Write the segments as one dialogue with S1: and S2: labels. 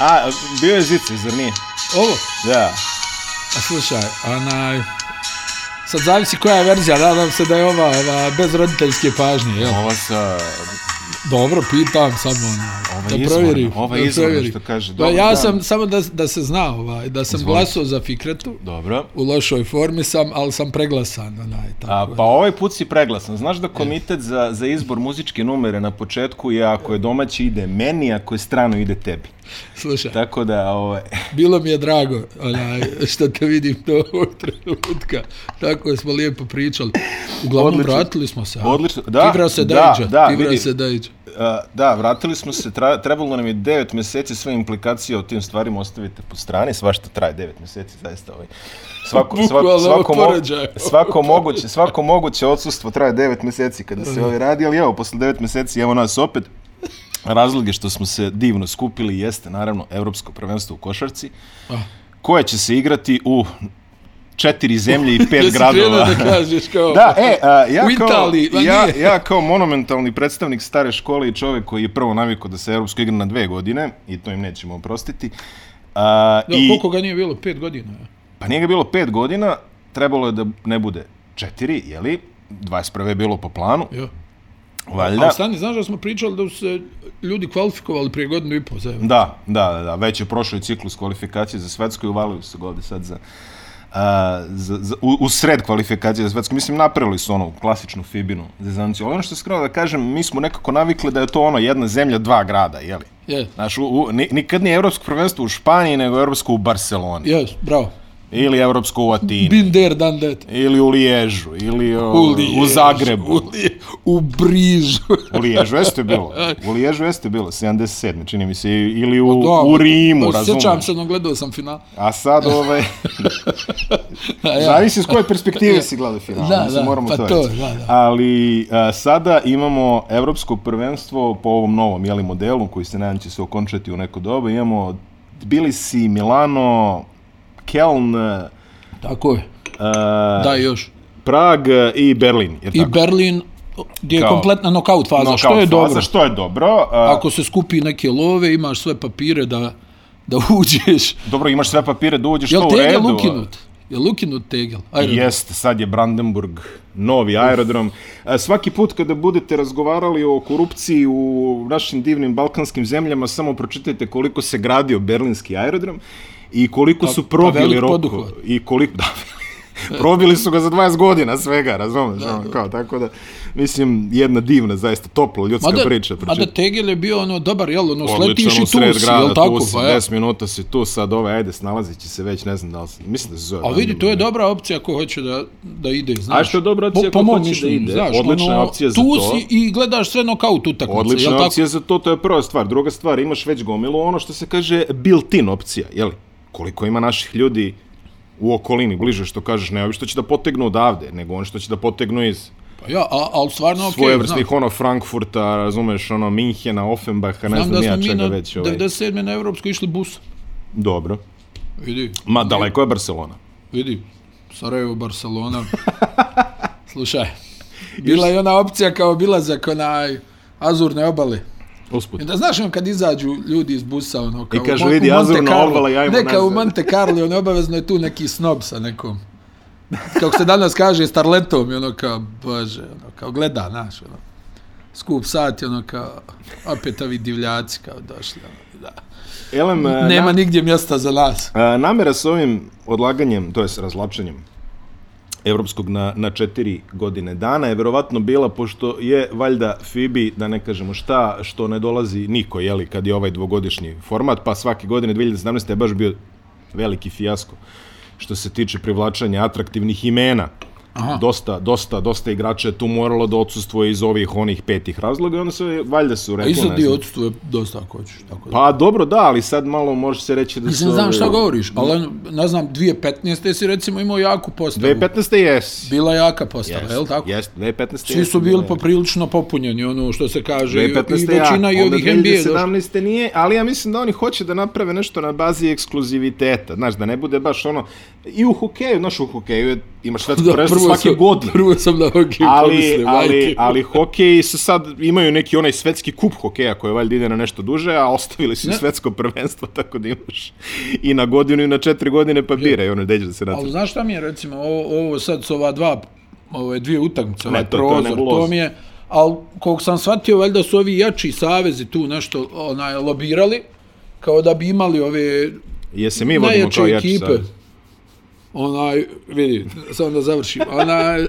S1: A, bio je Zici, zar nije?
S2: Ovo,
S1: Da.
S2: a slušaj, onaj... Sad zavisi koja je verzija, nadam se da je ova, ova bez roditeljske pažnje, jel?
S1: Ova sa...
S2: Dobro, pitam samo ono,
S1: Ova
S2: da
S1: izvorna,
S2: provjeri.
S1: ova
S2: da
S1: izvorna
S2: provjeri.
S1: što kaže,
S2: Da,
S1: dobar
S2: ja
S1: dan.
S2: sam, samo da, da se zna, ovaj, da sam
S1: Izvolite.
S2: glasao za Fikretu,
S1: Dobro.
S2: u lošoj formi sam, ali sam preglasan, onaj,
S1: A,
S2: tako.
S1: pa ovaj put si preglasan. Znaš da komitet za, za izbor muzičke numere na početku je ako je domaći ide meni, ako je strano ide tebi.
S2: Slušaj,
S1: Tako da, ovaj,
S2: bilo mi je drago onaj, što te vidim do ovog trenutka. Tako smo lijepo pričali. Uglavnom,
S1: Odlično.
S2: vratili smo se. a?
S1: Odlično, da,
S2: Igrao se
S1: da,
S2: Dajđa.
S1: da,
S2: igrao
S1: vidim.
S2: se Dajđa.
S1: a, da, vratili smo se, tra, trebalo nam je 9 meseci, sve implikacije o tim stvarima ostavite po strani, svašta traje 9 meseci, zaista ovaj. Svako, svako,
S2: Bukvalno
S1: svako, mo,
S2: poređaj.
S1: svako, moguće, svako moguće odsustvo traje 9 meseci kada se ovaj radi, ali evo, posle 9 meseci, evo nas opet, Razlog je što smo se divno skupili jeste naravno evropsko prvenstvo u košarci,
S2: Ah.
S1: koje će se igrati u četiri zemlje i
S2: Jesi
S1: pet
S2: krenuo
S1: gradova.
S2: da kažeš kao...
S1: Da, e, a, ja,
S2: U
S1: kao,
S2: Italiji, ma
S1: ja,
S2: nije.
S1: ja kao monumentalni predstavnik stare škole i čovjek koji je prvo navikao da se evropsko igra na dve godine, i to im nećemo oprostiti, a,
S2: Da,
S1: i,
S2: koliko ga nije bilo? Pet godina. a?
S1: pa nije ga bilo pet godina, trebalo je da ne bude četiri, jeli? 21. je bilo po planu,
S2: Jo.
S1: valjda.
S2: Da. A stani, znaš da smo pričali da su se ljudi kvalifikovali prije godinu i pol za evo.
S1: Da, da, da, da, već je prošao i ciklus kvalifikacije za svetsku i uvalili su ga ovde sad za, a, za, za u, u sred kvalifikacije za svetsku. Mislim, napravili su ono klasičnu Fibinu zezanciju. Ali ono što skrenuo da kažem, mi smo nekako navikli da je to ono jedna zemlja, dva grada, jeli?
S2: Je.
S1: Znaš, u, u, ni- nikad nije evropsko prvenstvo u Španiji, nego evropsko u Barceloni.
S2: Jes, bravo.
S1: Ili evropsko u Atini.
S2: Been there, done that.
S1: ili u Liježu, ili o,
S2: U Liježu,
S1: u Zagrebu.
S2: U, Lije- u Brižu.
S1: U Liježu jeste bilo. U Liježu jeste bilo, 77. čini mi se. Ili u,
S2: Pa Da,
S1: u Rimu,
S2: da,
S1: razumiješ.
S2: Sjećam se, ono gledao sam final.
S1: A sad ovaj...
S2: A ja-
S1: Zavisi s koje perspektive si gledao final.
S2: E, pa, Da,
S1: mislim,
S2: da,
S1: moramo
S2: pa
S1: to,
S2: to,
S1: reći.
S2: da, da.
S1: Ali a, sada imamo evropsko prvenstvo po ovom novom jeli, modelu koji se nadam će se okončati u neko doba. Imamo Tbilisi, Milano, Keln, e,
S2: Tako je. Da, još.
S1: Prag e, i Berlin. Jer
S2: I Berlin, gdje je
S1: Kao-
S2: kompletna knockout faza,
S1: Knockout
S2: što je
S1: faza,
S2: dobro.
S1: Što je dobro. E, A,
S2: Ako se skupi neke love, imaš sve papire da, da uđeš.
S1: Dobro, imaš sve papire da uđeš
S2: Je
S1: to
S2: li
S1: u redu.
S2: Tegel
S1: a-
S2: ukinut? Je li ukinut Tegel? Ajde.
S1: Jeste, sad je Brandenburg novi aerodrom. E, Svaki put kada budete razgovarali o korupciji u našim divnim balkanskim zemljama, samo pročitajte koliko se gradio berlinski aerodrom i koliko su probili
S2: Pa- velik
S1: roku.
S2: poduhvat.
S1: I koliko, da, probili su ga za 20 godina svega, razumeš? ono, kao, tako da, mislim, jedna divna, zaista topla ljudska
S2: Mada,
S1: priča.
S2: mada Tegel je bio ono dobar, jel, ono,
S1: Odlično,
S2: sletiš i
S1: u
S2: tu si,
S1: sred grada,
S2: jel tako?
S1: tu si,
S2: Pa, ja.
S1: 10 minuta si tu, sad ove, ajde, snalazit će se već, ne znam da li se, mislim da se zove.
S2: A vidi, to je
S1: Brandenburg.
S2: dobra opcija ko hoće da, da ide, znaš.
S1: što je dobra opcija ko
S2: mom
S1: hoće da
S2: mišljenju,
S1: ide? Odlična je opcija za
S2: tu
S1: to.
S2: si i gledaš sve nokaut utakmice,
S1: Odlična
S2: jel tako?
S1: opcija za to, to je prva stvar. Druga stvar, imaš već gomilu, ono što se kaže built-in opcija, jeli? Koliko ima naših ljudi u okolini, bliže što kažeš, ne ovi što će da potegnu odavde, nego oni što će da potegnu iz
S2: Pa ja, a, ali stvarno, okej,
S1: svoje
S2: okay,
S1: vrstnih, ono, Frankfurta, razumeš, ono, Minhena, Offenbacha, ne
S2: Znam
S1: znam
S2: da smo
S1: nija
S2: mi
S1: čega
S2: na
S1: već. Ovaj.
S2: 97. na Evropsku išli busom.
S1: Dobro.
S2: Vidi,
S1: Ma, daleko je Barcelona.
S2: vidi, Sarajevo, Barcelona. Slušaj, bila je ona opcija kao bila za konaj azurne obale.
S1: Usput.
S2: I da znaš ono kad izađu ljudi iz busa ono kao
S1: kažu,
S2: u Mon-
S1: vidi,
S2: u Monte
S1: azurna
S2: Carlo.
S1: obala, ja imam
S2: Neka u
S1: nazad.
S2: Monte Carlo, ono obavezno je tu neki snob sa nekom. Kako se danas kaže, starletom i ono kao, bože, ono kao gleda, znaš, ono. Skup sat i ono kao, opet ovi divljaci kao došli, ono, da.
S1: Elem, e,
S2: Nema
S1: na-
S2: nigdje mjesta za nas.
S1: A, namera sa ovim odlaganjem, to jest razlačenjem evropskog na, na četiri godine dana je verovatno bila, pošto je valjda FIBI, da ne kažemo šta, što ne dolazi niko, jeli, kad je ovaj dvogodišnji format, pa svake godine 2017. je baš bio veliki fijasko što se tiče privlačanja atraktivnih imena. Aha. Dosta, dosta, dosta igrača je tu moralo da odsustvuje iz ovih onih petih razloga i onda se je- valjda su
S2: A
S1: rekli,
S2: isto
S1: ne
S2: dio
S1: znam.
S2: odstuje dosta ako hoćeš, tako da.
S1: Pa dobro, da, ali sad malo može se reći da
S2: Mislim,
S1: su...
S2: znam šta
S1: ovi-
S2: govoriš, ali ono, ne znam, 2015. si recimo imao jaku postavu.
S1: 2015. jes.
S2: Bila jaka postava,
S1: Jest,
S2: je li tako?
S1: Jest, 2015.
S2: Svi su
S1: jeste
S2: bili
S1: bila jaka.
S2: poprilično popunjeni, ono što se kaže, i,
S1: 2015.
S2: i većina
S1: ja,
S2: i ovih NBA je došla.
S1: 2017. nije, ali ja mislim da oni hoće da naprave nešto na bazi ekskluziviteta, znaš, da ne bude baš ono, i u hokeju, znaš, u hokeju je, imaš svetsko
S2: Da,
S1: prvenstvo svake
S2: sam,
S1: godine.
S2: Prvo sam na hokej
S1: ali,
S2: pomislio,
S1: ali,
S2: majke.
S1: ali hokeji se sad imaju neki onaj svetski kup hokeja koji valjda ide na nešto duže, a ostavili su
S2: Ne.
S1: svetsko prvenstvo tako da imaš i na godinu i na četiri godine papire i ono da ideš da se vratiš.
S2: Ali znaš šta mi je recimo ovo, ovo sad su ova dva ove dvije utakmice, ovaj
S1: Ne, to- to je
S2: prozor, to,
S1: nebuloza.
S2: mi je ali koliko sam shvatio valjda su ovi jači savezi tu nešto onaj lobirali kao da bi imali ove
S1: Jesi mi vodimo
S2: najjače
S1: kao jači
S2: ekipe.
S1: savez?
S2: Onaj, vidi, samo da završim. Onaj, eh,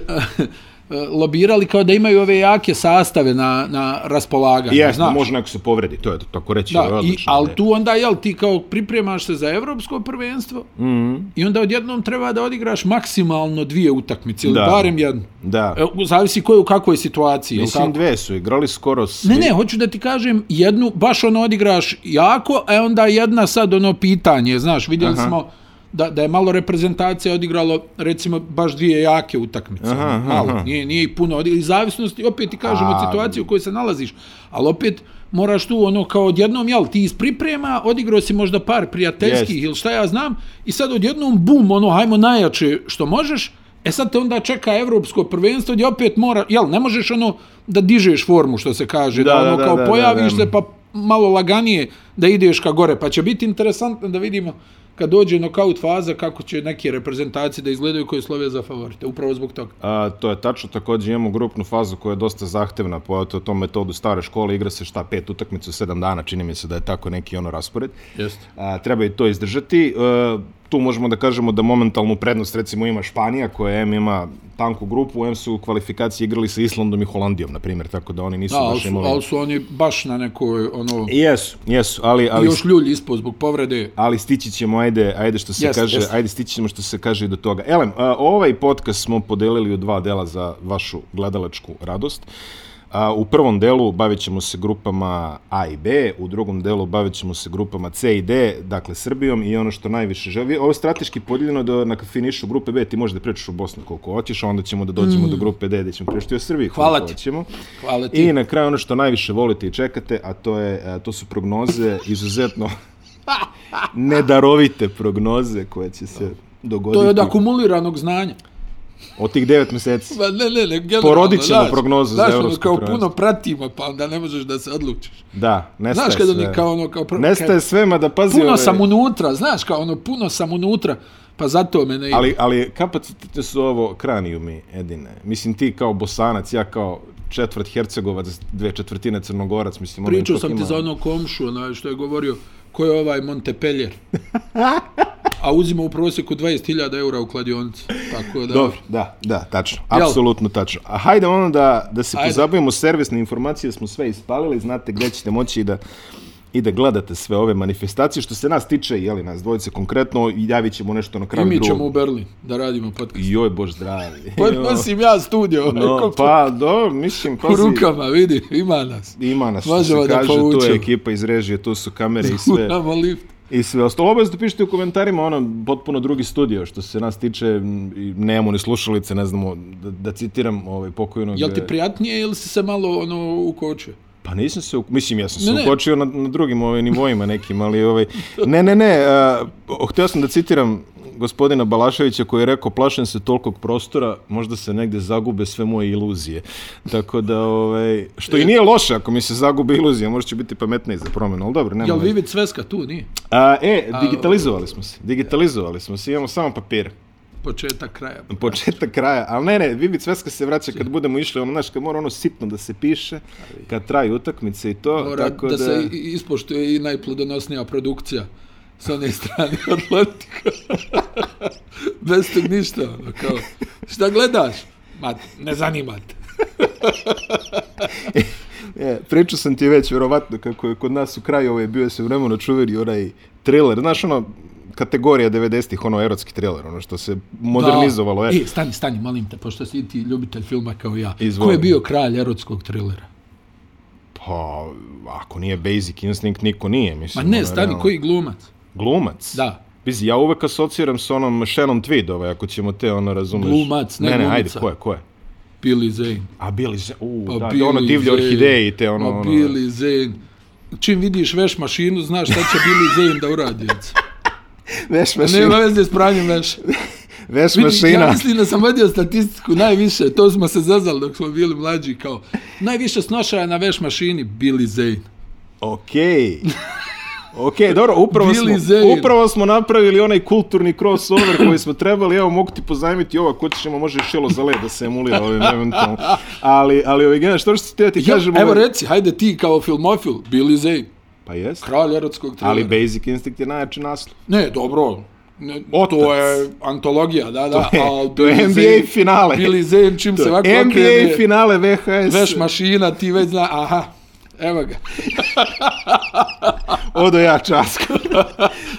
S2: lobirali kao da imaju ove jake sastave na, na raspolaganju.
S1: Jeste,
S2: znaš.
S1: može neko se povredi, to je to, tako reći. ovo je
S2: Da, i,
S1: odlična
S2: ali
S1: ideja.
S2: tu onda, jel, ti kao pripremaš se za evropsko prvenstvo
S1: Mhm.
S2: i onda odjednom treba da odigraš maksimalno dvije utakmice, ili
S1: Da.
S2: barem jednu.
S1: Da,
S2: E, u- Zavisi ko je u kakvoj situaciji. jel
S1: mislim
S2: tako?
S1: dve su igrali skoro svi.
S2: Ne, ne, hoću da ti kažem, jednu baš ono odigraš jako, a onda jedna sad ono pitanje, znaš, vidjeli
S1: Aha.
S2: smo da, da je malo reprezentacija odigralo recimo baš dvije jake utakmice.
S1: Aha,
S2: ono, malo,
S1: aha.
S2: nije, nije i puno odigralo. I zavisnosti, opet ti kažem, od
S1: A,
S2: situacije u kojoj se nalaziš, ali opet moraš tu ono kao odjednom, jel, ti iz priprema odigrao si možda par prijateljskih
S1: Jest.
S2: ili šta ja znam i sad odjednom bum, ono, hajmo najjače što možeš, E sad te onda čeka evropsko prvenstvo gdje opet mora, jel, ne možeš ono da dižeš formu što se kaže, da,
S1: Da,
S2: ono
S1: da,
S2: kao
S1: da, da,
S2: pojaviš
S1: da.
S2: se pa malo laganije da ideš ka gore, pa će biti interesantno da vidimo kad dođe nokaut faza kako će neke reprezentacije da izgledaju koje slove za favorite, upravo zbog toga.
S1: A, to je tačno, također imamo grupnu fazu koja je dosta zahtevna po to, tom metodu stare škole, igra se šta, pet utakmica u sedam dana, čini mi se da je tako neki ono raspored.
S2: Jeste.
S1: A, treba i to izdržati. E, tu možemo da kažemo da momentalnu prednost recimo ima Španija koja M ima tanku grupu, M su u kvalifikaciji igrali sa Islandom i Holandijom, na primjer, tako da oni nisu
S2: Da, ali
S1: baš
S2: su,
S1: imali...
S2: ali su oni baš na nekoj, ono,
S1: Jesu, jesu, ali, ali
S2: još ljulj ispod zbog povrede.
S1: ali stići ćemo, ajde, ajde što se
S2: Jeste,
S1: kaže,
S2: jeste.
S1: ajde stići ćemo što se kaže i do toga. Elem, a, ovaj podcast smo podelili u dva dela za vašu gledalačku radost. A, u prvom delu bavit ćemo se grupama A i B, u drugom delu bavit ćemo se grupama C i D, dakle Srbijom i ono što najviše želi. Ovo je strateški podijeljeno da na finišu grupe B ti možeš da pričaš o Bosni koliko hoćeš, a onda ćemo da dođemo do grupe D gdje ćemo pričati o Srbiji koliko
S2: Mm. Hvala ti.
S1: hoćemo.
S2: Hvala ti.
S1: I na kraju ono što najviše volite i čekate, a to, je, a, to su prognoze izuzetno nedarovite prognoze koje će se dogoditi
S2: To je od akumuliranog znanja.
S1: od tih devet meseci.
S2: Pa ne, ne, ne, generalno.
S1: Porodit ćemo
S2: znaš,
S1: prognozu za
S2: znaš, ono,
S1: evropsko
S2: kao
S1: prvenstvo.
S2: puno pratimo, pa onda ne možeš da se odlučiš.
S1: Da, nestaje
S2: Znaš kad
S1: sve.
S2: oni kao ono, kao... pro-
S1: Nestaje sve, ma da pazi...
S2: puno
S1: ove-
S2: sam unutra, znaš, kao ono, puno sam unutra, pa zato me ne...
S1: Ali, ali kapacitete su ovo kranijumi, Edine. Mislim, ti kao bosanac, ja kao četvrt hercegovac, dve četvrtine crnogorac, mislim... ono
S2: Pričao
S1: ipak
S2: sam ti
S1: ima-
S2: za ono komšu, onaj, što je govorio, ko je ovaj Montepeljer? A uzima u prosjeku 20.000 eura u kladionici. Tako da...
S1: Dobro, da, da, tačno.
S2: Jel?
S1: Apsolutno tačno. A hajde ono da, da se
S2: Ajde.
S1: pozabavimo servisne informacije, smo sve ispalili, znate gdje ćete moći i da i da gledate sve ove manifestacije. Što se nas tiče, jeli nas dvojice konkretno, javit ćemo nešto na
S2: I
S1: kraju
S2: mi ćemo u
S1: drugog.
S2: Berlin da radimo podcast.
S1: Joj, bož zdravi.
S2: Pa
S1: Joj.
S2: nosim ja studio, ovaj,
S1: no,
S2: no,
S1: pa, do, mislim,
S2: u
S1: pazi,
S2: rukama, vidi, ima nas.
S1: ima nas, što
S2: Možemo
S1: se
S2: da
S1: kaže, tu
S2: povučemo.
S1: je ekipa iz režije, tu su kamere i sve.
S2: Kuramo lift.
S1: I sve ostalo. Obavezno da pišite u komentarima, ono, potpuno drugi studio, što se nas tiče, m, i nemamo ni slušalice, ne znamo, da, da citiram ovaj pokojnog...
S2: Jel ti
S1: e,
S2: prijatnije ili si se malo ono ukočio?
S1: Pa nisam se, u- mislim, ja sam se
S2: Ne, ne.
S1: ukočio na, na drugim ovaj, nivoima nekim, ali ovaj... Ne, ne, ne, a, o- htio sam da citiram gospodina Balaševića koji je rekao plašem se tolikog prostora, možda se negde zagube sve moje iluzije. Tako da, ovaj,
S2: E-
S1: što i nije loše ako mi se zagube iluzije, možda će biti pametniji za promjenu, ali dobro, nema.
S2: Jel
S1: veze.
S2: Vivid Sveska tu nije?
S1: A, e, digitalizovali smo se, digitalizovali smo se, imamo samo papire.
S2: Početak kraja.
S1: Pa, Početak kraja, ali ne, ne, Vivid Sveska se vraća kad budemo išli, ono, znaš, kad mora ono sitno da se piše, kad traju utakmice i to,
S2: Mora
S1: tako
S2: da,
S1: da...
S2: se i- ispoštuje i najplodonosnija produkcija sa one strane Atlantika. Bez tog ništa, ono, kao, šta gledaš? Ma, ne zanima te.
S1: E, pričao sam ti već, vjerovatno, kako je kod nas u kraju ovaj, bio je se vremeno čuveri onaj thriller, znaš, ono, kategorija 90-ih, ono, erotski thriller, ono, što se modernizovalo,
S2: Da.
S1: e.
S2: E, stani, stani, molim te, pošto si ti ljubitelj filma kao ja.
S1: Izvoli.
S2: Ko je bio kralj erotskog trilera?
S1: Pa, ako nije Basic Instinct, niko nije,
S2: Ma
S1: mislim. ono,
S2: ne, stani,
S1: realno.
S2: koji glumac?
S1: Glumac?
S2: Da.
S1: Bizi, ja uvek asociram sa onom Shannon Tweed, ovaj, ako ćemo te, ono, razumeš.
S2: Glumac, ne
S1: Ne, ne,
S2: glumica.
S1: ajde, ko je, ko je?
S2: Billy Zane.
S1: A Billy Zane, u,
S2: Pa
S1: da,
S2: Billy
S1: da, ono divlje
S2: Zane.
S1: orhideje i te, ono,
S2: Ma
S1: ono.
S2: Billy Zane. Čim vidiš veš mašinu, znaš šta će Billy Zane da uradi. djeca.
S1: Veš, veš,
S2: Nema veze s pranjem veša.
S1: veš
S2: Vidi, Ja
S1: mašina.
S2: mislim da sam vodio statistiku najviše, to smo se zazali dok smo bili mlađi, kao najviše snošaja na veš mašini, Billy Zane.
S1: Okej. Okej, dobro, upravo
S2: Billy
S1: smo,
S2: Zane.
S1: upravo smo napravili onaj kulturni crossover koji smo trebali, evo mogu ti pozajmiti ovo, ako ćemo može i šilo za led da se emulira ovim eventualno. Ali, ali ovaj, gena, što što ti ja ti
S2: Ja,
S1: kažem...
S2: evo
S1: ovaj-
S2: reci, hajde ti kao filmofil, Billy Zane,
S1: Pa jest,
S2: kralj erotskog trilera.
S1: ali Basic Instinct je najjači naslov.
S2: Ne, dobro, ne,
S1: Otac.
S2: to je antologija, da, da.
S1: To je-
S2: ali
S1: to je
S2: Billy
S1: NBA
S2: Zane-
S1: finale.
S2: Billy Zane, čim se ovako
S1: NBA
S2: okrene,
S1: finale VHS,
S2: veš mašina, ti već zna, aha, evo ga.
S1: odo ja časka.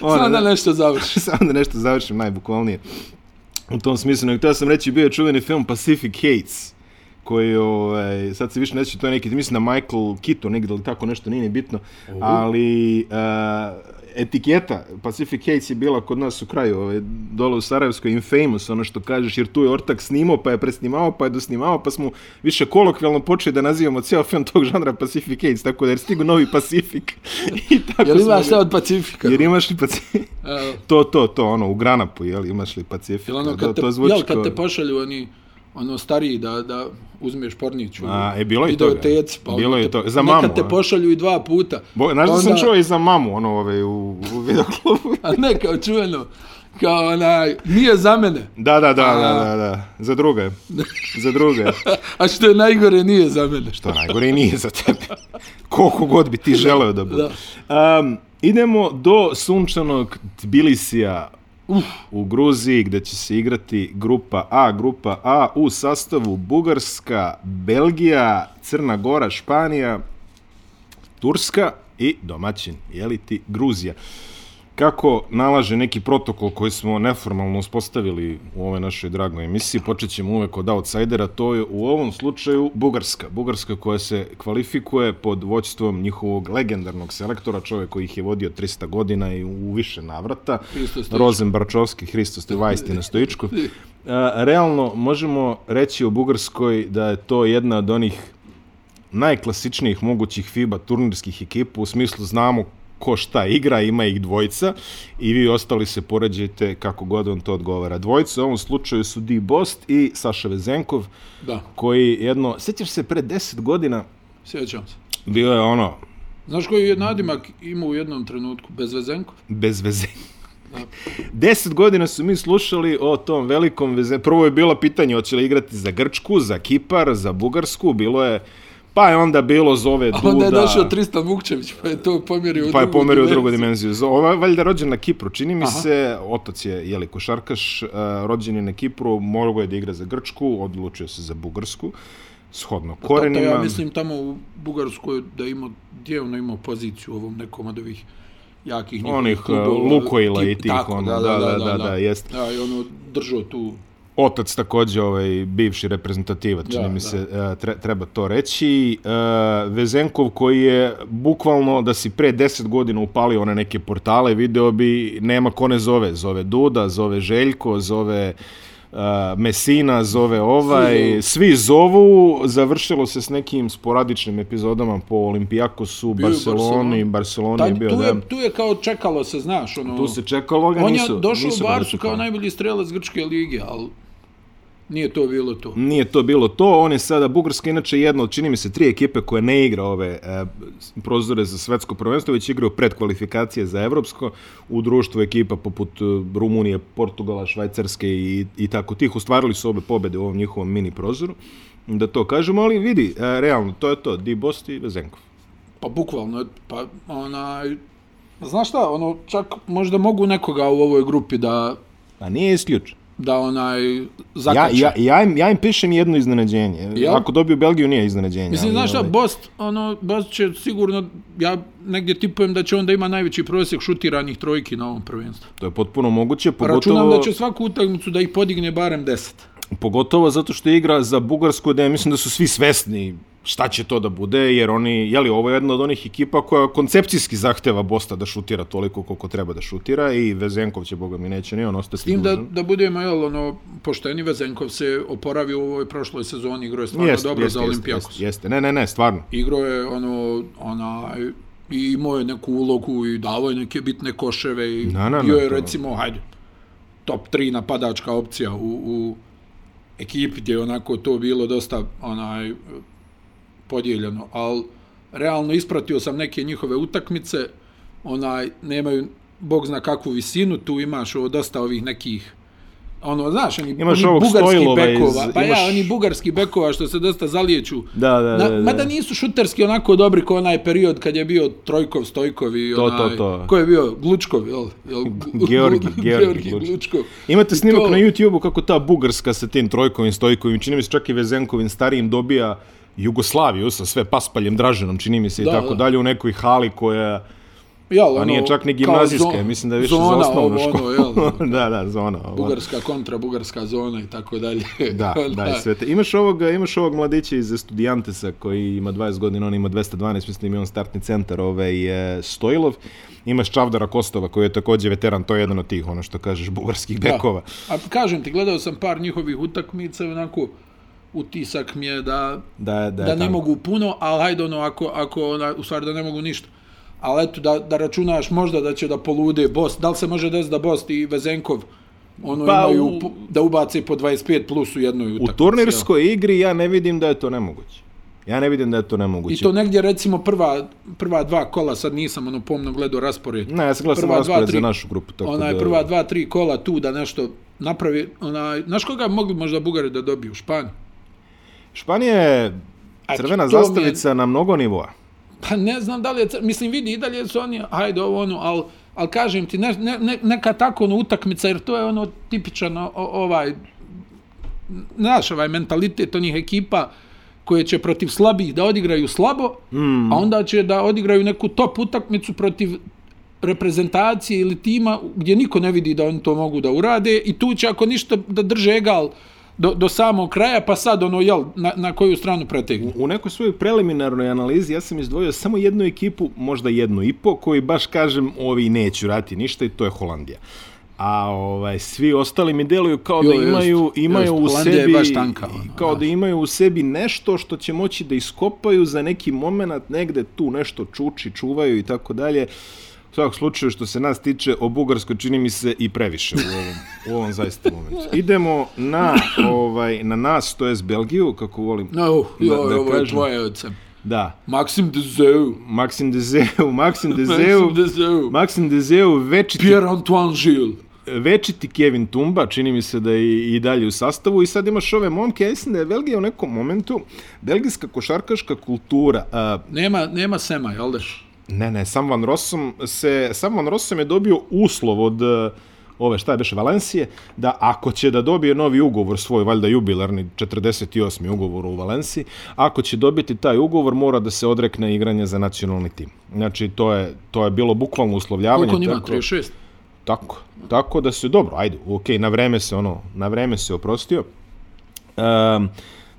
S1: Ona,
S2: Sada nešto završi.
S1: Samo da nešto završim najbukvalnije. U tom smislu, nego htio sam reći, bio je čuveni film Pacific Hates, koji, ovaj, sad se više neće, to je neki, mislim na Michael Keaton negdje ili tako nešto, nije ni bitno, ali uh, etiketa Pacific Hates je bila kod nas u kraju, ovaj, dole u Sarajevskoj, infamous, ono što kažeš, jer tu je ortak snimao, pa je presnimao, pa je dosnimao, pa smo više kolokvijalno počeli da nazivamo cijel film tog žanra Pacific Hates, tako da je stigu novi Pacific. I tako
S2: Jel
S1: smo
S2: imaš
S1: ga-
S2: šta od Pacifika?
S1: Jer imaš li Pacific?
S2: Evo.
S1: To, to, to, ono, u Granapu, jel, imaš li Pacifika?
S2: Jel ono
S1: to,
S2: kad te,
S1: to zvuči
S2: jel, kad
S1: kao-
S2: te pošalju oni ono stariji da, da uzmeš pornić u
S1: A, e, bilo je i toga.
S2: videoteci, pa
S1: Bilo
S2: ono
S1: je
S2: te,
S1: to. Za mamu,
S2: Nekad te
S1: a?
S2: pošalju i dva puta.
S1: Bo, znaš da
S2: Pa
S1: sam čuo i za mamu, ono, ove, u, u videoklubu.
S2: A ne, kao čujeno, kao onaj, nije za mene.
S1: Da, da, da,
S2: A.
S1: da, da, da, za druge, za druge.
S2: A što je najgore, nije za mene.
S1: To najgore i nije za tebe. Koliko god bi ti želeo da bude.
S2: Da.
S1: Um, idemo do sunčanog Tbilisija Uf. u Gruziji gde će se igrati grupa A, grupa A u sastavu Bugarska, Belgija, Crna Gora, Španija, Turska i domaćin, jeli ti, Gruzija. Kako nalaže neki protokol koji smo neformalno uspostavili u ovoj našoj dragoj emisiji, počet ćemo uvek od outsidera, to je u ovom slučaju Bugarska. Bugarska koja se kvalifikuje pod voćstvom njihovog legendarnog selektora, čovjek koji ih je vodio 300 godina i u više navrata,
S2: Hristo Stojičkov.
S1: Rozen Barčovski, Hristo Stojvajstina Stojičkov. E, Realno možemo reći o Bugarskoj da je to jedna od onih najklasičnijih mogućih FIBA turnirskih ekipa, u smislu znamo ko šta igra, ima ih dvojica i vi ostali se poređajte kako god vam to odgovara. Dvojica u ovom slučaju su Di Bost i Saša Vezenkov,
S2: Da,
S1: koji jedno, sjećaš se pre 10 godina,
S2: sjećam se.
S1: bio je ono,
S2: Znaš koji je nadimak imao u jednom trenutku, bez Vezenkov?
S1: bez veze. Deset godina su mi slušali o tom velikom veze. Prvo je bilo pitanje hoće li igrati za Grčku, za Kipar, za Bugarsku, bilo je pa je onda bilo zove
S2: A
S1: Duda.
S2: Pa onda je došao Tristan Vukčević, pa je to pomjerio u
S1: Pa je
S2: drugu
S1: pomerio u drugu
S2: dimenziju.
S1: dimenziju. Zo- Ova je valjda rođen na Kipru, čini mi
S2: Aha.
S1: se, otac je jeli košarkaš, uh, rođen je na Kipru, morao je da igra za Grčku, odlučio se za Bugarsku, shodno korenima.
S2: Tata, Pa ja mislim tamo u Bugarskoj da ima, gdje je ono imao poziciju u ovom nekom od ovih jakih njihovih
S1: Onih,
S2: klubova,
S1: e, Lukoila i
S2: tip-
S1: tih,
S2: tako,
S1: ono, da, da, da, da, jest.
S2: Da, i ono držao tu
S1: Otac takođe ovaj bivši reprezentativac, čini
S2: Da,
S1: mi
S2: da.
S1: se e, tre, treba to reći. E, Vezenkov koji je bukvalno da si pre 10 godina upalio one neke portale, video bi nema ko ne zove, zove Duda, zove Željko, zove Uh, Mesina zove ovaj,
S2: zovu.
S1: svi zovu, završilo se s nekim sporadičnim epizodama po Olimpijakosu,
S2: Bio je u Barceloni.
S1: Barceloni, Barceloni je
S2: Tad,
S1: bio,
S2: tu,
S1: da.
S2: je, tu je kao čekalo se, znaš, ono...
S1: Tu se čekalo, ga
S2: on
S1: nisu.
S2: je došao
S1: nisu pa-
S2: u
S1: ga
S2: Barcu
S1: dočekali.
S2: kao najbolji strelac Grčke lige, ali nije to bilo to.
S1: Nije to bilo to, on je sada, Bugarska je inače jedna od, čini mi se, tri ekipe koja ne igra ove e, prozore za svetsko prvenstvo, već igraju predkvalifikacije za evropsko, u društvu ekipa poput e, Rumunije, Portugala, Švajcarske i, i tako tih, ostvarili su obe pobede u ovom njihovom mini prozoru, da to kažemo, ali vidi, e, realno, to je to, Di Bost i Vezenkov.
S2: Pa bukvalno, pa onaj... Znaš šta, ono, čak možda mogu nekoga u ovoj grupi da
S1: A nije isključen.
S2: da onaj
S1: Ja,
S2: zakače.
S1: ja, ja, im, ja im pišem jedno iznenađenje.
S2: Jel?
S1: Ako dobiju Belgiju, nije iznenađenje.
S2: Mislim,
S1: ali,
S2: znaš šta,
S1: ovaj,
S2: Bost, ono, Bost će sigurno, ja negdje tipujem da će onda ima najveći prosjek šutiranih trojki na ovom prvenstvu.
S1: To je potpuno moguće, pogotovo...
S2: Pa Računam da će svaku utakmicu da ih podigne barem 10.
S1: Pogotovo zato što igra za Bugarsku, da ja mislim da su svi svesni šta će to da bude, jer oni, jeli, ovo je jedna od onih ekipa koja koncepcijski zahteva Bosta da šutira toliko koliko treba da šutira i Vezenkov će, boga mi, neće ni on ostati
S2: Tim da,
S1: dužan.
S2: da budemo, jel, ono, pošteni Vezenkov se oporavi u ovoj prošloj sezoni, igro je stvarno
S1: Jeste,
S2: dobro
S1: jeste,
S2: za
S1: jeste,
S2: Olimpijakos.
S1: Jeste, jeste, ne, ne, ne, stvarno.
S2: Igro je, ono, onaj, i imao je neku ulogu i davao je neke bitne koševe i
S1: Na, na, na,
S2: bio je,
S1: to-
S2: recimo, hajde, top 3 napadačka opcija u, u ekipi gdje je onako to bilo dosta onaj podijeljeno, ali realno ispratio sam neke njihove utakmice, onaj, nemaju bog zna kakvu visinu, tu imaš ovo, dosta ovih nekih ono, znaš, oni,
S1: Imaš
S2: oni
S1: ovog
S2: bugarski
S1: Stojlova
S2: bekova,
S1: iz-
S2: pa
S1: imaš-
S2: ja, oni bugarski bekova što se dosta zalijeću.
S1: Da, da, da, da.
S2: Na, mada nisu šuterski onako dobri kao onaj period kad je bio Trojkov, Stojkov i
S1: To,
S2: onaj...
S1: to, to.
S2: Ko je bio? Glučkov, jel? jel Glu-
S1: Georgi,
S2: Glu-
S1: Georgi
S2: Georgi
S1: Glučkov.
S2: Glučkov.
S1: Imate
S2: I
S1: snimak
S2: to-
S1: na YouTube-u kako ta Bugarska sa tim Trojkovim, Stojkovim, čini mi se čak i Vezenkovim starijim dobija Jugoslaviju sa sve Paspaljem, Draženom, čini mi se
S2: Da,
S1: i tako
S2: da.
S1: dalje u nekoj hali koja...
S2: Jel, ono,
S1: Pa nije čak ni
S2: kao
S1: gimnazijska,
S2: zon-
S1: mislim da je više
S2: zona,
S1: za osnovnu
S2: ovo,
S1: školu.
S2: Ono, jel,
S1: da, da, zona. Ovo.
S2: bugarska kontra, bugarska zona i tako dalje.
S1: Da, da, i sve te. Imaš ovog, imaš ovog mladića iz Studijantesa koji ima 20 godina, on ima 212, mislim i on startni centar, ovaj, e, Stojlov. Imaš Čavdara Kostova koji je također veteran, to je jedan od tih, ono što kažeš, bugarskih bekova.
S2: Da. A kažem ti, gledao sam par njihovih utakmica, onako, utisak mi je da,
S1: Da, da,
S2: da,
S1: je
S2: da ne
S1: tamo.
S2: mogu puno, ali hajde ono, ako, ako ona, u stvari da ne mogu ništa. Ali eto, da, da računaš možda da će da polude Bost. Da li se može desiti da Bost i Vezenkov ono
S1: Pa,
S2: pa, imaju,
S1: u-
S2: u... da ubace po 25 plus u jednoj
S1: U
S2: utakmici? jel?
S1: turnirskoj igri ja ne vidim da je to nemoguće. Ja ne vidim da je to nemoguće.
S2: I to negdje recimo prva, prva dva kola, sad nisam ono pomno gledao raspored.
S1: Ne, ja sam gledao samo
S2: prva dva,
S1: raspored za
S2: tri.
S1: našu grupu. Tako
S2: onaj
S1: da...
S2: prva dva, tri kola tu da nešto napravi, onaj, znaš koga mogli možda Bugari da dobiju? Španju?
S1: Španija je
S2: Znači,
S1: crvena
S2: to mi je-
S1: zastavica na mnogo nivoa.
S2: Pa ne znam da li je, cr- mislim vidi i dalje su oni, hajde ovo ono, ali al kažem ti, ne, ne, ne- neka tako ono, utakmica, jer to je ono tipičan o, o- ovaj, znaš, ovaj mentalitet onih ekipa koje će protiv slabih da odigraju slabo, mm. a onda će da odigraju neku top utakmicu protiv reprezentacije ili tima gdje niko ne vidi da oni to mogu da urade i tu će ako ništa da drže egal do, do samog kraja, pa sad ono, jel, na, na koju stranu pretegnu.
S1: U nekoj svojoj preliminarnoj analizi ja sam izdvojio samo jednu ekipu, možda jednu i po, koji baš kažem ovi neću rati ništa i to je Holandija. A ovaj svi ostali mi deluju kao
S2: Jo,
S1: da imaju
S2: jest,
S1: imaju
S2: jest,
S1: u
S2: Holandija je
S1: sebi
S2: baš tanka, ono,
S1: kao
S2: znaš.
S1: da imaju u sebi nešto što će moći da iskopaju za neki momenat negde tu nešto čuči, čuvaju i tako dalje. U svakom slučaju što se nas tiče o Bugarskoj čini mi se i previše u ovom, u ovom zaista momentu. Idemo na ovaj na nas, to jest Belgiju kako volim.
S2: No,
S1: Da-
S2: uh, joj,
S1: da
S2: ovo je
S1: kažem.
S2: tvoje oce.
S1: Da.
S2: Maxim Dezeu.
S1: Maxim Dezeu, Maxim Dezeu,
S2: Maxim Dezeu.
S1: Maxim Dezeu, večiti,
S2: Pierre Antoine Gilles.
S1: večiti Kevin Tumba, čini mi se da je i, i dalje u sastavu i sad imaš ove momke, ja mislim da je Belgija u nekom momentu, belgijska košarkaška kultura, a,
S2: Nema, nema Sema, jel daš?
S1: ne ne, Sam Van Rossum se, Sam Van Rossum je dobio uslov od e, ove šta je beše Valencije, da ako će da dobije novi ugovor svoj, valjda jubilarni 48. ugovor u Valenciji, ako će dobiti taj ugovor mora da se odrekne igranja za nacionalni tim. Znači to je, to je bilo bukvalno uslovljavanje.
S2: Koliko on ima?
S1: tako-
S2: 36?
S1: Tako, tako da se dobro, ajde, okej, na vreme se ono, na vreme se oprostio. Um,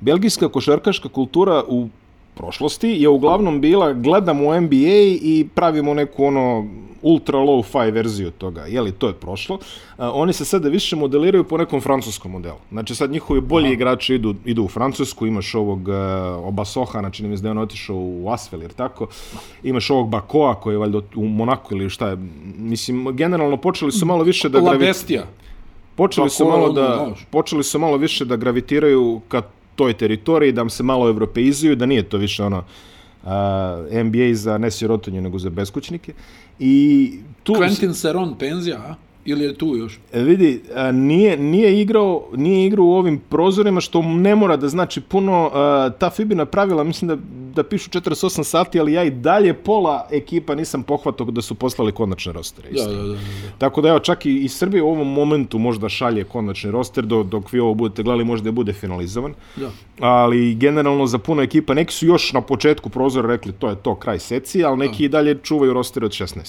S1: belgijska košarkaška kultura u prošlosti je uglavnom bila gledamo NBA i pravimo neku ono ultra low fi verziju toga. Je li to je prošlo? A, oni se sada više modeliraju po nekom francuskom modelu. Znači sad njihovi bolji Aha. igrači idu idu u Francusku, imaš ovog uh, Obasohana, čini mi se da je on otišao u Asvel, jer tako. Imaš ovog Bakoa koji je valjda u Monaku ili šta je. Mislim generalno počeli su malo više da
S2: La
S1: gravi-
S2: Bestija.
S1: Počeli su
S2: Tako,
S1: malo
S2: ono,
S1: da
S2: znaš.
S1: počeli su malo više da gravitiraju ka toj teritoriji, da se malo evropeizuju, da nije to više ono a, NBA za ne sirotinju nego za beskućnike. I tu
S2: Quentin Seron, penzija, a? Ili je tu još?
S1: E, vidi a, nije nije igrao nije igrao u ovim prozorima što ne mora da znači puno a, ta Fibina pravila mislim da da pišu 48 sati, ali ja i dalje pola ekipa nisam pohvatao da su poslali konačne rostere.
S2: Da, da, da. da. da.
S1: Tako da evo, čak i, i Srbija u ovom momentu možda šalje konačni roster, do, dok vi ovo budete gledali možda je bude finalizovan.
S2: da.
S1: Ali generalno za puno ekipa, neki su još na početku prozora rekli to je to, kraj seci, ali neki i dalje čuvaju roster od 16.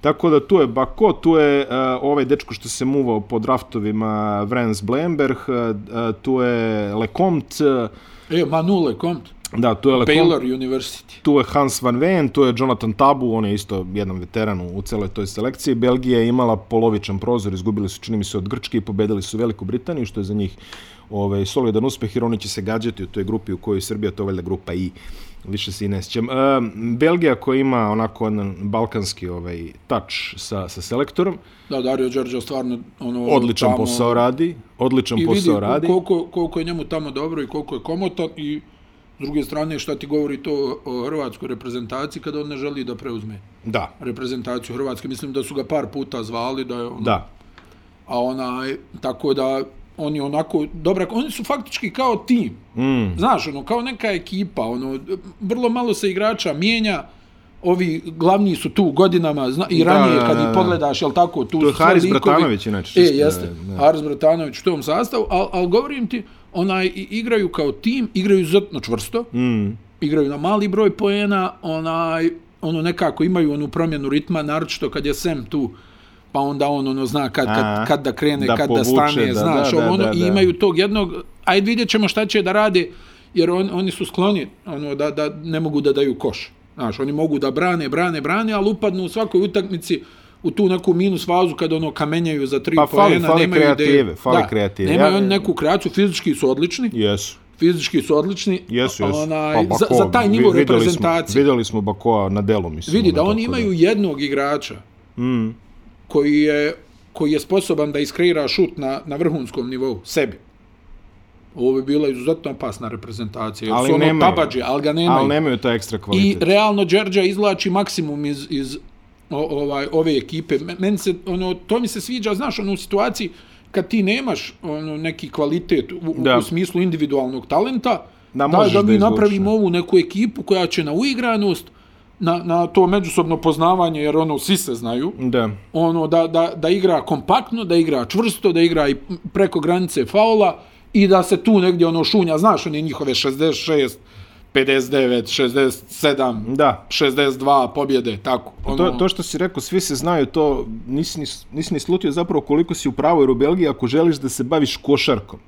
S1: Tako da tu je Bako, tu je uh, ovaj dečko što se muvao po e, draftovima Vrens Blemberg, uh, uh, tu je Lecomt, uh,
S2: E, Manule, Komt.
S1: Da, tu je Lecom-
S2: Baylor University.
S1: Tu je Hans Van Ven, tu je Jonathan Tabu, on je isto jedan veteran u, u celoj toj selekciji. Belgija je imala polovičan prozor, izgubili su čini mi se od Grčke i pobedili su Veliku Britaniju, što je za njih ovaj, solidan uspeh, jer oni će se gađati u toj grupi u kojoj je Srbija, to je valjda grupa I, više se i ne sjećam. E, Belgija koja ima onako jedan balkanski ovaj, touch sa, sa selektorom,
S2: Da, Dario Đorđe stvarno ono,
S1: odličan
S2: tamo-
S1: posao radi, odličan
S2: I vidi
S1: posao radi.
S2: koliko, koliko je njemu tamo dobro i koliko je komotan i s druge strane šta ti govori to o hrvatskoj reprezentaciji kada on ne želi da preuzme
S1: Da,
S2: reprezentaciju Hrvatske. Mislim da su ga par puta zvali, da je ono,
S1: da.
S2: a onaj, tako da oni onako, dobra, oni su faktički kao tim.
S1: Mm,
S2: Znaš, ono, kao neka ekipa, ono, vrlo malo se igrača mijenja, ovi glavni su tu godinama zna, i
S1: Da,
S2: ranije
S1: da,
S2: kad
S1: da,
S2: ih
S1: da.
S2: pogledaš, jel tako, tu
S1: To je
S2: su sve
S1: Haris
S2: likovi-
S1: Bratanović, inače,
S2: E,
S1: čisto,
S2: jeste,
S1: da, da.
S2: Haris Bratanović u tom sastavu, ali al govorim ti, onaj, i- igraju kao tim, igraju izuzetno čvrsto,
S1: mm.
S2: igraju na mali broj poena, onaj, ono nekako imaju onu promjenu ritma, naročito kad je Sam tu, pa onda on ono zna kad,
S1: Aha.
S2: kad, kad da krene,
S1: Da
S2: kad
S1: povuče,
S2: da stane,
S1: da,
S2: znaš,
S1: da,
S2: ovo,
S1: da,
S2: ono,
S1: da,
S2: i
S1: da.
S2: imaju tog jednog, ajde vidjet ćemo šta će da rade, jer on, oni su skloni, ono, da, da ne mogu da daju koš. Znaš, oni mogu da brane, brane, brane, ali upadnu u svakoj utakmici u tu neku minus fazu kad ono kamenjaju za tri
S1: Pa fali-
S2: poena,
S1: fali
S2: nemaju ideju.
S1: kreative, fali
S2: da,
S1: kreative.
S2: Nemaju
S1: Ja-
S2: oni neku kreaciju, fizički su odlični,
S1: Jesu.
S2: fizički su odlični.
S1: Jesu, jesu.
S2: Onaj, za, za taj nivo
S1: vi- videli Smo,
S2: reprezentacije.
S1: videli smo Bakoa na delu, mislim.
S2: Vidi da
S1: ono,
S2: oni
S1: tako
S2: imaju jednog igrača
S1: Mm,
S2: koji je, koji je sposoban da iskreira šut na, na vrhunskom nivou, sebi. Ovo bi bila izuzetno opasna reprezentacija. jer
S1: Ali
S2: su ono
S1: nemaju.
S2: tabađe, ali ga nemaju.
S1: ali nemaju taj ekstra
S2: I
S1: kvalitet.
S2: realno Đerđa izvlači maksimum iz, iz o, ovaj, ove ekipe. Me- Meni se, ono, to mi se sviđa, znaš, ono, u situaciji kad ti nemaš ono, neki kvalitet u,
S1: Da.
S2: u, u smislu individualnog talenta,
S1: Da,
S2: da,
S1: možeš
S2: da
S1: da
S2: mi
S1: izvučeš,
S2: napravimo
S1: ne.
S2: ovu neku ekipu koja će na uigranost, na, na to međusobno poznavanje, jer ono, svi se znaju,
S1: Da.
S2: ono da, da, da igra kompaktno, da igra čvrsto, da igra i preko granice faula i da se tu negdje ono šunja, znaš, one njihove 66, 59, 67,
S1: Da.
S2: 62 pobjede, tako. Ono,
S1: Pa To, to što si rekao, svi se znaju to, nisi, ni- nisi ni slutio zapravo koliko si u pravu, jer u Belgiji ako želiš da se baviš košarkom,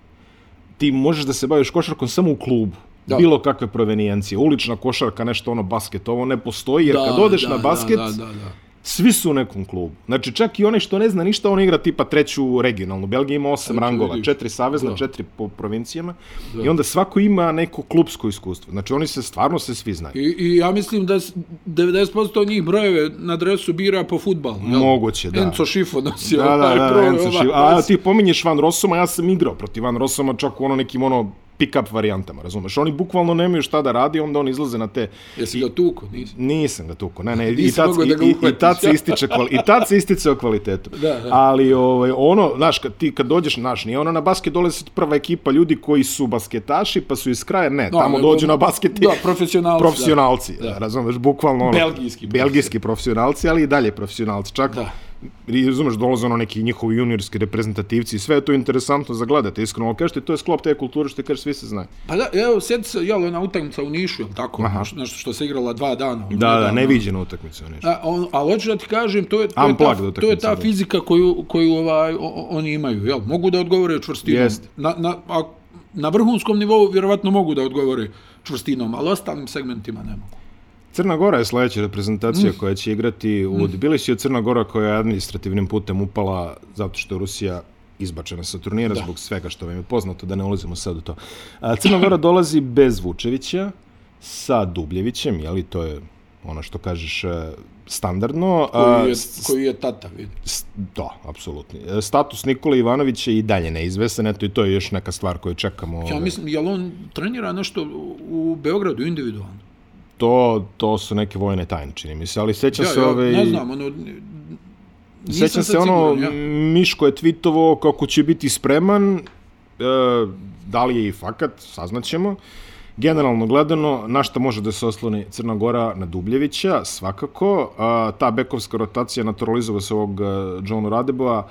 S1: ti možeš da se baviš košarkom samo u klubu. Da.
S2: Da.
S1: Bilo kakve provenijencije, ulična košarka, nešto ono basket, ovo ne postoji, jer da, kad odeš da, na basket,
S2: Da, da, da, da.
S1: Svi su u nekom klubu. Znači, čak i onaj što ne zna ništa, on igra tipa treću regionalnu. Belgija ima osam
S2: Eto,
S1: rangova,
S2: vidiš.
S1: četiri savezna,
S2: Da.
S1: četiri po provincijama.
S2: Da.
S1: I onda svako ima neko klubsko iskustvo. Znači, oni se stvarno se svi znaju.
S2: I, I ja mislim da s- 90% njih brojeve na dresu bira po futbalu.
S1: Moguće, da.
S2: Enco Šifo nosio.
S1: Da, da,
S2: ovaj
S1: da,
S2: broj,
S1: Enzo
S2: ovaj
S1: Šif. A
S2: nos.
S1: ti pominješ Van Rossoma, ja sam igrao protiv Van Rossoma, čak u ono nekim ono pick-up varijantama, razumeš? Oni bukvalno nemaju šta da radi, onda on izlaze na te...
S2: Jesi ga tuko? Nisi.
S1: Nisam ga tuko, ne, ne, i
S2: Nisi
S1: tad,
S2: mogao
S1: i,
S2: da ga
S1: i, i
S2: uhvatiš.
S1: tad se ističe kvali, i tad se ističe o kvalitetu.
S2: Da, da.
S1: Ali ovaj, ono, znaš, kad ti kad dođeš, znaš, nije ono na basket dolazi prva ekipa ljudi koji su basketaši pa su iz kraja, ne,
S2: No,
S1: tamo
S2: nego- ono-
S1: dođu na basket i
S2: Da, profesionalci. da.
S1: profesionalci, da. razumeš, bukvalno ono,
S2: Belgijski
S1: belgijski profesionalci, ali i dalje profesionalci, čak da.
S2: Da.
S1: razumeš, dolaze ono neki njihovi juniorski reprezentativci i sve je to interesantno za gledati, iskreno, ali kažete, to je sklop te kulture što ti kažeš, svi se znaju.
S2: Pa da, evo, sjeti se, jel, ona utakmica u Nišu, jel tako?
S1: Aha.
S2: Neš- Nešto što se igrala dva dana. ono,
S1: Da, da,
S2: nedavno.
S1: neviđena utakmica, nešto.
S2: A, on, ali hoću da ti kažem, to je, to je,
S1: Unplugged
S2: ta, to je
S1: utakmica,
S2: ta
S1: da.
S2: fizika koju, koju ovaj, o- o- oni imaju, jel? Mogu da odgovore čvrstinom.
S1: Jeste.
S2: Na, na, a, na vrhunskom nivou vjerovatno mogu da odgovore čvrstinom, ali ostalim segmentima ne mogu.
S1: Crna Gora je sledeća reprezentacija mm. koja će igrati u Tbilisiju. Crna Gora koja je administrativnim putem upala zato što je Rusija izbačena sa turnira da. zbog svega što vam je poznato, da ne ulazimo sad u to. A, Crna Gora dolazi bez Vučevića, sa Dubljevićem, jeli to je ono što kažeš e, standardno. A,
S2: Koji je,
S1: s-
S2: koji je tata, vidi.
S1: S- Da, apsolutno. E, Status Nikola Ivanovića je i dalje neizvesan, eto i to je još neka stvar koju čekamo.
S2: Ja
S1: ovaj.
S2: mislim, jel on trenira nešto u- u Beogradu individualno?
S1: to, to su neke vojne tajne, čini mi se, ali sećam
S2: Ja,
S1: se
S2: ja,
S1: ove...
S2: ne znam, ono, n- nisam
S1: Sećam
S2: sad
S1: se ono,
S2: siguran, ja.
S1: Miško je tweetovo kako će biti spreman, e, da li je i fakat, saznaćemo. Generalno gledano, na šta može da se osloni Crna Gora na Dubljevića, svakako. A, ta bekovska rotacija naturalizova se ovog e, Johnu Radeboa,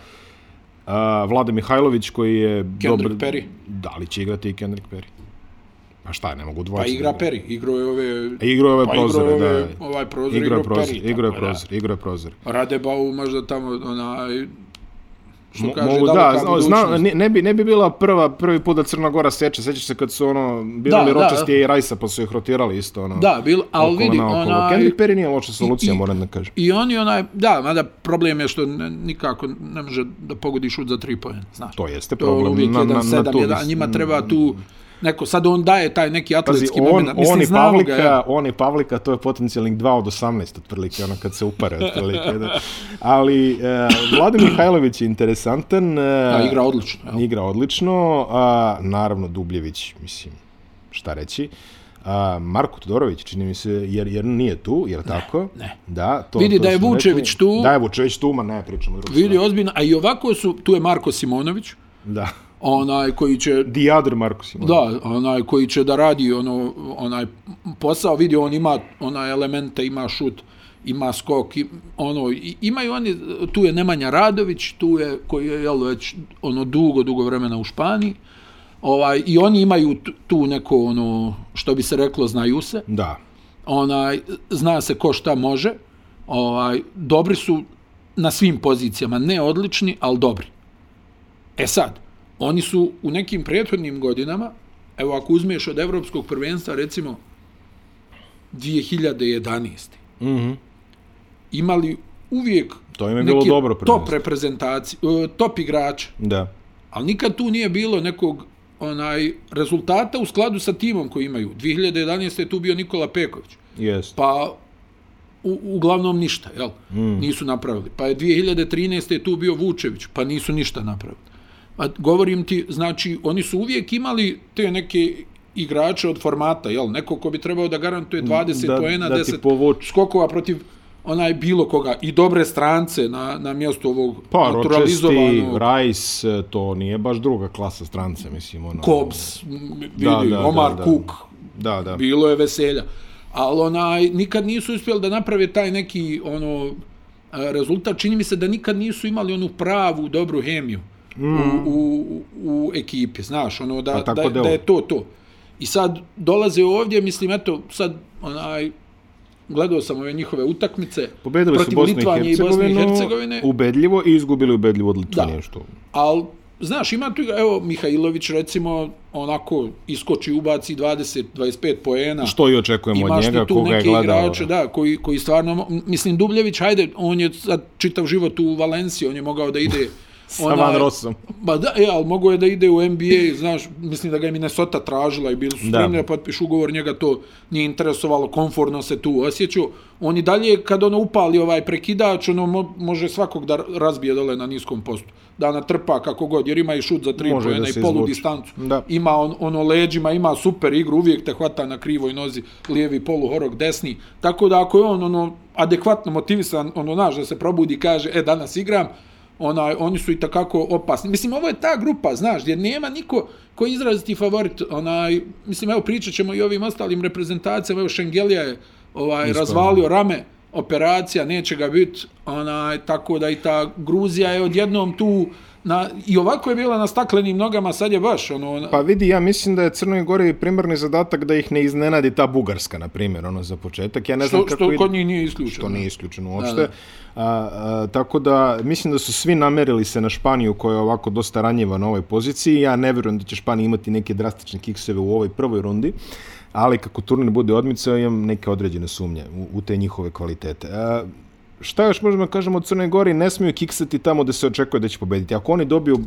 S1: a, Vlada Mihajlović koji je...
S2: Kendrick Perry.
S1: Da li će igrati i Kendrick Perry? Pa šta, ne mogu
S2: Pa
S1: dvojice.
S2: igra
S1: da igraju.
S2: Peri, igrao je ove...
S1: E, Igrao je ove
S2: Pa igrao
S1: prozore,
S2: je ove,
S1: da.
S2: ovaj prozor,
S1: Igrao je
S2: igrao
S1: prozor,
S2: Peri.
S1: igrao je
S2: tako da.
S1: prozor, igrao je prozor.
S2: Radebau možda tamo onaj Što
S1: Mo-
S2: kaže,
S1: mogu,
S2: daleka
S1: da,
S2: budućnost.
S1: znam, ne, ne, bi, ne bi bila prva, prvi put da Crna Gora seče, sećaš se kad su ono,
S2: Da,
S1: birali
S2: da.
S1: Ročastije i Rajsa, pa su ih rotirali isto, ono,
S2: Da, bil, ali
S1: okolo
S2: vidi,
S1: naokolo.
S2: onaj...
S1: Kendrick Perry nije loša solucija,
S2: i-
S1: moram da kažem.
S2: I oni onaj, da, mada problem je što ne, nikako ne može da pogodi šut za tri pojena, znaš.
S1: To jeste
S2: to
S1: problem.
S2: uvijek
S1: na,
S2: 1,
S1: na,
S2: 7,
S1: na tu, Mm.
S2: 1, njima treba tu neko, sad on daje taj neki
S1: Pazi,
S2: atletski
S1: on,
S2: moment.
S1: on, i
S2: znamo
S1: Pavlika,
S2: ja.
S1: on i Pavlika, to je potencijalnih 2 od 18 otprilike, ono kad se upare otprilike. Da. Ali e, Vladimir Mihajlović je interesantan. E,
S2: Da, igra odlično. Jel?
S1: Igra odlično, a naravno Dubljević, mislim, šta reći. A, Marko Todorović, čini mi se, jer, jer nije tu, jer tako?
S2: ne.
S1: Da, to,
S2: Vidi
S1: to
S2: da je
S1: smo
S2: Vučević
S1: rekli.
S2: tu.
S1: Da je Vučević tu, ma ne, pričamo. o drugom.
S2: Vidi ozbiljno, a i ovako su, tu je Marko Simonović,
S1: Da.
S2: onaj koji će
S1: The other Marko Simon.
S2: Da, onaj koji će da radi ono, onaj posao, vidi, on ima onaj elemente, ima šut, ima skok, i, ono, i, imaju oni, tu je Nemanja Radović, tu je, koji je, jel, već, ono, dugo, dugo vremena u Španiji, ovaj, i oni imaju tu- tu neko, ono, što bi se reklo, znaju se,
S1: Da.
S2: onaj, zna se ko šta može, ovaj, dobri su na svim pozicijama, ne odlični, ali dobri. E sad, oni su u nekim prethodnim godinama, evo ako uzmiješ od evropskog prvenstva, recimo 2011.
S1: Mhm.
S2: imali uvijek
S1: To im je bilo dobro
S2: top
S1: prvenstvo.
S2: reprezentacije, top igrača,
S1: Da.
S2: ali nikad tu nije bilo nekog onaj rezultata u skladu sa timom koji imaju. 2011. je tu bio Nikola Peković
S1: Jest.
S2: pa u, uglavnom ništa, jel? Mm. Nisu napravili. Pa je 2013. je tu bio Vučević, pa nisu ništa napravili. A govorim ti, znači, oni su uvijek imali te neke igrače od formata, jel? Neko ko bi trebao da garantuje 20
S1: Da-
S2: poena,
S1: da ti
S2: 10
S1: povuče.
S2: skokova protiv onaj bilo koga i dobre strance na, na mjestu ovog
S1: Pa, Ročesti,
S2: naturalizovanog
S1: Rajs, e, to nije baš druga klasa strance, mislim. Ono,
S2: Kobs, m, vidi,
S1: da, da,
S2: Omar
S1: da.
S2: Cook,
S1: Da, da.
S2: bilo je veselja. Ali onaj, nikad nisu uspjeli da naprave taj neki ono a, rezultat. Čini mi se da nikad nisu imali onu pravu, dobru hemiju mm. u, u, u ekipi, znaš, ono da,
S1: Pa tako
S2: da,
S1: delo.
S2: da je to to. I sad dolaze ovdje, mislim, eto, sad onaj, gledao sam ove njihove utakmice
S1: Pobedili su
S2: protiv
S1: Bosnu i
S2: Litvanije i Bosne i
S1: Hercegovinu
S2: Hercegovine,
S1: ubedljivo i izgubili ubedljivo od Litvanije,
S2: Da.
S1: što
S2: ali znaš, ima tu, igra- evo, Mihajlović recimo, onako, iskoči, ubaci 20-25 poena.
S1: što i očekujemo od
S2: Imaš
S1: njega,
S2: ti tu
S1: koga je
S2: neke
S1: gledao. ono?
S2: igrače, da, koji, koji stvarno, mo- mislim, Dubljević, hajde, on je sad čitav život u Valenciji, on je mogao da ide...
S1: Sa Van Rosom.
S2: Ba da, e, ali mogo je da ide u NBA, znaš, mislim da ga je Minnesota tražila i bili su
S1: Da.
S2: spremni da potpišu ugovor, njega to nije interesovalo, komfortno se tu osjećao. On i dalje, kad ono upali ovaj prekidač, ono mo, može svakog da razbije dole na niskom postu, da natrpa kako god, jer ima i šut za tri
S1: Može da
S2: pojena
S1: se
S2: i polu
S1: izvuče.
S2: distancu.
S1: Da.
S2: Ima on, ono leđima, ima super igru, uvijek te hvata na krivoj nozi, lijevi poluhorog, desni. Tako da ako je on ono adekvatno motivisan, ono naš da se probudi i kaže, e danas igram, onaj, oni su i takako opasni. Mislim, ovo je ta grupa, znaš, jer nema niko koji je izraziti favorit. Onaj, mislim, evo pričat ćemo i o ovim ostalim reprezentacijama, evo Šengelija je ovaj,
S1: Isto.
S2: razvalio rame, operacija, neće ga biti, onaj, tako da i ta Gruzija je odjednom tu, na, i ovako je bila na staklenim nogama, sad je baš, ono,
S1: Pa vidi, ja mislim da je Crnoj Gori primarni zadatak da ih ne iznenadi ta Bugarska, na primjer, ono za početak. Ja ne znam
S2: što,
S1: kako
S2: što
S1: ide-
S2: kod njih nije isključeno.
S1: što nije isključeno uopšte.
S2: Da, da.
S1: A, a, tako da mislim da su svi namerili se na Španiju koja je ovako dosta ranjiva na ovoj poziciji. Ja ne vjerujem da će Španija imati neke drastične kikseve u ovoj prvoj rundi, ali kako turnir bude odmicao imam neke određene sumnje u, u te njihove kvalitete. A, šta još možemo da kažemo od Crne Gori? Ne smiju kiksati tamo da se očekuje da će pobediti. Ako oni dobiju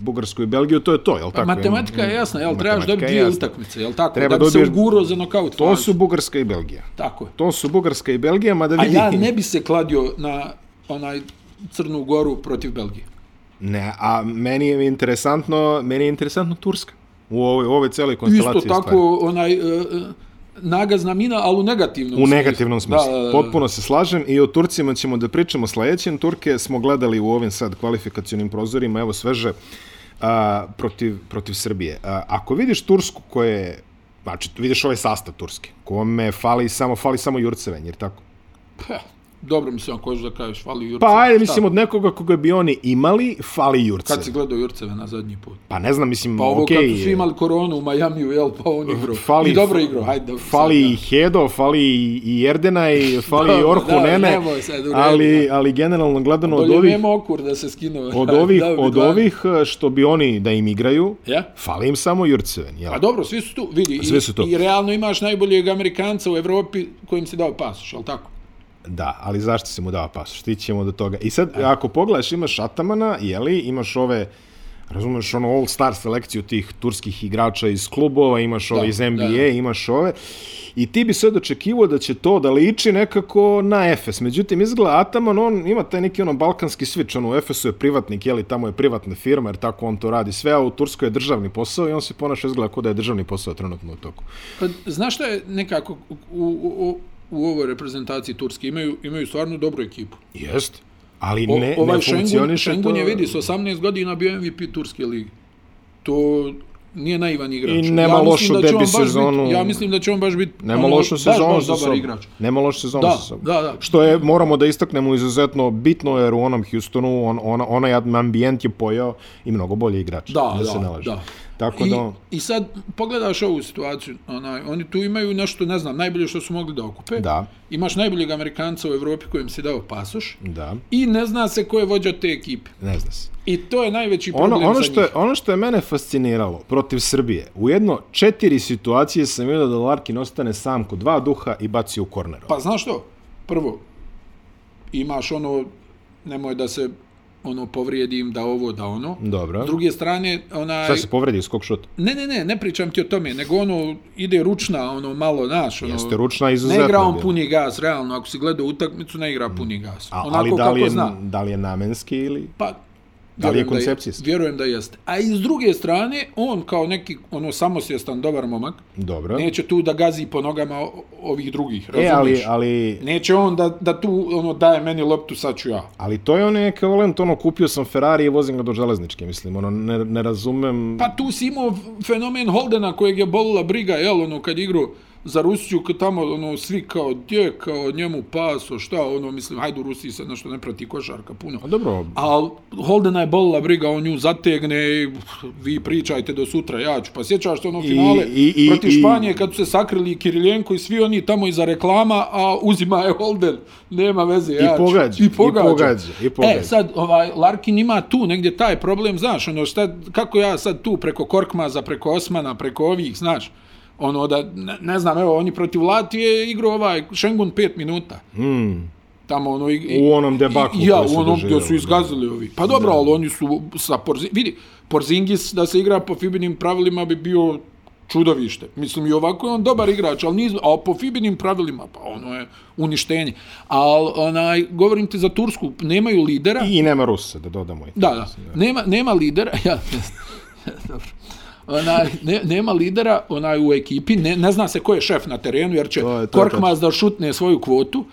S1: Bugarsku i Belgiju, to je to, jel tako?
S2: Pa Matematika je jasna, jel? Trebaš
S1: Matematika
S2: dobiti
S1: je
S2: dvije
S1: jasna.
S2: utakmice, jel tako?
S1: Treba
S2: da bi
S1: dobiješ-
S2: se ugurao za nokaut.
S1: To su Bugarska i Belgija.
S2: Tako je.
S1: To su Bugarska i Belgija, mada
S2: A
S1: vidi...
S2: ja ne bi se kladio na onaj Crnu Goru protiv Belgije.
S1: Ne, a meni je interesantno, meni je interesantno Turska. U ovoj, u ovoj celoj konstelaciji
S2: Isto tako,
S1: stvari.
S2: onaj, e, e, nagazna mina, ali u negativnom
S1: U
S2: smislu.
S1: negativnom smislu.
S2: Da, da, da.
S1: Potpuno se slažem i o Turcima ćemo da pričamo sledećem. Turke smo gledali u ovim sad kvalifikacionim prozorima, evo sveže, a, protiv, protiv Srbije. A, ako vidiš Tursku koja je, znači vidiš ovaj sastav Turske, kome fali samo, fali samo Jurceven, jer tako?
S2: Pa, dobro, mislim, ako hoćeš da kažeš, fali Jurceve.
S1: Pa ajde,
S2: Šta?
S1: mislim, od nekoga koga bi oni imali, fali Jurce.
S2: Kad si gledao Jurceve na zadnji put?
S1: Pa ne znam, mislim,
S2: Pa ovo
S1: okej.
S2: kad su svi imali koronu u Majamiju, jel, pa on igrao.
S1: Fali-
S2: I dobro igrao, hajde. Dobro,
S1: Fali
S2: sad,
S1: i Hedo, fali i- i Erdena i fali i
S2: Dobro,
S1: Orhu
S2: da,
S1: Nene,
S2: nemoj sad, u redu,
S1: ali, ali generalno gledano
S2: da.
S1: od
S2: Dolje
S1: ovih,
S2: nema okur da se skinu.
S1: od ovih,
S2: Dao bi
S1: od
S2: dva.
S1: ovih eh, što bi oni da im igraju,
S2: Ja?
S1: fali im samo Jurceven, jel?
S2: Pa dobro, svi su tu, vidi.
S1: Svi
S2: i,
S1: su tu.
S2: I realno imaš najboljeg Amerikanca u Evropi kojim si dao pasoš, jel tako?
S1: Da, ali zašto se mu dava pasoš? Ti ćemo do toga. I sad, ako pogledaš, imaš Atamana, jeli, imaš ove, razumeš, ono all-star selekciju tih turskih igrača iz klubova, imaš ove
S2: Da,
S1: iz NBA,
S2: da.
S1: imaš ove, i ti bi sad očekivao da će to da liči nekako na Efes. Međutim, izgleda Ataman, on ima taj neki ono balkanski switch, ono u Efesu je privatnik, jeli, tamo je privatna firma, jer tako on to radi sve, a u Turskoj je državni posao i on se ponaša izgleda kao da je državni posao trenutno u toku.
S2: Pa, znaš šta je nekako u, u, u, u ovoj reprezentaciji Turske? Imaju, imaju stvarno dobru ekipu.
S1: Jest, ali
S2: O,
S1: ne,
S2: ovaj
S1: ne
S2: Šengun,
S1: funkcioniše
S2: Šengun
S1: to-
S2: je vidi, s 18 godina bio MVP Turske lige. To nije naivan igrač.
S1: I nema
S2: mislim
S1: lošu
S2: da će on
S1: debi
S2: baš
S1: sezonu.
S2: Biti, ja mislim da će on baš biti
S1: Nema
S2: ono,
S1: lošu
S2: baš,
S1: sezonu
S2: baš
S1: za
S2: dobar
S1: sobom.
S2: igrač.
S1: Nema lošu sezonu
S2: Da,
S1: za sobom.
S2: da, da.
S1: Što je, moramo da istaknemo izuzetno bitno, jer u onom Houstonu on, on, onaj ambijent je pojao i mnogo bolji igrač.
S2: Da,
S1: da, se
S2: da,
S1: ne laže.
S2: da.
S1: Tako
S2: I,
S1: da,
S2: I sad pogledaš ovu situaciju, onaj, oni tu imaju nešto, ne znam, najbolje što su mogli da okupe.
S1: Da.
S2: Imaš najboljeg Amerikanca u Evropi kojem si dao pasoš
S1: da,
S2: i ne zna se ko je vođa te ekipe.
S1: ne zna se.
S2: I to je najveći problem
S1: Ono, ono,
S2: za
S1: što je,
S2: njih.
S1: ono što je mene fasciniralo protiv Srbije, u jedno četiri situacije sam vidio da Larkin ostane sam kod dva duha i baci u korneru.
S2: Pa znaš što? Prvo, imaš ono, nemoj da se ono povrijedim, da ovo, da ono.
S1: Dobro.
S2: S druge strane, onaj...
S1: Šta se povredi iz kog šuta?
S2: Ne, ne, ne, ne pričam ti o tome, nego ono ide ručna, ono malo, naš, ono...
S1: Jeste ručna izuzetna.
S2: Ne igra on
S1: bila.
S2: puni gas, realno, ako si gledao utakmicu, ne igra puni gas.
S1: Mm. A,
S2: Onako
S1: ali da li,
S2: kako
S1: je,
S2: zna.
S1: da li je namenski ili...
S2: Pa,
S1: Da li je
S2: vjerujem
S1: koncepcijski?
S2: vjerujem da jeste. A i s druge strane, on kao neki ono samosvjestan, dobar momak,
S1: Dobro.
S2: neće tu da gazi po nogama o- ovih drugih,
S1: e,
S2: razumiješ?
S1: ali, ali
S2: Neće on da, da tu ono daje meni loptu, sad ću ja.
S1: Ali to je onaj ekvivalent, ono, kupio sam Ferrari i vozim ga do železničke, mislim, ono, ne, ne razumem...
S2: Pa tu si imao fenomen Holdena kojeg je bolila briga, jel, ono, kad igrao za Rusiju, kad tamo, ono, svi kao, gdje, kao, njemu paso, šta, ono, mislim, hajde u Rusiji se nešto ne prati košarka puno.
S1: A dobro,
S2: A Holdena je bolila briga, on nju zategne i vi pričajte do sutra, ja ću. Pa sjećaš se ono finale
S1: i- i-
S2: protiv
S1: i-
S2: Španije kad su se sakrili i Kiriljenko i svi oni tamo iza reklama, a uzima je Holden. Nema veze, ja ću.
S1: pogađa, i pogađa, i pogađa.
S2: E, sad, ovaj, Larkin ima tu negdje taj problem, znaš, ono, šta, kako ja sad tu preko Korkmaza, preko Osmana, preko ovih, znaš, ono da, ne, ne znam, evo, oni protiv Latvije igrao ovaj Šengun 5 minuta
S1: mm,
S2: tamo ono i, i-
S1: U onom debaklu
S2: i, ja,
S1: koji su
S2: u onom gdje
S1: doživjeli,
S2: su izgazili ovi. Pa dobro, ali oni su sa Porzi, vidi, Porzingis da se igra po Fibinim pravilima bi bio čudovište. Mislim i ovako je on dobar igrač, ali niz, a po Fibinim pravilima pa ono je uništenje. Al onaj govorim ti za Tursku, nemaju lidera.
S1: i nema Rusa, da ovaj. dodamo. i to,
S2: Da, da.
S1: mislim,
S2: Nema, nema lidera. Ja, dobro. Onaj, ne, nema lidera onaj u ekipi, ne, ne zna se ko je šef na terenu, jer će
S1: To je- to je
S2: Korkmaz da šutne svoju kvotu,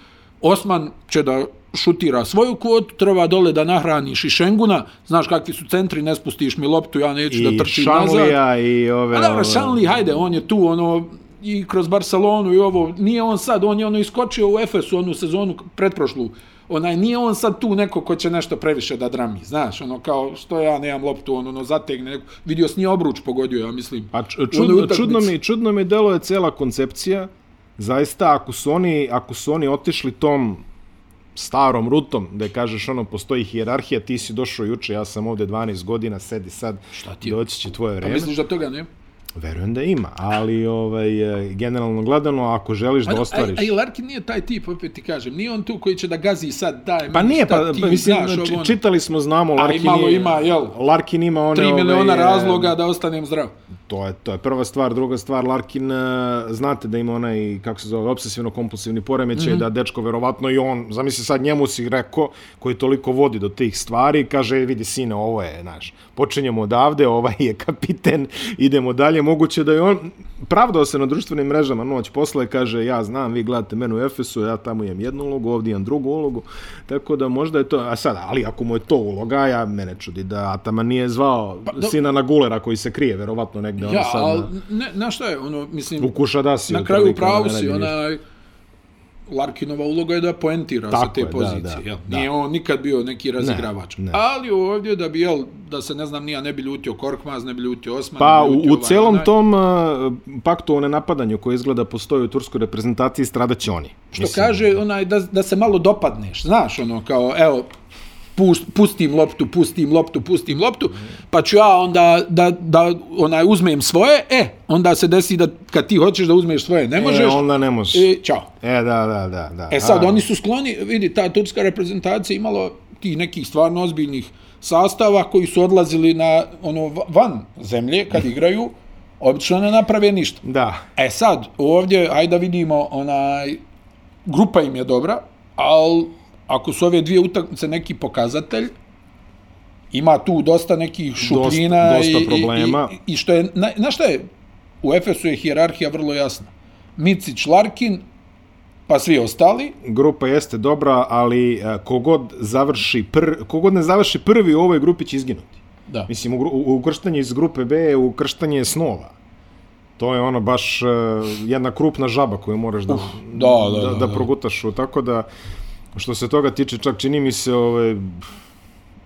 S2: Osman će da šutira svoju kvotu, treba dole da nahraniš i Šenguna, znaš kakvi su centri, ne spustiš mi loptu, ja neću
S1: I
S2: da trčim nazad.
S1: Šanlija i ove...
S2: A dobro,
S1: ove-
S2: Šanli, hajde, on je tu, ono, i kroz Barcelonu i ovo, nije on sad, on je ono iskočio u Efesu onu sezonu pretprošlu, onaj, nije on sad tu neko ko će nešto previše da drami, znaš, ono, kao, što ja nemam loptu, on, ono, zategne, neko, vidio s nije obruč pogodio, ja mislim.
S1: Pa č-
S2: U onoj
S1: čudno,
S2: utakmici.
S1: čudno, mi, čudno mi delo je cela koncepcija. Zaista, ako su oni, ako su oni otišli tom starom rutom, da je kažeš ono, postoji hijerarhija, ti si došao juče, ja sam ovde 12 godina, sedi sad,
S2: Šta ti je?
S1: doći će tvoje
S2: Pa
S1: vreme.
S2: misliš da toga nema?
S1: Verujem da ima, ali ovaj, e, generalno gledano, ako želiš da ostvariš...
S2: A, a i Larkin nije taj tip, opet ti kažem, nije on tu koji će da gazi sad, daj,
S1: Pa
S2: meni,
S1: nije,
S2: šta
S1: pa,
S2: ti,
S1: pa mislim,
S2: znaš,
S1: znači,
S2: ovo, ono.
S1: čitali smo, znamo, Larkin
S2: malo
S1: je-
S2: ima, jel?
S1: Larkin ima one...
S2: 3
S1: ove,
S2: miliona
S1: e,
S2: razloga da ostanem zdrav.
S1: To je, to je prva stvar. Druga stvar, Larkin, e, znate da ima onaj, kako se zove, obsesivno-kompulsivni poremećaj, mm
S2: Mhm.
S1: -hmm. da dečko, verovatno i on, zamisli sad njemu si rekao, koji toliko vodi do tih stvari, kaže, "E, vidi sine, ovo je, znaš, počinjemo odavde, ovaj je kapiten, idemo dalje, moguće da je on, pravdao se na društvenim mrežama noć posle, kaže, ja znam, vi gledate mene u Efesu, ja tamo imam jednu ulogu, ovdje imam drugu ulogu, tako da možda je to, a sad, ali ako mu je to uloga, ja mene čudi da Ataman nije zvao pa,
S2: do-
S1: sina na gulera koji se krije, verovatno negde
S2: Ja,
S1: ja, sad
S2: ali,
S1: na,
S2: ne, na šta je, ono, mislim,
S1: u Kušadasiju.
S2: na kraju
S1: otprilike, ono,
S2: pravu
S1: ne
S2: si,
S1: radi ništa.
S2: onaj, Larkinova uloga je da poentira sa
S1: Tako
S2: te
S1: je, da,
S2: pozicije.
S1: da,
S2: jel?
S1: da.
S2: Nije on nikad bio neki razigravač.
S1: Ne, ne.
S2: Ali ovdje da bi, jel, da se ne znam, nija ne bi ljutio Korkmaz, ne bi ljutio Osman,
S1: Pa
S2: ne bi
S1: u,
S2: ljutio
S1: u
S2: ovaj,
S1: celom
S2: onaj.
S1: tom uh, paktu o nenapadanju koji izgleda postoji u turskoj reprezentaciji stradaće oni.
S2: Što kaže, onaj, da, da se malo dopadneš, znaš, ono, kao, evo, pust, pustim loptu, pustim loptu, pustim loptu, pa ću ja onda da, da onaj, uzmem svoje, e, onda se desi da kad ti hoćeš da uzmeš svoje, ne možeš,
S1: E, onda ne možeš.
S2: i čao.
S1: E, da, da, da. da.
S2: E sad,
S1: A,
S2: oni su skloni, vidi, ta turska reprezentacija je imala tih nekih stvarno ozbiljnih sastava koji su odlazili na, ono, va- van zemlje kad igraju, obično ne naprave ništa.
S1: Da.
S2: E sad, ovdje, ajde da vidimo, onaj, grupa im je dobra, ali ako su ove dvije utakmice neki pokazatelj, ima tu dosta nekih šupljina
S1: dosta
S2: i- i-
S1: problema.
S2: I, i, što je, na, na šta je, u Efesu je hijerarhija vrlo jasna. Micić, Larkin, pa svi ostali,
S1: Grupa jeste dobra, ali uh, kogod, završi pr, kogod ne završi prvi u ovoj grupi će izginuti.
S2: da.
S1: Mislim, u, gru- u, ukrštanje iz grupe B je ukrštanje snova. To je ono baš uh, jedna krupna žaba koju moraš da, Uf,
S2: da, da,
S1: da,
S2: da,
S1: da,
S2: da.
S1: progutaš. Tako da, što se toga tiče, čak čini mi se, ovaj,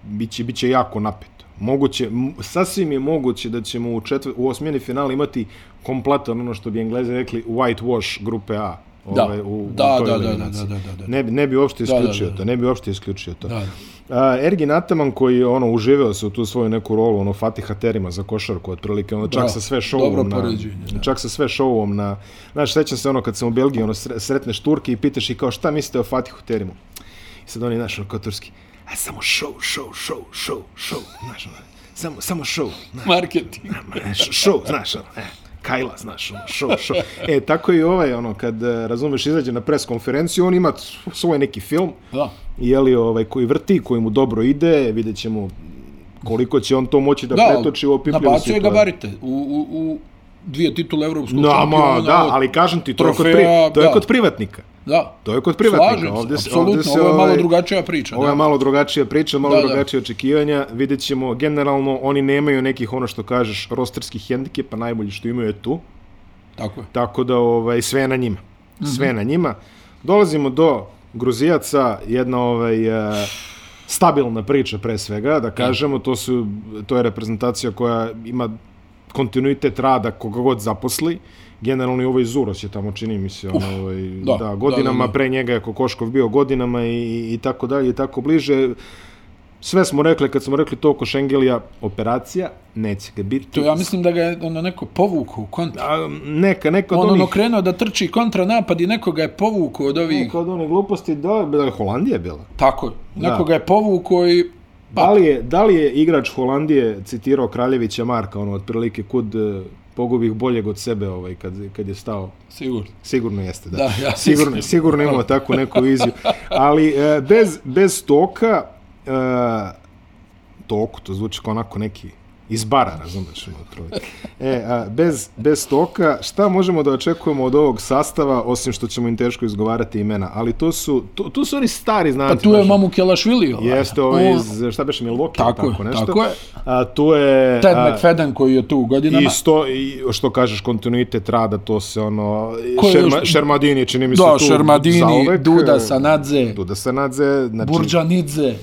S1: biće, biće jako napeto. Moguće, m- sasvim je moguće da ćemo u, četvr, u osmjeni final imati kompletan, ono što bi engleze rekli, whitewash grupe A.
S2: Da.
S1: Ovaj, u,
S2: Da,
S1: u toj
S2: da, da, da,
S1: eliminaciji.
S2: da, da, da, da.
S1: Ne, bi- ne bi uopšte
S2: da, da.
S1: isključio to, ne bi uopšte isključio to.
S2: Da.
S1: A, Ergin Ataman koji je ono uživeo se u tu svoju neku rolu ono Fatiha Terima za košarku otprilike ono čak
S2: Da,
S1: sa sve
S2: dobro
S1: šovom na
S2: poređenje, da.
S1: čak sa sve šovom na znaš sećam se ono kad sam u Belgiji ono sre- sretneš Turke i pitaš i kao šta mislite o Fatihu Terimu i sad oni znaš ono kao turski a samo show show show show show znaš ono samo samo show znaš,
S2: Marketing.
S1: show znaš ono e, Kajla, znaš, ono, show, show. E, tako i ovaj, ono, kad, e, razumeš, izađe na pres konferenciju, on ima svoj neki film,
S2: Da.
S1: jeli, ovaj, koji vrti, koji mu dobro ide, vidjet ćemo koliko će on to moći da,
S2: Da,
S1: pretoči u opipljivu
S2: nabacio je
S1: situaciju.
S2: gabarite u, u, u dvije titule evropskog
S1: No, ma,
S2: šampiona.
S1: da, ali kažem ti, to, je, kod pri,
S2: ono, trofeja,
S1: to je
S2: da.
S1: kod privatnika.
S2: Da.
S1: To je kod privatnika.
S2: Slažem se,
S1: Ovdje se-
S2: apsolutno,
S1: ovdje se,
S2: ovo je malo
S1: ovaj,
S2: drugačija priča.
S1: Ovo
S2: da.
S1: je malo drugačija priča, malo
S2: Da, da.
S1: drugačije očekivanja. Vidjet ćemo, generalno, oni nemaju nekih, ono što kažeš, rosterskih hendikepa, najbolje što imaju je tu.
S2: Tako je.
S1: Tako da ovaj sve je na njima.
S2: Mhm.
S1: Sve je na njima. Dolazimo do Gruzijaca, jedna ovaj e, stabilna priča pre svega,
S2: Mhm.
S1: da kažemo, to su to je reprezentacija koja ima kontinuitet rada koga god zaposli. Generalno i ovaj Zuros je tamo čini mi se ono, ovaj,
S2: da,
S1: da,
S2: da, da,
S1: godinama
S2: da.
S1: pre njega je Kokoškov bio godinama i, i tako dalje i tako bliže. Sve smo rekli kad smo rekli to oko Šengelija, operacija neće ga biti.
S2: To ja mislim da ga je ono neko povukao u kontra.
S1: A, neka, neka od
S2: On ono
S1: onih
S2: krenuo da trči kontra napad i nekoga je povukao od ovih.
S1: Neka od one gluposti, da, da je Holandija bila.
S2: Tako je. Nekoga je povukao i Pa,
S1: Da li, je, da li je igrač Holandije citirao Kraljevića Marka, ono, otprilike kud e, pogubih boljeg od sebe ovaj, kad, kad je stao?
S2: sigurno.
S1: Sigurno jeste, da.
S2: Da, ja
S1: sigurno,
S2: mislim.
S1: sigurno imamo takvu neku viziju. Ali e, bez, bez toka, e, toku, to zvuči kao onako neki iz bara, razumeš? ono, otprilike. E, a, bez, bez toka, šta možemo da očekujemo od ovog sastava, osim što ćemo im teško izgovarati imena, ali to su, to, to su oni stari znanci.
S2: Pa tu je
S1: baš.
S2: Mamu Kelašvili. ovaj.
S1: Znači- Jeste ovaj
S2: On-
S1: iz, šta beše, Milwaukee,
S2: Tako
S1: tako,
S2: je,
S1: tako nešto.
S2: tako je.
S1: A, tu je...
S2: Ted
S1: a,
S2: McFadden koji je tu u godinama.
S1: I sto, i što kažeš, kontinuitet rada, to se ono...
S2: Ko je
S1: Šerma,
S2: još-
S1: Šermadini, čini mi se
S2: Da,
S1: tu
S2: Šermadini,
S1: zauvek. e,
S2: Duda, Sanadze,
S1: Duda Sanadze, znači...
S2: Burđanidze.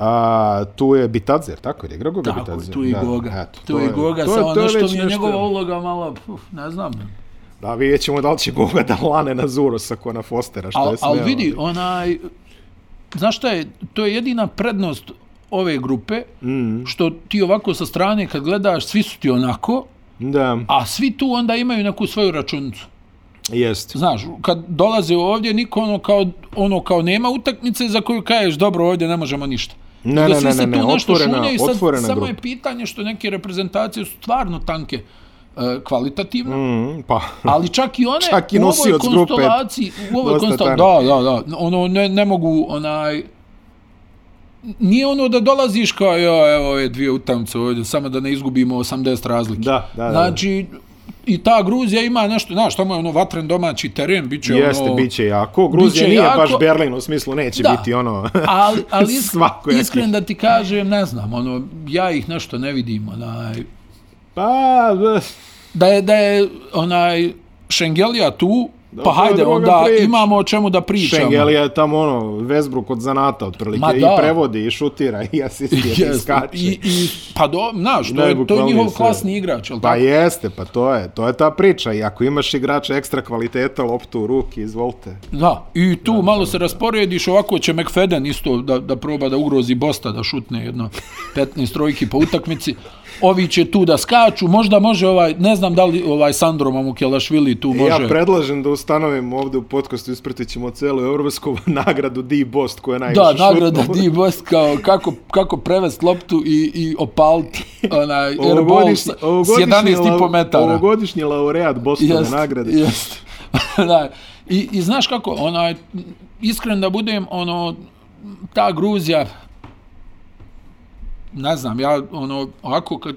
S1: A, tu je Bitadze, jer tako je, igra Goga
S2: Tako,
S1: Bitadze.
S2: je, tu je i
S1: Da,
S2: Goga.
S1: eto,
S2: Tu
S1: to
S2: je i Goga, ono
S1: to
S2: samo
S1: to
S2: nešto
S1: već
S2: mi je njegova uloga malo, puf, ne znam.
S1: Da, vidjet ćemo da li će Goga da lane na Zurosa ko na Fostera, što
S2: Al,
S1: je sve...
S2: al vidi,
S1: ono.
S2: onaj, znaš šta je, to je jedina prednost ove grupe, mm. što ti ovako sa strane kad gledaš, svi su ti onako,
S1: Da,
S2: a svi tu onda imaju neku svoju računicu.
S1: jeste.
S2: Znaš, kad dolaze ovdje, niko ono kao, ono kao nema utakmice za koju kažeš, dobro, ovdje ne možemo ništa.
S1: Ne,
S2: Nego
S1: ne,
S2: svi
S1: ne,
S2: se
S1: ne, ne,
S2: tu nešto
S1: otvorena,
S2: šunjaju i sad
S1: otvorena
S2: samo
S1: grupa.
S2: je pitanje što neke reprezentacije su stvarno tanke e, kvalitativno,
S1: Mm, pa,
S2: Ali čak i one
S1: Čak i
S2: u ovoj
S1: nosioc grupe.
S2: konstelaciji, u ovoj
S1: Dosta
S2: konstelaciji, da, da, da, ono, ne, ne mogu, onaj, nije ono da dolaziš kao, jo, evo, ove dvije utamce ovdje, samo da ne izgubimo 80 razlike.
S1: Da, da, da.
S2: Znači, i ta Gruzija ima nešto, znaš, tamo je ono vatren domaći teren, bit će
S1: jeste,
S2: ono...
S1: bit će jako. Gruzija
S2: biće
S1: nije
S2: jako.
S1: baš Berlin, u smislu neće
S2: Da.
S1: biti ono...
S2: Ali, ali isk,
S1: Svakojaki.
S2: iskren da ti kažem, ne znam, ono, ja ih nešto ne vidim, onaj,
S1: pa, da,
S2: da je, da je onaj Šengelija tu, Pa
S1: to je
S2: hajde,
S1: druga
S2: onda
S1: priča.
S2: imamo o čemu da pričamo.
S1: Šengelija je tamo ono, Westbrook od zanata otprilike.
S2: Ma
S1: I
S2: da.
S1: prevodi, i šutira, i asistira, i
S2: Jeste.
S1: skače.
S2: I, i, pa do, znaš, to je, to je
S1: Najbukvalnije
S2: njihov
S1: sve.
S2: klasni igrač, jel
S1: Pa
S2: tako?
S1: jeste, pa to je, to je ta priča. I ako imaš igrača ekstra kvaliteta, loptu u ruki, izvolite.
S2: Da, i tu
S1: Znači.
S2: malo se rasporediš, ovako će McFadden isto da, da proba da ugrozi Bosta, da šutne jedno 15 trojki po utakmici. Ovi će tu da skaču, možda može ovaj, ne znam da li ovaj Sandro Mamukelašvili tu može.
S1: Može. Ja predlažem da ustanovim ovde u podcastu ispratit ćemo celu evropsku nagradu D Bost koja je najviše
S2: Da,
S1: šutnula.
S2: nagrada D Bost kao kako, kako prevest loptu i, i opaliti onaj airball
S1: Ovogodišnji-
S2: sa, s
S1: ovogodišnji lau-
S2: 11,5 metara.
S1: Ovogodišnji laureat Bostone
S2: Jest,
S1: jest, nagrade. Jest.
S2: Jest. da. I, I znaš kako, onaj, iskren da budem, ono, ta Gruzija, ne znam, ja, ono, ovako kad,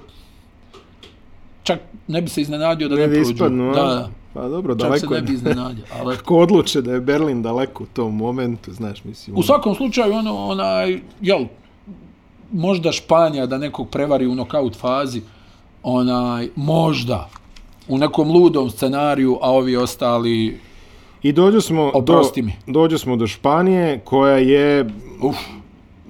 S2: čak ne bi se iznenadio da ne,
S1: Ne bi
S2: prođu.
S1: ispadnu,
S2: da, da,
S1: Pa dobro,
S2: čak se
S1: daleko
S2: ne
S1: je.
S2: bi iznenadio, ali...
S1: Ko odluče da je Berlin daleko u tom momentu, znaš, mislim.
S2: U svakom slučaju, ono, onaj, jel, možda Španija da nekog prevari u nokaut fazi, onaj, možda, u nekom ludom scenariju, a ovi ostali,
S1: I dođu smo, do,
S2: Oprosti mi.
S1: dođu smo do Španije koja je uf,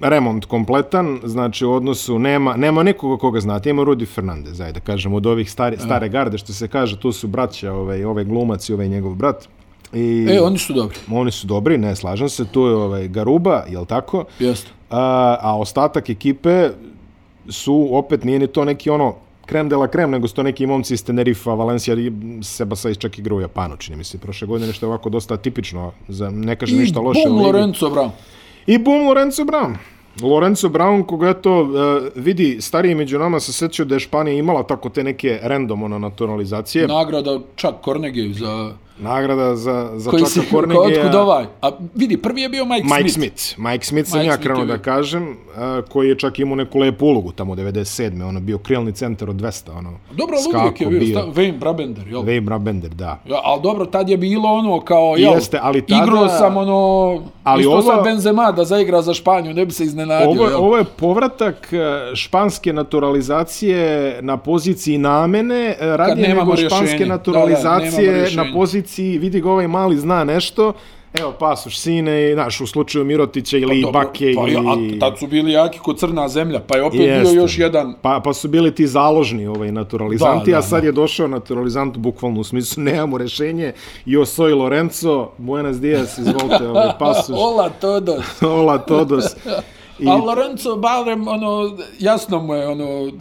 S1: remont kompletan, znači u odnosu nema, nema nikoga koga znate, ima Rudi Fernandez, ajde da kažem, od ovih stare, stare garde, što se kaže, tu su braća, ovaj, ovaj glumac i ovaj njegov brat. I
S2: e, oni su dobri,
S1: oni su dobri, ne slažem se, tu je ovaj Garuba, jel tako?
S2: jeste.
S1: A, a ostatak ekipe su, opet, nije ni to neki ono krem de la krem, nego su to neki momci iz Tenerifa, Valencija, Sebasa i čak igra u Japanu, čini mi se, prošle godine nešto je ovako dosta tipično, za, ne kaže ništa loše.
S2: Bum
S1: o ligi.
S2: Lorenzo, bravo.
S1: I bum Lorenzo Brown. Lorenzo Brown, koga eto, e, vidi, stariji među nama se sećaju da je Španija imala tako te neke random ono, naturalizacije. No.
S2: Nagrada čak Kornegiju za...
S1: Nagrada za, za
S2: Koji
S1: Čaka
S2: se,
S1: Kornegija.
S2: Otkud ovaj? A vidi, prvi je bio Mike,
S1: Mike
S2: Smith.
S1: Smith. Mike Smith sam
S2: Mike
S1: ja
S2: Smith
S1: krenuo
S2: je
S1: da
S2: bio.
S1: kažem, a, koji je čak imao neku lepu ulogu tamo 97. Ono bio krilni centar od 200, ono.
S2: Dobro, ali uvijek je
S1: skakao
S2: bio. bio. Wayne Brabender, jel?
S1: Wayne Brabender, da.
S2: Ja, ali dobro, tad je bilo ono kao, jel,
S1: Jeste, ali tada-
S2: igrao sam ono,
S1: Ali
S2: ali isto
S1: ovo-
S2: ovo... sad Benzema da zaigra za Španiju, ne bi se iznenadio.
S1: Ovo, je-
S2: jel?
S1: ovo je povratak e, španske naturalizacije na poziciji namene, e, radije
S2: nemamo
S1: nego
S2: rješenje.
S1: španske
S2: Da, da,
S1: naturalizacije
S2: nemamo
S1: na
S2: rješenje.
S1: ovaj
S2: Dobro,
S1: Bake
S2: pa,
S1: ili...
S2: ja, a tad su bili jaki ko crna zemlja, pa je opet
S1: Jeste.
S2: bio još jedan
S1: Pa, pa su bili ti založni ovaj naturalizanti,
S2: Da, da,
S1: a sad
S2: da.
S1: je došao naturalizant bukvalno u smislu nemamo rešenje. Io soy Lorenzo, buenas dias, izvolite ovaj pasuš.
S2: Ola Todos.
S1: Hola todos. I,
S2: I... A Lorenzo barem, ono, jasno mu je, ono,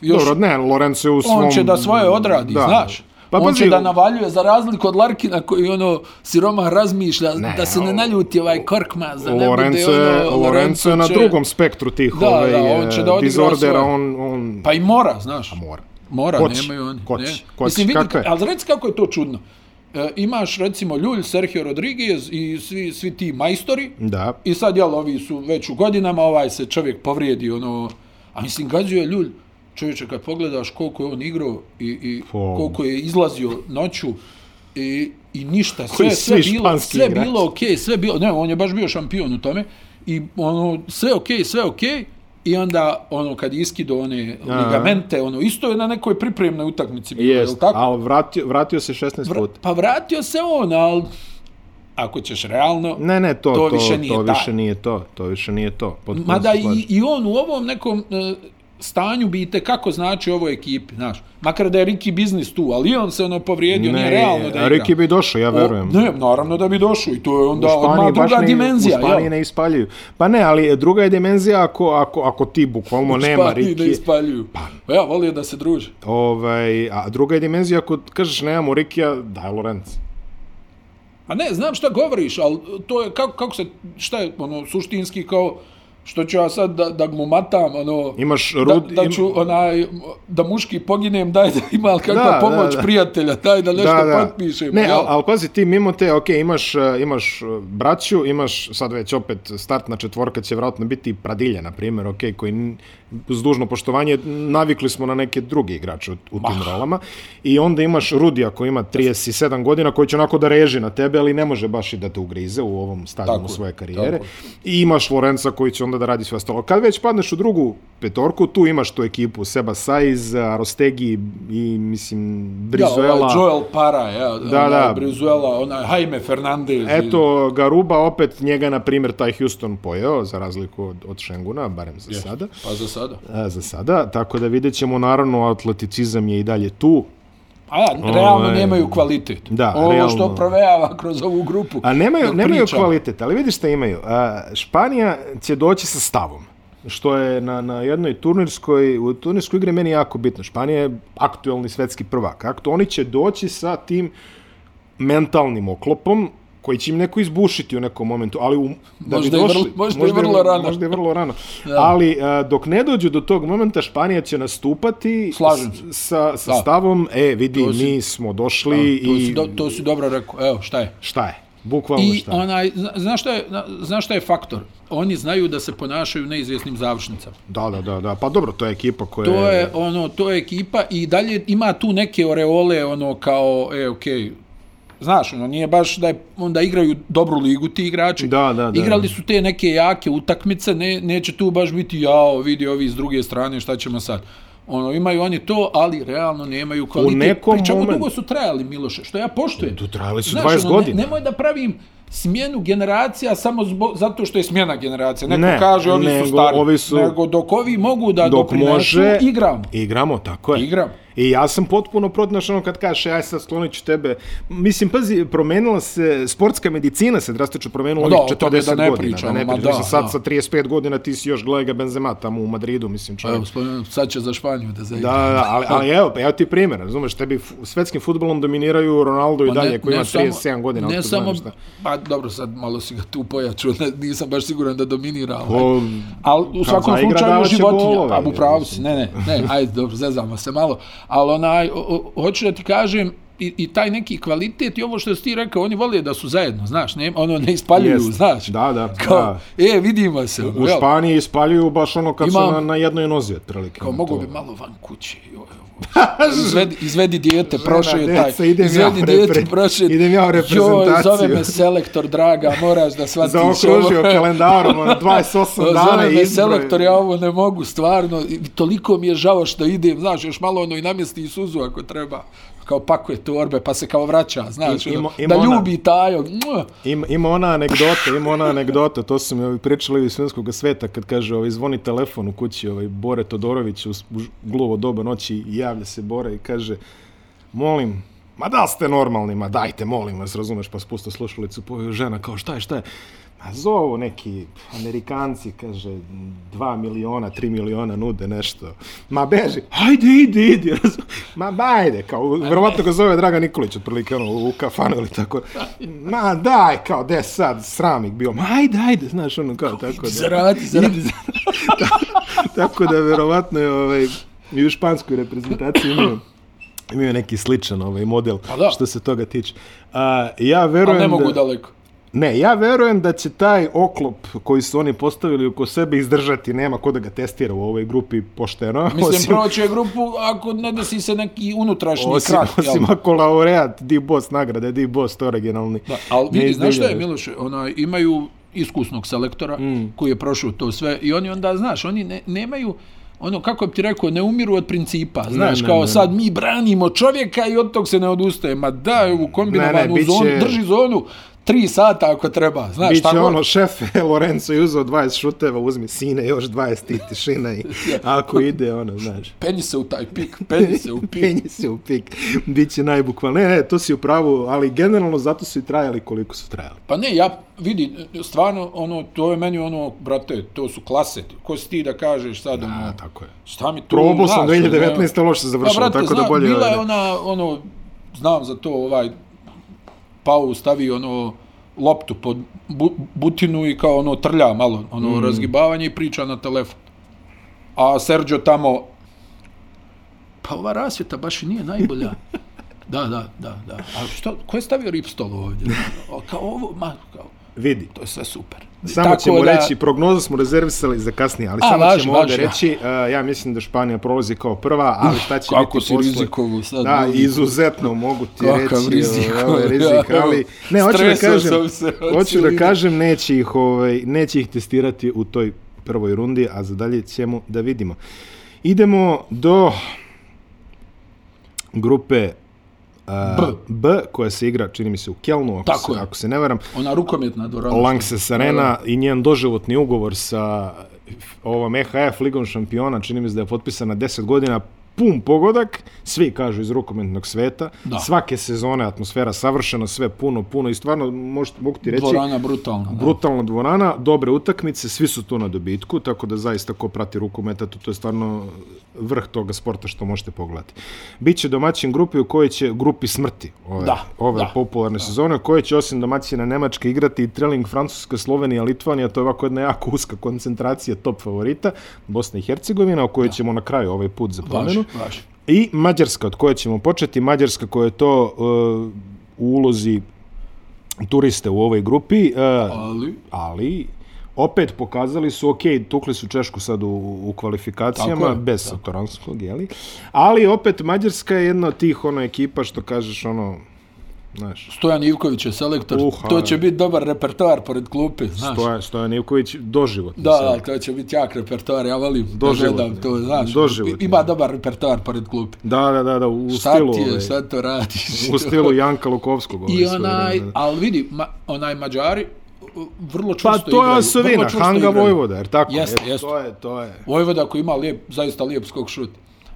S2: još
S1: dobro, ne, Lorenzo je u svom...
S2: on će da svoje odradi, da. znaš. Pa,
S1: Pa,
S2: on
S1: pazi,
S2: će da navaljuje za razliku od Larkina koji ono siromah razmišlja ne, da se
S1: o-
S2: ne naljuti ovaj Korkmaz da ne
S1: Lorenzo,
S2: bude
S1: je,
S2: ono
S1: Lorenzo je na
S2: će-
S1: drugom spektru tih
S2: Da, da,
S1: ovaj,
S2: on će da
S1: eh,
S2: odigra
S1: disordera,
S2: svoje.
S1: on, on
S2: pa i mora, znaš.
S1: mora.
S2: Mora,
S1: Ko će?
S2: nemaju oni.
S1: Ko će?
S2: ne.
S1: Ko će?
S2: Mislim, vidi,
S1: Kako je?
S2: ali reci kako je to čudno. E, imaš recimo Ljulj, Sergio Rodriguez i svi, svi ti majstori
S1: Da.
S2: i sad jel ovi su već u godinama, ovaj se čovjek povrijedi ono, a mislim gađuje Ljulj, čovječe kad pogledaš koliko je on igrao i, i
S1: Po.
S2: koliko je izlazio noću i, i ništa,
S1: Koji
S2: sve,
S1: svi
S2: sve, bilo,
S1: španski
S2: sve
S1: igrači.
S2: bilo okej, sve bilo, ne, on je baš bio šampion u tome i ono, sve okej, sve okej i onda ono kad je iskido one
S1: Aha.
S2: ligamente, ono isto je na nekoj pripremnoj utakmici bilo, jel
S1: Jest,
S2: tako?
S1: ali vratio, vratio se 16
S2: Vra-
S1: puta.
S2: Pa vratio se on, ali ako ćeš realno,
S1: Ne, ne, to, to,
S2: To
S1: to, više,
S2: više
S1: nije
S2: nije
S1: to više
S2: taj.
S1: nije to. To više nije to. Potpuno
S2: Mada
S1: se
S2: i,
S1: slažem.
S2: i on u ovom nekom e, stanju bi te kako znači ovoj ekipi, znaš. Makar da je Ricky Biznis tu, ali i on se ono povrijedio, nije realno da igra.
S1: Riki bi došao, ja verujem.
S2: O, ne, naravno da bi došao i to je onda
S1: U
S2: odmah
S1: baš
S2: druga
S1: ne,
S2: dimenzija.
S1: U Španiji
S2: jel?
S1: ne ispaljuju. Pa ne, ali druga je dimenzija ako, ako, ako ti bukvalno nema
S2: Španiji ne
S1: Riki.
S2: ispaljuju. Pa. Ja, volio da se druže.
S1: Ovaj, a druga je dimenzija ako kažeš nemamo Rikija, daj Lorenz.
S2: A ne, znam šta govoriš, ali to je kako, kako se, šta je ono, suštinski kao, što ću ja sad da, da mu matam, ono,
S1: Imaš
S2: da,
S1: Rudi...
S2: da ću onaj, da muški poginem, daj da ima ali kakva
S1: Da, da,
S2: pomoć
S1: da.
S2: prijatelja, daj da nešto potpišem.
S1: Ne,
S2: jel?
S1: ali al, pazi, ti mimo te, ok, imaš, e, imaš e, braću, imaš sad već opet startna četvorka će vjerojatno biti Pradilja, na primjer, ok, koji n- s dužno poštovanje, navikli smo na neke druge igrače u, u tim rolama. I onda imaš Rudija koji ima 37 godina, koji će onako da reži na tebe, ali ne može baš i da te ugrize u ovom stadionu
S2: Tako je,
S1: svoje karijere.
S2: tako je.
S1: I imaš Lorenca koji će onda da radi sve ostalo. Kad već padneš u drugu petorku, tu imaš tu ekipu Seba Saiz, Arostegi i, mislim, Brizuela.
S2: Ja, ovaj Joel Para, ja, da,
S1: da.
S2: da. Brizuela, onaj Jaime Fernandez.
S1: Eto, Garuba opet njega, na primjer, taj Houston pojeo, za razliku od, od Šenguna, barem za sada.
S2: Pa za sada.
S1: A, za sada, tako da vidjet ćemo, naravno, atleticizam je i dalje tu.
S2: A ja, realno
S1: Ovaj,
S2: nemaju kvalitet.
S1: da,
S2: Ovo
S1: realno.
S2: što provejava kroz ovu grupu.
S1: A nemaju,
S2: dok
S1: nemaju
S2: pričamo.
S1: kvalitet, ali vidiš šta imaju. A, Španija će doći sa stavom što je na, na jednoj turnirskoj, u turnirskoj igri meni jako bitno. Španija je aktuelni svetski prvak. Aktu, oni će doći sa tim mentalnim oklopom koji će im neko izbušiti u nekom momentu, ali u, da
S2: Možda
S1: bi
S2: je
S1: došli,
S2: vrlo- možda je vrlo
S1: je,
S2: rano.
S1: Možda je vrlo rano. Ali a, dok ne dođu do tog momenta, Španija će nastupati
S2: Slažem
S1: s- sa, sa
S2: Da.
S1: stavom, e, vidi,
S2: To si-
S1: mi smo došli
S2: To
S1: i
S2: si, do, to si dobro rekao. Evo, šta je?
S1: šta je? Bukvalno
S2: I
S1: šta je?
S2: onaj, zna- znaš šta, je, na- znaš šta je faktor? Oni znaju da se ponašaju u neizvjesnim završnicama.
S1: Da, da, da, da. Pa dobro, to je ekipa koja
S2: To je, ono, to je ekipa i dalje ima tu neke oreole, ono, kao, e, okej, znaš, ono, nije baš da je, onda igraju dobru ligu ti igrači.
S1: Da, da, da.
S2: Igrali su te neke jake utakmice, ne, neće tu baš biti, jao, vidi ovi s druge strane, šta ćemo sad? Ono, imaju oni to, ali realno nemaju kvalitet.
S1: nekom
S2: Pri čemu
S1: momentu-
S2: dugo su trajali, Miloše, što ja poštujem.
S1: Tu trajali su 20
S2: ono,
S1: godina.
S2: Ne, nemoj da pravim smjenu generacija samo zbo, zato što je smjena generacija. Neko
S1: Ne,
S2: ne, kaže, ovi
S1: nego
S2: su stari.
S1: ovi su-
S2: Nego dok ovi mogu da
S1: dok
S2: doprinesu,
S1: može...
S2: igramo.
S1: Igramo, tako je.
S2: Igramo.
S1: I ja sam potpuno protnaš ono kad kažeš, aj sad sklonit ću tebe. Mislim, pazi, promenila se, sportska medicina se drastično promenila
S2: Da,
S1: ovih
S2: o
S1: 40
S2: tome da ne
S1: godina.
S2: pričamo,
S1: da ne
S2: ma
S1: pričamo.
S2: da,
S1: Mislim, sad
S2: da.
S1: sa 35 godina ti si još gledaj ga Benzema tamo u Madridu, mislim čovjek.
S2: Evo, spomenuo, sad će za Španiju da zaigra.
S1: Da, da, da, ali, ali evo, pa evo ti primjer, razumeš, tebi f- svetskim futbolom dominiraju Ronaldo i
S2: Pa ne-
S1: dalje koji
S2: ne
S1: ima
S2: samo-
S1: 37 godina.
S2: Ne
S1: otkud
S2: samo,
S1: znam šta.
S2: pa dobro, sad malo si ga tu pojačao, ne, nisam baš siguran da dominira.
S1: O,
S2: Ovaj. Ali u svakom
S1: Pa- zaigra,
S2: slučaju
S1: davat će
S2: životinja,
S1: golove,
S2: a u pravu
S1: mislim.
S2: si, ne, ne, ne, ajde, dobro, zezamo se malo. Ali onaj, o, o, hoću da ti kažem, I, i taj neki kvalitet i ovo što si ti rekao, oni vole da su zajedno, znaš, ne, ono ne ispaljuju,
S1: Jeste.
S2: znaš.
S1: Da, da,
S2: Kao,
S1: da.
S2: E, vidimo se.
S1: U Španiji ispaljuju baš ono kad su
S2: Imam-
S1: na, na jednoj nozi, otprilike.
S2: Kao
S1: ono,
S2: mogu
S1: to-
S2: bi malo van kuće. joj, ovo. Izvedi, izvedi dijete, prošetaj.
S1: deca, idem ja
S2: izvedi
S1: u repre-
S2: prošetaj.
S1: idem ja u
S2: Joj,
S1: reprezentaciju.
S2: zove me selektor, draga, moraš da shvatiš
S1: zaokružio
S2: ovo.
S1: kalendarom, ono, 28 dana
S2: Zove
S1: i
S2: me selektor,
S1: izbroj.
S2: ja ovo ne mogu, stvarno. I toliko mi je žao što idem, znaš, još malo ono i namjesti i suzu ako treba. Kao pakuje torbe, pa se kao vraća, znaš,
S1: I- ima-
S2: ono,
S1: ima
S2: da
S1: ona-
S2: ljubi tajog. Mua.
S1: Ima, ima ona anegdota, ima ona anegdota, to su mi ovi pričali iz filmskog sveta kad kaže, ovaj, zvoni telefon u kući, ovaj, Bore Todorović u s- u ž- gluvo doba noći i javlja se Bore i kaže, molim, ma da li ste normalni, ma dajte, molim vas, razumeš, pa spusta slušalicu, poje žena, kao šta je, šta je, Ma zovu neki Amerikanci, kaže, 2 miliona, 3 miliona nude nešto. Ma beži, hajde, idi, idi. razum- Ma bajde, kao, verovatno ga zove Dragan Nikolić, otprilike, ono, u kafanu ili tako. Ma daj, kao, de sad, sramik bio. Ma ajde, ajde, znaš, ono, kao, tako da.
S2: Zaradi, zaradi.
S1: Tako da, verovatno je, ovaj, i u španskoj reprezentaciji imaju imaju neki sličan ovaj model
S2: Pa da.
S1: što se toga tiče. A, ja
S2: Ali
S1: verujem
S2: Pa ne mogu
S1: da...
S2: daleko.
S1: Ne, ja verujem da će taj oklop koji su oni postavili oko sebe izdržati, nema ko da ga testira u ovoj grupi pošteno.
S2: Mislim, proći je grupu ako ne desi se neki unutrašnji
S1: osim,
S2: krak. jel?
S1: osim ako laureat Di Boss nagrade, Di Boss to originalni.
S2: Da, ali
S1: Ne
S2: vidi, znaš šta je,
S1: izdivljava.
S2: Miloše, ona, imaju iskusnog selektora mm. koji je prošao to sve i oni onda, znaš, oni ne, nemaju ono, kako bi ti rekao, ne umiru od principa, znaš,
S1: ne,
S2: ne, kao
S1: ne.
S2: ne. sad mi branimo čovjeka i od tog se ne odustaje, ma daj ovu
S1: Ne, ne,
S2: kombinovanu
S1: bit će-
S2: zonu, drži zonu tri sata ako treba, znaš,
S1: Biće
S2: šta god.
S1: ono, šefe, Lorenzo je uzeo 20 šuteva, uzmi sine, još 20 ti tišina i ako ide, ono, znaš.
S2: Penji se u taj pik, penji se u pik.
S1: Penji se u pik. Biće najbukvalno. Ne, ne, to si u pravu, ali generalno zato su i trajali koliko su trajali.
S2: Pa ne, ja vidi, stvarno, ono, to je meni ono, brate, to su klase. Ko si ti da kažeš sad, ono,
S1: A, tako je.
S2: Šta mi tu...
S1: Probao sam
S2: znaš, ono, Pa,
S1: 2019. loše završilo, tako da bolje
S2: Bila
S1: ovaj,
S2: je
S1: ne.
S2: ona, ono, znam za to, ovaj, Pau stavi, ono, loptu pod bu, butinu i kao, ono, trlja malo, ono, mm. razgibavanje i priča na telefon. A Sergio tamo, pa ova rasvjeta baš i nije najbolja. Da, da, da, da. A što, ko je stavio ripstol ovdje? O, kao ovo, ma, kao,
S1: vidi.
S2: To je sve super.
S1: Samo
S2: Tako
S1: ćemo
S2: da-
S1: reći, prognozu smo rezervisali za kasnije, ali
S2: A,
S1: samo
S2: važno,
S1: ćemo ovdje
S2: važno.
S1: reći, uh, ja mislim da Španija prolazi kao prva, ali šta će
S2: kako
S1: biti
S2: si
S1: posle?
S2: rizikovao sad,
S1: Da,
S2: molim te.
S1: izuzetno mogu ti
S2: Kakav
S1: reći. ovaj,
S2: rizikovao,
S1: ovaj, rizik,
S2: ja,
S1: ali... Ne, hoću da
S2: stresao
S1: kažem,
S2: sam se od
S1: hoću da
S2: silina.
S1: kažem, neće ih, ovaj, neće ih testirati u toj prvoj rundi, a za dalje ćemo da vidimo. Idemo do grupe
S2: B.
S1: uh, B, koja se igra, čini mi se, u Kelnu, ako,
S2: Tako
S1: se,
S2: je.
S1: ako se ne varam.
S2: Ona rukometna dvorana.
S1: Lanxess Arena i njen doživotni ugovor sa ovom EHF ligom šampiona, čini mi se da je potpisan na 10 godina, pun pogodak, svi kažu iz rukometnog sveta,
S2: Da.
S1: svake sezone atmosfera savršena, sve puno, puno i stvarno možete, mogu ti reći,
S2: Dvorana brutalna. da.
S1: brutalna dvorana, dobre utakmice, svi su tu na dobitku, tako da zaista ko prati rukometa, to, to je stvarno vrh toga sporta što možete pogledati. Biće domaćin grupi u kojoj će grupi smrti ove,
S2: Da,
S1: ove
S2: da.
S1: popularne sezone, u kojoj će osim domaćina Nemačke igrati i Treling, Francuska, Slovenija, Litvanija, to je ovako jedna jako uska koncentracija top favorita, Bosna i Hercegovina, o kojoj ćemo na kraju ovaj put za
S2: Važi,
S1: promenu.
S2: važi.
S1: I Mađarska, od koje ćemo početi, Mađarska koja je to uh, u ulozi turiste u ovoj grupi, uh,
S2: Ali,
S1: ali opet pokazali su, ok, tukli su Češku sad u, u kvalifikacijama,
S2: Tako je,
S1: bez Satoranskog, jeli? Ali opet Mađarska je jedna od tih ono ekipa što kažeš ono, znaš,
S2: Stojan Ivković je selektor.
S1: Uha.
S2: to će biti dobar repertoar pored klupe, znaš.
S1: Stojan, Stojan Ivković doživotni
S2: Da, da,
S1: selektor.
S2: to će biti jak repertoar, ja volim
S1: Doživotni.
S2: da gledam to, znaš.
S1: Doživotni.
S2: Ima dobar repertoar pored klupe.
S1: Da, da, da, da, u
S2: Šta
S1: stilu,
S2: ti je,
S1: ovaj,
S2: šta to radiš?
S1: u stilu Janka Lukovskog. ovaj,
S2: I
S1: svoje
S2: onaj,
S1: vremena.
S2: ali vidi, ma, onaj Mađari uh, vrlo čusto
S1: Pa
S2: igraju.
S1: to je
S2: vrlo
S1: osovina,
S2: čvrsto
S1: Hanga
S2: igraju.
S1: Vojvoda, jer tako?
S2: Jeste,
S1: E,
S2: jeste.
S1: To je, to je.
S2: Vojvoda koji ima lijep, zaista lijep skok šut.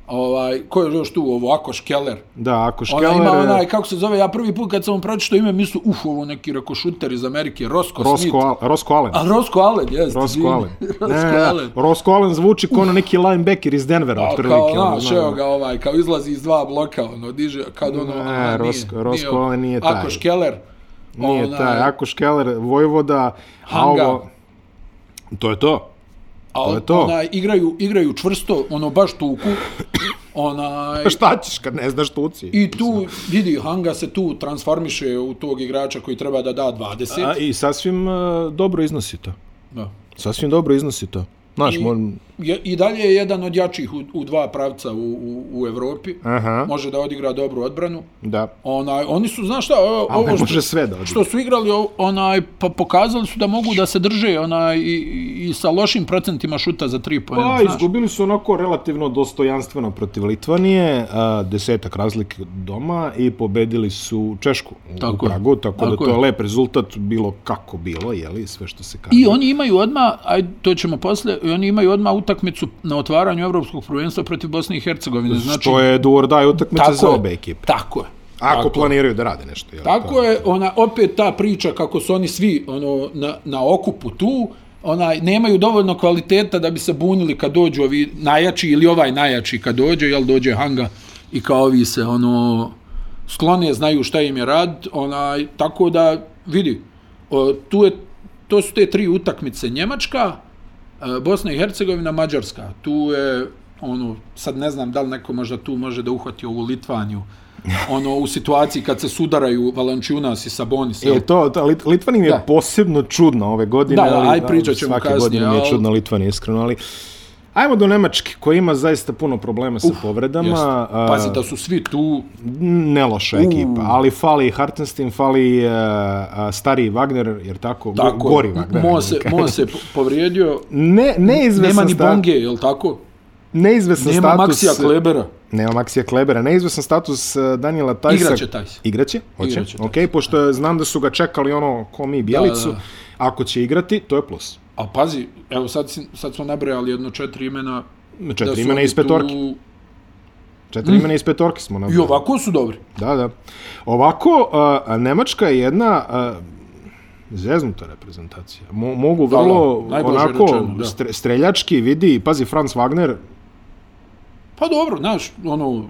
S2: Ovaj, ko je još tu ovo, Akoš Keller.
S1: Da, ako
S2: Ona
S1: Škeller...
S2: ima
S1: je-
S2: onaj, kako se zove, ja prvi put kad sam mu pročito ime, mislim, uf, ovo neki reko šuter iz Amerike, Rosko,
S1: Rosko,
S2: Smith.
S1: Al- Rosko Allen.
S2: A Rosko Allen, jeste.
S1: Rosko
S2: divni.
S1: Allen.
S2: Rosko
S1: Ne,
S2: Allen.
S1: Rosko Allen zvuči kao ono neki linebacker iz Denvera,
S2: A,
S1: otprilike.
S2: Pa, kao,
S1: ono,
S2: znaš,
S1: znaš.
S2: evo ga ovaj, kao izlazi iz dva bloka, ono, diže, kad ono,
S1: Ne,
S2: a, nije,
S1: Rosko-
S2: nije
S1: Rosko
S2: ovo.
S1: Allen nije taj.
S2: Akoš Keller.
S1: ono, Nije
S2: onaj,
S1: taj, Ako Škeller, Vojvoda,
S2: ono, Hanga.
S1: a ovo... To je to.
S2: A
S1: To je to.
S2: Onaj, igraju, igraju čvrsto, ono baš tuku. Onaj,
S1: Pa šta ćeš kad ne znaš tuci?
S2: E, I tu, vidi, Hanga se tu transformiše u tog igrača koji treba da da 20.
S1: A, I sasvim uh, dobro iznosi to.
S2: Da.
S1: Sasvim dobro iznosi to. Znaš,
S2: I,
S1: moram...
S2: je, I dalje je jedan od jačih u, u dva pravca u, u, u Evropi.
S1: Aha,
S2: Može da odigra dobru odbranu.
S1: da.
S2: Onaj, oni su, znaš šta, ovo,
S1: Ali ne
S2: ovo
S1: može
S2: što,
S1: sve da odigra.
S2: što su igrali, o- onaj, pa pokazali su da mogu da se drže onaj, i, i- i sa lošim procentima šuta za tri pojena,
S1: Pa,
S2: znaš.
S1: izgubili su onako relativno dostojanstveno protiv Litvanije, a, desetak razlike doma i pobedili su Češku u- u
S2: Tako je.
S1: Pragu, tako, da
S2: Tako
S1: to je
S2: je.
S1: lep rezultat, bilo kako bilo, jeli, sve što se kaže.
S2: I oni imaju odma, aj to ćemo posle, i oni imaju odma utakmicu na otvaranju evropskog prvenstva protiv Bosne i Hercegovine. Znači,
S1: Što je do or die utakmica za obe ekipe.
S2: Tako je.
S1: Ako planiraju da rade nešto. Jeli,
S2: Tako je, ona opet ta priča kako su oni svi ono na, na okupu tu, onaj nemaju dovoljno kvaliteta da bi se bunili kad dođu ovi najjači ili ovaj najjači kad dođe, jel dođe Hanga i kao ovi se ono sklone, znaju šta im je rad, onaj tako da vidi, o, tu je to su te tri utakmice Njemačka, e, Bosna i Hercegovina, Mađarska. Tu je ono sad ne znam da li neko možda tu može da uhvati ovu Litvaniju. Ono u situaciji kad se sudaraju Valančiunas i Sabonis. jel?
S1: E, to, to Lit, Litvanim je
S2: Da.
S1: posebno čudna ove godine.
S2: Da, da,
S1: ali,
S2: aj,
S1: da,
S2: pričat ćemo
S1: svake
S2: kasnije,
S1: godine mi je
S2: al-
S1: čudna Litvanija, iskreno, ali... Ajmo do Nemačke, koja ima zaista puno problema sa povredama.
S2: Jeste.
S1: a-
S2: Pazi da su svi tu
S1: e, ne loša ekipa, ali fali Hartenstein, fali uh, stariji Wagner, jer tako, go-
S2: tako.
S1: gori Wagner.
S2: Mo se, Mo se po- povrijedio.
S1: Ne, neizvesan,
S2: Nema ni
S1: sta,
S2: Bonge, je li tako?
S1: neizvesan
S2: Nema
S1: status... e,
S2: Maksija Klebera.
S1: Nema Maksija Klebera. Neizvesan status uh, Daniela Tajsa.
S2: Igraće Tajs.
S1: Igraće? Hoće?
S2: Igraće Tajs.
S1: ok, pošto je- znam da su ga čekali ono ko mi Bjelicu.
S2: Da, da.
S1: Ako će igrati, to je plus.
S2: A pazi, evo sad, si- sad smo nabrojali jedno četiri imena. da
S1: Četiri
S2: su
S1: imena
S2: oni
S1: iz petorke.
S2: tu- Hm?
S1: Četiri imena iz petorke smo na.
S2: I ovako su dobri.
S1: Da, da. Ovako, uh, Nemačka je jedna uh, zeznuta reprezentacija. Mo, mogu
S2: Da,
S1: vrlo
S2: da, najblaže
S1: onako
S2: rečeno, da.
S1: stre, streljački vidi, pazi, Franz Wagner,
S2: Pa dobro, znaš, ono,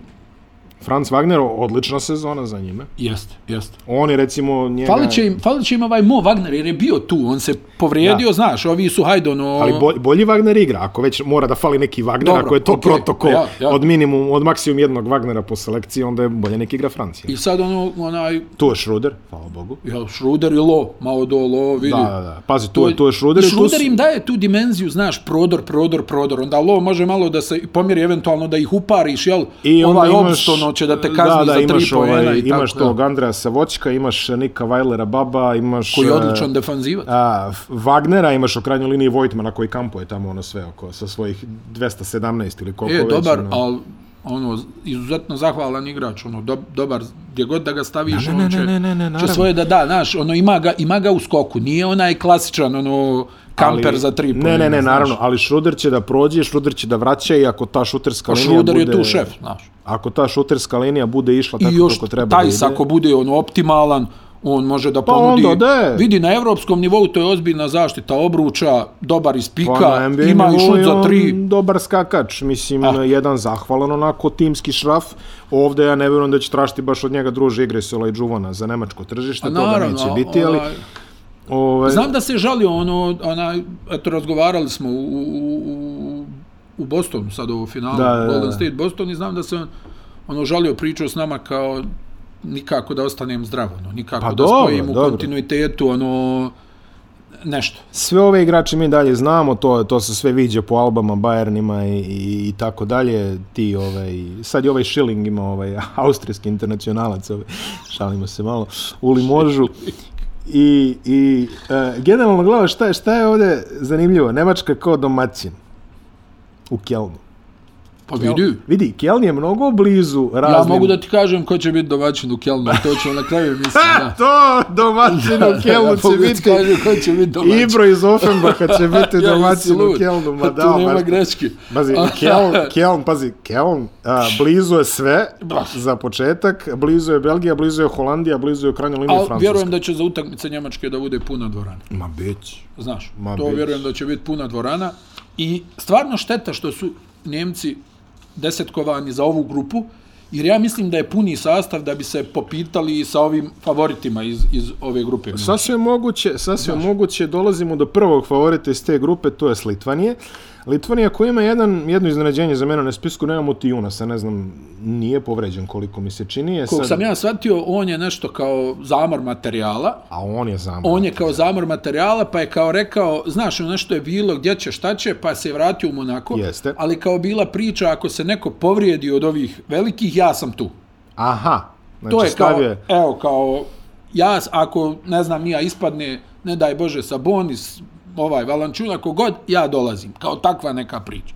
S1: Franz Wagner, odlična sezona za njime.
S2: Jeste, jeste.
S1: On je recimo njega...
S2: Falit će, im, falit će im ovaj Mo Wagner jer je bio tu, on se povrijedio,
S1: Da.
S2: znaš, ovi su hajde ono...
S1: Ali bolji, bolji Wagner igra, ako već mora da fali neki Wagner,
S2: Dobro,
S1: ako je to
S2: okej,
S1: protokol
S2: ja, ja.
S1: od minimum, od maksimum jednog Wagnera po selekciji, onda je bolje nek igra Francija.
S2: I sad ono, onaj,
S1: Tu je Schroeder, hvala Bogu.
S2: jel, Šruder i Lo, malo do Lo, vidi.
S1: Da, da, da. Pazi, tu, je, tu je Schroeder.
S2: I
S1: i tu
S2: Šruder
S1: su-
S2: im daje tu dimenziju, znaš, prodor, prodor, prodor. Onda Lo može malo da se pomjeri, eventualno da ih upariš, jel?
S1: I onda
S2: ovaj
S1: imaš,
S2: Obstono će da te kazni
S1: da, da,
S2: za tri
S1: imaš
S2: pojena
S1: ovaj,
S2: i tako.
S1: Imaš tog Andreja Savočka, imaš Nika Vajlera Baba, imaš...
S2: koji je
S1: e,
S2: odličan defanzivac.
S1: A, F- Wagnera imaš u krajnjoj liniji Vojtmana koji kampuje tamo ono sve oko sa svojih 217 ili koliko
S2: E,
S1: već.
S2: dobar,
S1: ono.
S2: ali ono, izuzetno zahvalan igrač, ono, do, dobar, gdje god da ga staviš,
S1: Da, ne,
S2: on će,
S1: ne, ne, ne, ne,
S2: će
S1: naravno.
S2: svoje da da, znaš, ono, ima ga, ima ga u skoku, nije onaj klasičan, ono, kamper
S1: Ali-
S2: za tri
S1: Ne, ne, ne,
S2: znaš.
S1: naravno, ali Šruder će da prođe, Šruder će da vraća i ako ta šuterska
S2: Pa
S1: linija
S2: Šruder
S1: bude...
S2: je tu šef, znaš.
S1: Ako ta šuterska linija bude išla tako
S2: I još
S1: kako treba
S2: taj
S1: da ide, Pa
S2: ako bude ono optimalan, on može da ponudi.
S1: onda da.
S2: Vidi, na evropskom nivou to je ozbiljna zaštita obruča, dobar iz
S1: pa
S2: pika,
S1: na NBA
S2: ima i
S1: nivou
S2: šut
S1: je
S2: za
S1: on
S2: tri. Ah.
S1: Dobar skakač, mislim, jedan zahvalan onako timski šraf. Ovde ja ne vjerujem da će tražiti baš od njega druže igre Sola i Džuvana za nemačko tržište,
S2: A
S1: to da neće biti, ali...
S2: onaj,
S1: Ovaj,
S2: Znam da se žalio ono, onaj, eto, razgovarali smo u, u, u, u Bostonu sad u finalu,
S1: Da, da, da.
S2: Golden State Boston i znam da se on, ono žalio pričao s nama kao nikako da ostanem zdrav, ono, nikako
S1: Pa
S2: da
S1: dobro,
S2: spojim u
S1: dobro.
S2: kontinuitetu, ono, nešto.
S1: sve ove igrače mi dalje znamo, to to se sve viđe po albama, Bayernima i, i, i tako dalje. Ti ovaj sad je ovaj Schilling ima ovaj austrijski internacionalac, ovaj, šalimo se malo u limožu. I, i e, generalno gledaj šta je, šta je ovdje zanimljivo. Nemačka kao domaćin u Kjelnu.
S2: Pa vidi,
S1: Vidi, Kjeln je mnogo blizu raznim...
S2: ja mogu da ti kažem ko će biti domaćin u Kelnu, to ću na kraju mislim, da.
S1: To, domaćin u Kjelnu će
S2: mogu da ti
S1: biti...
S2: kažem ko će biti domaćin.
S1: Ibro iz Offenbacha će biti
S2: Ja,
S1: domaćin
S2: jesi
S1: u
S2: lud?
S1: Kjelnu, ma da,
S2: Tu nema
S1: baš-
S2: greške.
S1: Pazi, Keln, Keln, pazi, Keln, a, blizu je sve, za početak, blizu je Belgija, blizu je Holandija, blizu je u krajnjoj liniji
S2: Ali
S1: Francuska.
S2: vjerujem da će za utakmice Njemačke da bude puna dvorana.
S1: Ma beć.
S2: Znaš,
S1: Ma,
S2: to
S1: bit će.
S2: vjerujem da će biti puna dvorana. I stvarno šteta što su Njemci desetkovani za ovu grupu, jer ja mislim da je puni sastav da bi se popitali i sa ovim favoritima iz, iz ove grupe.
S1: Sasvim moguće, sasvim moguće, dolazimo do prvog favorita iz te grupe, to je s Litvanije. Litvanija koja ima jedan, jedno iznenađenje za mene na spisku, nemamo ti Junasa, ne znam, nije povređen koliko mi se čini. Je
S2: Koliko
S1: sad,
S2: sam ja shvatio, on je nešto kao zamor materijala,
S1: A on je zamor.
S2: on je kao zamor materijala, pa je kao rekao, znaš, ono što je bilo, gdje će, šta će, pa se je vratio u Monako.
S1: Jeste.
S2: Ali kao bila priča, ako se neko povrijedi od ovih velikih, ja sam tu.
S1: Aha. Znači,
S2: to je kao,
S1: stavio je-
S2: evo, kao, ja, s- ako, ne znam, nija ispadne, ne daj Bože, Sabonis, ovaj, Valančuna, kogod, ja dolazim. Kao takva neka priča.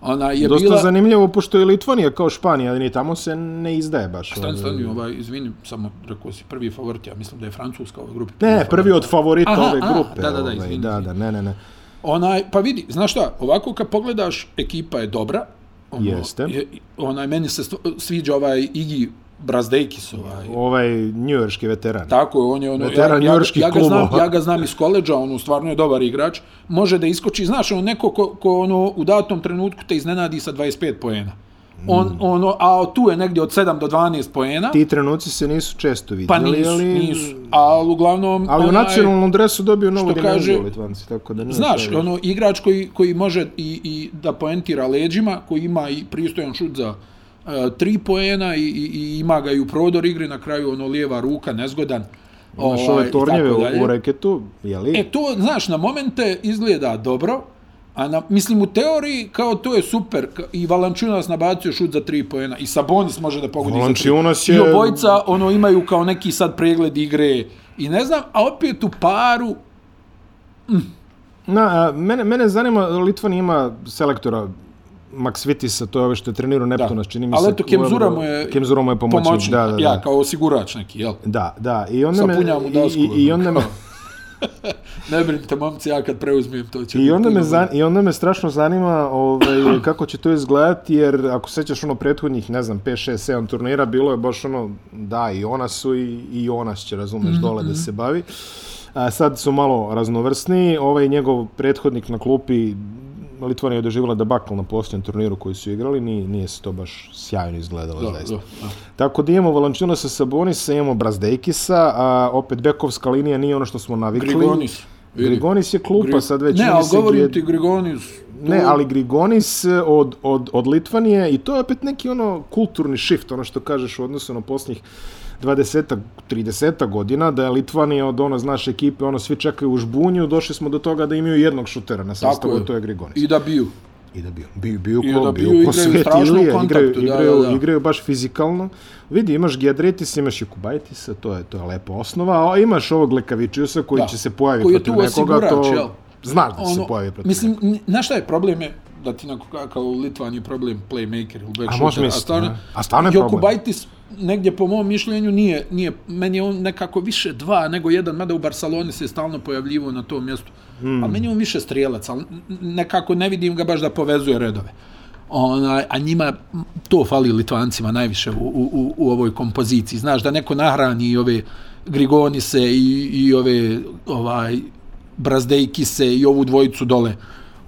S2: Ona je
S1: Dosta
S2: bila...
S1: zanimljivo, pošto je Litvanija kao Španija, ali ni tamo se ne izdaje baš.
S2: Stani,
S1: ovaj.
S2: stani, ovaj, izvini, samo rekao si prvi favorit, ja mislim da je Francuska u ovoj grupi.
S1: Ne, ne, prvi od favorita
S2: Aha,
S1: ove
S2: aha,
S1: grupe.
S2: da, da, da,
S1: ovaj,
S2: izvini,
S1: da,
S2: izvini.
S1: da, ne, ne, ne.
S2: Onaj, pa vidi, znaš šta, ovako kad pogledaš, ekipa je dobra. Ono,
S1: Jeste.
S2: Je, onaj, meni se stvo- sviđa ovaj Igi Brazdejkis, ovaj,
S1: Ovaj njujorski veteran.
S2: Tako je, on je ono,
S1: Veteran
S2: ja, ja,
S1: njujorških
S2: ja, ga znam,
S1: klubova.
S2: ja ga znam iz koleđa, ono, stvarno je dobar igrač. Može da iskoči, znaš, on neko ko, ko ono, u datom trenutku te iznenadi sa 25 poena. On, ono, a tu je negdje od 7 do 12 poena,
S1: Mm. Ti trenuci se nisu često
S2: pa
S1: vidjeli,
S2: nisu,
S1: ali,
S2: nisu. Ali uglavnom...
S1: ali u
S2: onaj-
S1: nacionalnom dresu dobio novu
S2: što
S1: dimenziju
S2: kaže-
S1: Litvanci, tako da nije
S2: Znaš,
S1: sve-
S2: ono, igrač koji, koji može i, i da poentira leđima, koji ima i pristojan šut za e, tri poena i, i, i ima ga i u prodor igre, na kraju ono lijeva ruka, nezgodan.
S1: Imaš
S2: ovaj,
S1: ove
S2: i tako
S1: tornjeve
S2: dalje.
S1: u, u reketu, jeli?
S2: E, to, znaš, na momente izgleda dobro, a na, mislim u teoriji kao to je super ka- i Valančunas nabacio šut za tri poena i Sabonis može da pogodi za
S1: Valanciunas
S2: tri.
S1: je-
S2: I obojica ono, imaju kao neki sad pregled igre i ne znam, a opet u paru
S1: Na, a, mene, mene zanima, Litvan ima selektora Max Vitisa, to je ove što je trenirao Neptuna, čini mi se.
S2: Ali eto,
S1: u
S2: Kemzura
S1: Euro-
S2: mu je,
S1: Kemzura mu je pomoćnik, da, da, da.
S2: ja, kao osigurač neki, jel?
S1: Da, da, i onda me,
S2: Sapunja mu
S1: i-
S2: dasku,
S1: i, i
S2: ono,
S1: onda me,
S2: Ne brinite, momci, ja kad preuzmem to će...
S1: I
S2: biti
S1: onda, me
S2: puno
S1: zan, I onda me strašno zanima ovaj, kako će to izgledati, jer ako sećaš ono prethodnih, ne znam, 5, 6, 7 turnira, bilo je baš ono, da, i ona su i, i ona će, razumeš, dole da se bavi. A sad su malo raznovrsni, ovaj njegov prethodnik na klupi Litvanija je doživjela debakl na posljednjem turniru koji su igrali, nije, nije se to baš sjajno izgledalo,
S2: Da,
S1: zaista.
S2: da, da.
S1: Tako da imamo Valančunasa Sabonisa, imamo Brazdejkisa, a opet bekovska linija nije ono što smo navikli.
S2: Grigonis. vidi.
S1: Grigonis je klupa
S2: Gri-
S1: sad već.
S2: Ne,
S1: čini
S2: ali
S1: se,
S2: govorim
S1: gdje-
S2: ti Grigonis. to-
S1: Ne, ali Grigonis e, od, od, od Litvanije i to je opet neki ono kulturni shift, ono što kažeš u odnosu na posljednjih 20 30 godina, da je Litvanija od ono, znaš, ekipe, ono, svi čekaju u žbunju, došli smo do toga da imaju jednog šutera na sastavu,
S2: je.
S1: to je Grigonis.
S2: I da biju.
S1: I da bio, bio, bio,
S2: I
S1: ko,
S2: da bio,
S1: bio, ko
S2: igraju
S1: svet
S2: strašno u
S1: Ilija, igraju,
S2: kontaktu, da,
S1: igraju,
S2: da, da.
S1: igraju baš fizikalno. Vidi, imaš Giadretis, imaš Jakubajtisa, to je, to je lepa osnova, a imaš ovog Lekavičiusa koji
S2: Da.
S1: će se pojaviti
S2: Koji je
S1: protiv
S2: tu
S1: nekoga,
S2: osigurač,
S1: to
S2: jel? Ono,
S1: znaš da će se pojavi protiv
S2: mislim, n- znaš šta je problem je, da ti nakon kao u Litvani problem playmaker ili back
S1: A
S2: shooter,
S1: može misliti, ne? A stvarno je problem.
S2: Jokubaitis negdje po mom mišljenju nije, nije, meni je on nekako više dva nego jedan, mada u Barceloni se je stalno pojavljivo na tom mjestu,
S1: Hmm.
S2: mm. ali meni je on više strijelac, ali n- n- nekako ne vidim ga baš da povezuje redove. Ona, a njima to fali Litvancima najviše u, u, u, u ovoj kompoziciji. Znaš, da neko nahrani i ove Grigonise i, i ove ovaj, Brazdejkise i ovu dvojicu dole.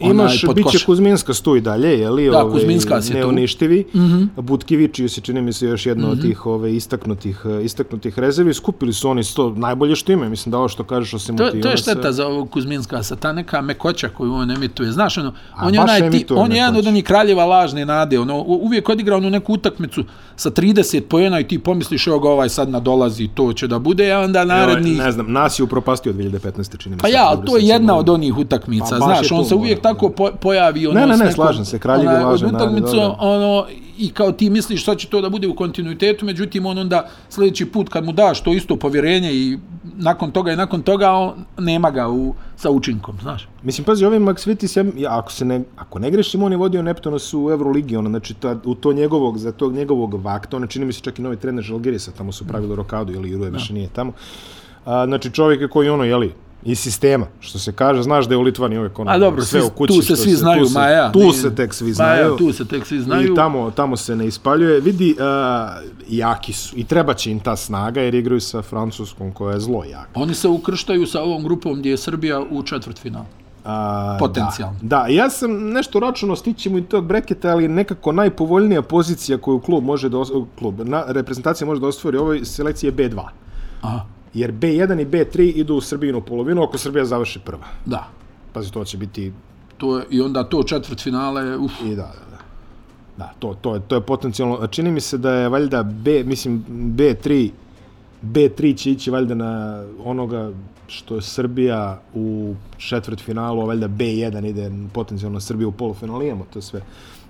S2: onaj,
S1: Imaš,
S2: pod
S1: bit će
S2: koš.
S1: Kuzminska stu i dalje, je li? ovaj,
S2: Da, Kuzminska se tu. Mhm.
S1: Neuništivi. Mm -hmm. Butkivićiju se čini mi se još jedno mm -hmm. od tih ove, istaknutih, eh, istaknutih rezervi. Skupili su oni sto najbolje što imaju. Mislim da ovo što kažeš e, osim
S2: To, to je
S1: Motivaca-
S2: šteta za ovog Kuzminska, sa ta neka mekoća koju on emituje. Znaš, ono, on je,
S1: baš
S2: onaj, ti,
S1: emituje
S2: on je jedan
S1: mekoću.
S2: od onih kraljeva lažne nade. Ono, u- uvijek odigra onu neku utakmicu sa 30 pojena i ti pomisliš, evo ga ovaj sad nadolazi, to će da bude, a onda naredni...
S1: Ne znam, nas je upropastio 2015. čini mi se.
S2: Pa ja, ali
S1: dobro
S2: to je
S1: sam
S2: jedna
S1: siguran.
S2: od onih utakmica,
S1: Pa
S2: pa,
S1: baš
S2: znaš,
S1: je
S2: on
S1: to,
S2: se uvijek
S1: moram,
S2: tako po, pojavi ono
S1: Ne, ne,
S2: s
S1: ne,
S2: nekom-
S1: slažem se, kraljevi
S2: onaj,
S1: laže,
S2: od
S1: naravno,
S2: utakmicu,
S1: dobro.
S2: ono, i kao ti misliš šta će to da bude u kontinuitetu, međutim on onda sljedeći put kad mu daš to isto povjerenje i nakon toga i nakon toga on, nema ga u, sa učinkom, znaš.
S1: Mislim, pazi, ovaj Max Vitis, ja, ja, ako, se ne, ako ne grešim, on je vodio Neptunos u Euroligi, ono, znači, ta, u to njegovog, za tog njegovog vakta, ono, čini mi se čak i novi trener Žalgirisa, tamo su
S2: Mm.
S1: pravili rokadu, ili Iruje više nije tamo. A, znači, čovjek je koji, ono, jeli, iz sistema, što se kaže, znaš da je u Litvani uvijek ono,
S2: A Pa dobro,
S1: sve
S2: svi,
S1: u kući.
S2: tu se
S1: što
S2: svi znaju,
S1: tu se,
S2: ma ja.
S1: Tu
S2: nije-
S1: se tek svi
S2: Ma
S1: znaju.
S2: ja, tu se tek svi
S1: I
S2: znaju.
S1: tamo, tamo se ne ispaljuje. Vidi, uh, jaki su. I treba će im ta snaga, jer igraju sa Francuskom, koja je zlo jaka.
S2: Oni se ukrštaju sa ovom grupom gdje je Srbija u četvrtfinalu.
S1: A,
S2: Potencijalno.
S1: Pa Da, da, ja sam nešto računao stićemo i tog breketa, ali nekako najpovoljnija pozicija koju klub može da os- klub, na, reprezentacija može da ostvari u ovoj selekciji je B2.
S2: Aha,
S1: Jer B1 i B3 idu u Srbijinu polovinu ako Srbija završi prva.
S2: da.
S1: Pazi, to će biti
S2: To je, I onda to četvrtfinale, uf,
S1: i da, da, da. Da, to, to, je, to je potencijalno. Čini mi se da je valjda B, mislim, B3 B3 će ići valjda na onoga što je Srbija u četvrt finalu, a valjda B1 ide potencijalno na Srbiju u polufinalu, imamo to sve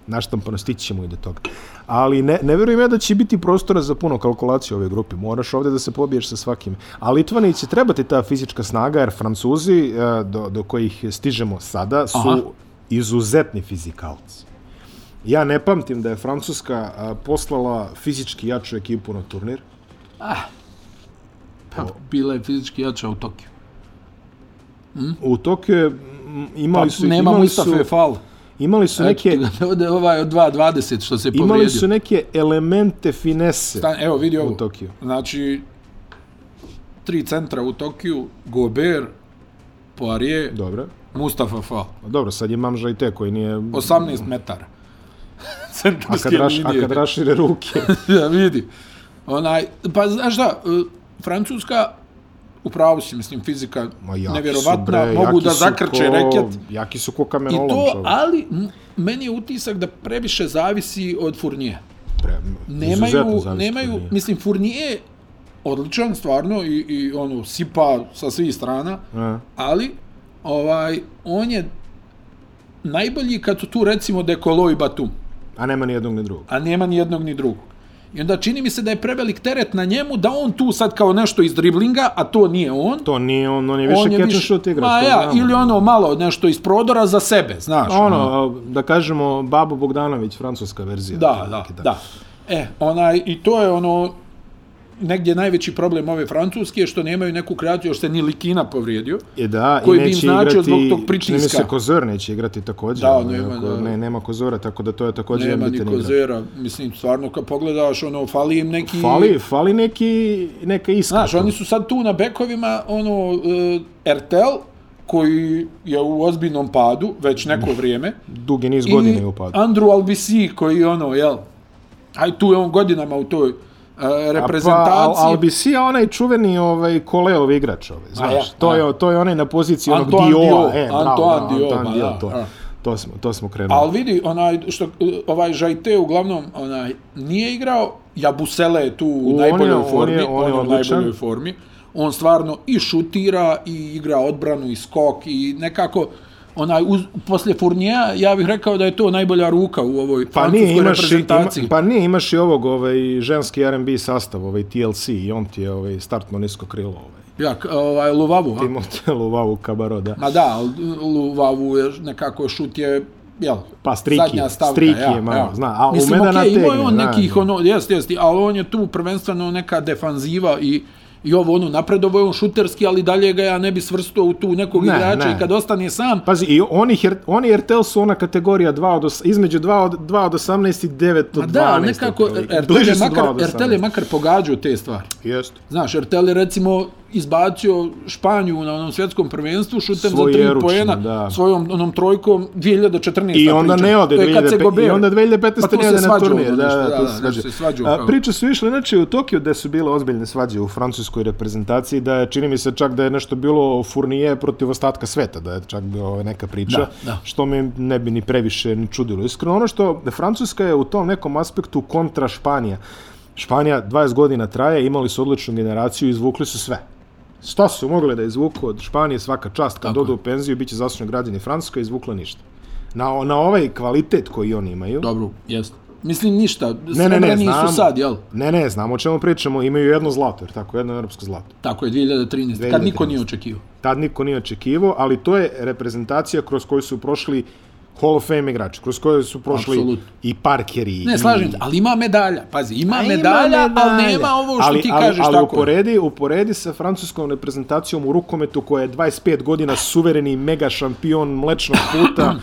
S1: naštampano, stići ćemo i do toga. Ali ne, ne vjerujem ja da će biti prostora za puno kalkulacije u ovoj grupi. Moraš ovdje da se pobiješ sa svakim. A Litvani će trebati ta fizička snaga, jer Francuzi, e, do, do kojih stižemo sada, su
S2: Aha.
S1: izuzetni fizikalci. Ja ne pamtim da je Francuska a, poslala fizički jaču ekipu na turnir.
S2: Ah. Pa, bila je fizički jača u Tokiju.
S1: U Tokiju je, m, imali
S2: Pa,
S1: su,
S2: nema
S1: imali
S2: Mustafa
S1: su,
S2: su... Fal.
S1: imali su neke,
S2: Neke... Ovdje je ovaj od 2.20 što se povrijedio.
S1: imali su neke elemente finese.
S2: Stan, evo, vidi ovo.
S1: u Tokiju.
S2: Znači, tri centra u Tokiju, Gober, Poirier, Do.
S1: Dobro. Pa
S2: Mustafa Fal.
S1: Dobro, sad je Mamža i te koji nije...
S2: 18 metara.
S1: a
S2: Centarske
S1: kad, raš, a
S2: linije.
S1: kad rašire ruke.
S2: ja, vidi. Onaj, pa znaš šta, e, Francuska, u pravu si, mislim, fizika
S1: Ma jaki su,
S2: nevjerovatna,
S1: bre,
S2: mogu
S1: jaki
S2: da
S1: su
S2: zakrče
S1: ko,
S2: reket.
S1: Jaki su ko
S2: I
S1: kamenolom
S2: to,
S1: čovjek.
S2: ali m, meni je utisak da previše zavisi od Furnije.
S1: Pre, izuzetno
S2: Nemaju,
S1: zavisno
S2: nemaju,
S1: od njih.
S2: mislim, Furnije je odličan stvarno i, i ono, sipa sa svih strana,
S1: A.
S2: ali ovaj, on je najbolji kad su tu recimo Dekolo i Batum,
S1: A nema ni jednog ni drugog.
S2: a nema ni jednog ni drugog. I onda čini mi se da je prevelik teret na njemu da on tu sad kao nešto iz driblinga, a to nije on.
S1: To nije on, on je više catch and shoot igrač.
S2: ma
S1: to
S2: ja,
S1: znamo.
S2: ili ono malo nešto iz prodora za sebe, znaš.
S1: Ono, da kažemo, Babo Bogdanović, francuska verzija.
S2: Da, da, da.
S1: otprilike,
S2: da. E, onaj, i to je ono, negdje najveći problem ove Francuske, što nemaju neku kreaciju, još se ni Likina povrijedio.
S1: E da,
S2: koji
S1: i
S2: bi im
S1: neće
S2: značio
S1: igrati,
S2: zbog tog
S1: čini mi se
S2: pritiska.
S1: Kozor neće igrati također.
S2: Da,
S1: ono,
S2: nema,
S1: ako-
S2: da.
S1: Ne, nema Kozora, tako da to je također
S2: Nema ni
S1: bitan igrač.
S2: Kozera, mislim, stvarno kad pogledaš, ono, fali im neki...
S1: Fali, fali neki, neka iskra.
S2: Znaš, oni su sad tu na bekovima, ono, e, Ertel, koji je u ozbiljnom padu već neko vrijeme.
S1: Dugi niz godine je upad.
S2: Andrew Albisi koji ono, jel, aj tu je on godinama u toj uh, reprezentaciji.
S1: Pa, Al Albisi je onaj čuveni ovaj, koleov igrač, ovaj, znaš,
S2: ja,
S1: ja, to,
S2: a.
S1: je, to je onaj na poziciji onog
S2: Antoine
S1: Dioa.
S2: Dio,
S1: E, bravo,
S2: Antoine
S1: da,
S2: Dio, ma
S1: Antoine Dio,
S2: da,
S1: to,
S2: a.
S1: to, smo, to smo krenuli.
S2: Ali vidi, onaj, što, ovaj Žajte uglavnom onaj, nije igrao, Jabusele je tu u
S1: on
S2: najboljoj
S1: je- on
S2: formi,
S1: je- on je
S2: u
S1: odličan.
S2: najboljoj formi. On stvarno i šutira, i igra odbranu, i skok, i nekako onaj uz, poslije Furnija ja bih rekao da je to najbolja ruka u ovoj
S1: Pa
S2: francuskoj
S1: nije, imaš, i- ima,
S2: reprezentaciji.
S1: pa nije, imaš i ovog ovaj, ženski R&B sastav, ovaj TLC, i on ti je ovaj, startno nisko krilo. Ovaj.
S2: Ja, k- ovaj, Luvavu, a?
S1: Timotelu, Vavu, Kabaro, da.
S2: Ma da, ali Luvavu je nekako šut je, jel,
S1: Pa Striki,
S2: zadnja stavka.
S1: Striki je
S2: ja,
S1: malo,
S2: ja.
S1: zna, a
S2: Mislim,
S1: ume da
S2: okej, imao je
S1: nategne,
S2: on
S1: zna,
S2: nekih,
S1: zna.
S2: ono, jest, jest, ali on je tu prvenstveno neka defanziva i I ovo ono napredovo je on šuterski, ali dalje ga ja ne bi svrstao u tu nekog
S1: Ne,
S2: igrača
S1: ne. Pa
S2: i kad ostane sam,
S1: Pazi, i oni, her, oni i RTL su ona kategorija 2 od, os- između 2 od, 2 od 18 i 9 od
S2: pa
S1: 12.
S2: da, ali nekako
S1: otprilike.
S2: Ertel je,
S1: su
S2: makar,
S1: 2 od
S2: Ertel je
S1: 18.
S2: makar pogađao te stvari.
S1: Jeste.
S2: Znaš, Ertel je recimo izbacio Španiju na onom svjetskom prvenstvu šutem za tri
S1: Svojeručno,
S2: poena
S1: da.
S2: svojom onom trojkom 2014.
S1: I onda
S2: pričam.
S1: ne ode
S2: To je kad se
S1: 2005,
S2: Gobert-
S1: i onda 2015.
S2: Pa tu
S1: ne
S2: se
S1: ode na
S2: svađao
S1: turnir.
S2: ono
S1: Da,
S2: nešto,
S1: da, tu se
S2: nešto se svađao.
S1: A,
S2: kao-
S1: priče su išle znači u Tokiju da su bile ozbiljne svađe u francuskoj reprezentaciji, da je, čini mi se čak da je nešto bilo Furnije protiv ostatka sveta, da je čak bila ovaj neka priča,
S2: Da, da.
S1: što mi ne bi ni previše ni čudilo. Iskreno, ono što Francuska je u tom nekom aspektu kontra Španija. Španija 20 godina traje, imali su odličnu generaciju, izvukli su sve. Šta su mogli da izvuku od Španije svaka čast, kad
S2: Tako je.
S1: odu u penziju, bit će zaslužno građani Francuska, izvukla ništa. Na, na ovaj kvalitet koji oni imaju,
S2: Dobro, jeste. Mislim ništa,
S1: Ne, ne, ne,
S2: srebrani
S1: znamo.
S2: su sad, jel?
S1: Ne, ne, znamo o čemu pričamo. Imaju jedno zlato, jer tako, jedno europsko zlato.
S2: Tako je, 2013. Kad niko
S1: 2013.
S2: nije očekivao.
S1: Tad niko nije očekivao, ali to je reprezentacija kroz koju su prošli Hall of Fame igrači, kroz koju su prošli
S2: Apsolutno.
S1: i Parkeri. i-
S2: Ne, slažem se, ali ima medalja, pazi, ima,
S1: Mm. A, ima
S2: medalja, ali
S1: medalje.
S2: nema ovo što
S1: ali,
S2: ti
S1: ali,
S2: kažeš
S1: ali
S2: tako. je.
S1: uporedi, uporedi sa francuskom reprezentacijom u rukometu koja je 25 godina suvereni mega šampion mlečnog puta.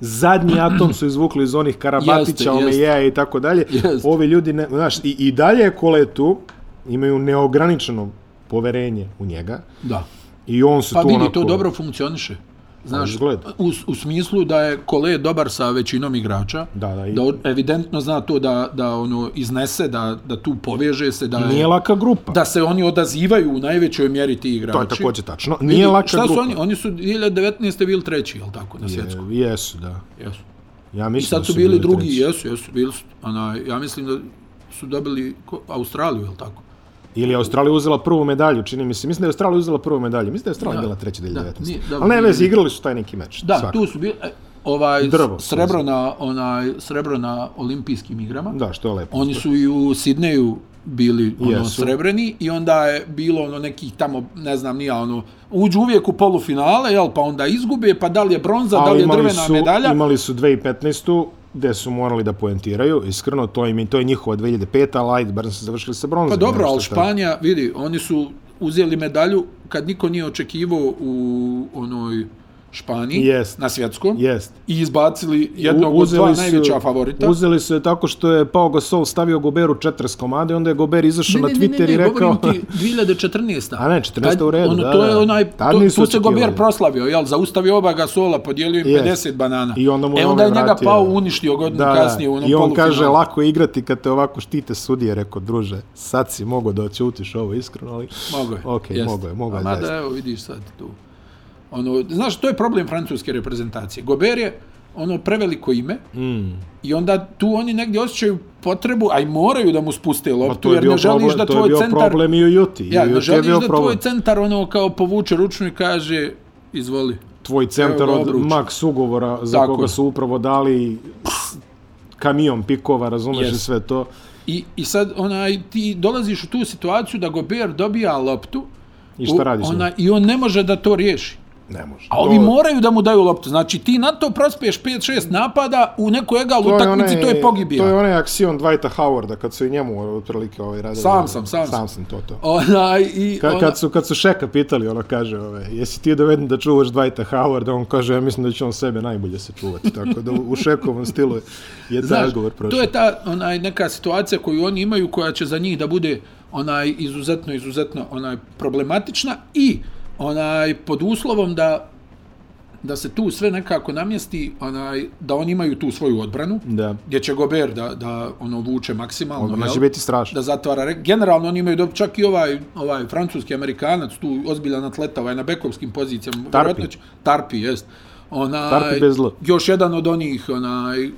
S1: Zadnji atom su izvukli iz onih
S2: Jeste, jeste.
S1: Karabatića, Omejeja i tako dalje.
S2: Jeste.
S1: Ovi ljudi, ne, znaš, i, i dalje koletu imaju neograničeno poverenje u njega
S2: Da.
S1: i on se
S2: Pa
S1: tu
S2: vidi,
S1: onako...
S2: to dobro funkcioniše. Znaš,
S1: izgleda.
S2: u, u smislu da je Kole dobar sa većinom igrača,
S1: Da, da, i-
S2: da on evidentno zna to da, da ono iznese, da, da tu poveže se, da, je-
S1: Nije laka grupa.
S2: da se oni odazivaju u najvećoj mjeri ti igrači.
S1: to je također tačno. Nije
S2: Vidi,
S1: laka
S2: Šta su
S1: grupa.
S2: oni? Oni su 2019. bili treći, jel tako, na svjetskom?
S1: E, Jesu, da.
S2: Jesu.
S1: Ja
S2: I
S1: mislim
S2: sad
S1: da
S2: su bili drugi,
S1: treći.
S2: jesu, jesu, bili su, ona, ja mislim da su dobili ko, Australiju, jel tako?
S1: Ili je Australija uzela prvu medalju, čini mi se. Mislim da je Australija uzela prvu medalju. Mislim da je Australija
S2: Da.
S1: bila treća
S2: Da,
S1: 2019.
S2: nije,
S1: Da,
S2: dobro,
S1: Ali ne
S2: nije
S1: vezi, igrali su taj neki meč.
S2: Da,
S1: svakako.
S2: tu su bili, e, ovaj,
S1: Drvo
S2: Drvo,
S1: su
S2: srebro, na, onaj, srebro na olimpijskim igrama.
S1: Da, što je lepo.
S2: Oni su i u Sidneju bili ono,
S1: Jesu.
S2: srebreni i onda je bilo ono nekih tamo, ne znam, nija ono, uđu uvijek u polufinale, jel, pa onda izgube, pa da li je bronza, da li je
S1: imali
S2: drvena
S1: su,
S2: medalja.
S1: imali su 2015 gde su morali da poentiraju, iskreno, to, im, je- to je njihova 2005, ali ajde, bar su završili sa bronzom.
S2: Pa dobro,
S1: nema
S2: ali
S1: šta šta.
S2: Španija, vidi, oni su uzeli medalju kad niko nije očekivao u onoj Španiji,
S1: Jest.
S2: na svjetskom,
S1: Jest.
S2: i izbacili jednog od dva
S1: su-
S2: najveća favorita.
S1: Uzeli su je tako što je Pau Gasol stavio Goberu 40 komade, onda je Gober izašao na Twitter i rekao...
S2: govorim ti 2014.
S1: A ne, 14.
S2: Kad-
S1: u redu,
S2: ono,
S1: da,
S2: to je
S1: da.
S2: onaj,
S1: Tad
S2: to,
S1: nisu
S2: tu se
S1: očekivali.
S2: Gober proslavio, jel, zaustavio oba Gasola, podijelio im
S1: Jest.
S2: 50 banana.
S1: I onda mu
S2: e,
S1: je
S2: onda
S1: ovaj
S2: je njega
S1: vratio.
S2: pao uništio godinu kasnije u onom
S1: I on
S2: polufinalu.
S1: kaže, lako je igrati kad te ovako štite sudije, rekao, druže, sad si mogo da oćutiš ovo iskreno, ali...
S2: Mogo je.
S1: Ok,
S2: jest.
S1: mogo je, mogo je.
S2: A mada,
S1: zaista.
S2: evo, vidiš sad tu. Ono, znaš, to je problem francuske reprezentacije. Gober je ono preveliko ime
S1: Mm.
S2: i onda tu oni negdje osjećaju potrebu, a i moraju da mu spuste
S1: Pa
S2: loptu,
S1: to je
S2: jer
S1: bio
S2: ne želiš
S1: problem,
S2: da
S1: to je
S2: tvoj
S1: bio
S2: centar...
S1: problem i u Juti.
S2: Ja,
S1: I u
S2: ne
S1: Juti je
S2: želiš
S1: bio
S2: da tvoj
S1: problem.
S2: centar ono kao povuče ručnu i kaže, izvoli.
S1: Tvoj centar
S2: Evo ga,
S1: od
S2: obruč.
S1: maks ugovora za
S2: Tako je.
S1: koga su upravo dali kamion pikova, razumeš
S2: Jest.
S1: i sve to.
S2: I, I sad onaj, ti dolaziš u tu situaciju da Gober dobija loptu
S1: I šta
S2: u-
S1: radiš s njim?
S2: onaj, i on ne može da to riješi.
S1: Ne može.
S2: A ovi moraju da mu daju loptu. Znači ti na to prospeš 5-6 napada u nekoj egal
S1: To je
S2: utakmici, to je pogibija.
S1: To je onaj aksion Dwighta Howarda, kad su i njemu otprilike ovaj radili.
S2: Sam sam, sam sam.
S1: Sam sam, to, to.
S2: Onaj, i,
S1: Kad,
S2: ona,
S1: kad, su, kad su Šeka pitali, ono kaže, ove, jesi ti doveden da čuvaš Dwighta Howarda, on kaže, ja mislim da će on sebe najbolje se čuvati, tako da u u Šekovom stilu je, je taj
S2: znaš,
S1: odgovor prošao.
S2: to je ta onaj, neka situacija koju oni imaju koja će za njih da bude onaj izuzetno, izuzetno onaj problematična i onaj pod uslovom da da se tu sve nekako namjesti, onaj, da oni imaju tu svoju odbranu,
S1: Da.
S2: gdje će Gober da, da ono vuče maksimalno.
S1: Odbrana
S2: jel?
S1: će biti strašna.
S2: Da zatvara. re- Generalno oni imaju dobro, čak i ovaj, ovaj francuski amerikanac, tu ozbiljan atleta, ovaj na bekovskim pozicijama. vjerojatno će- Tarpi, jest. Onaj,
S1: Tarpi bez L.
S2: Još jedan od onih onaj,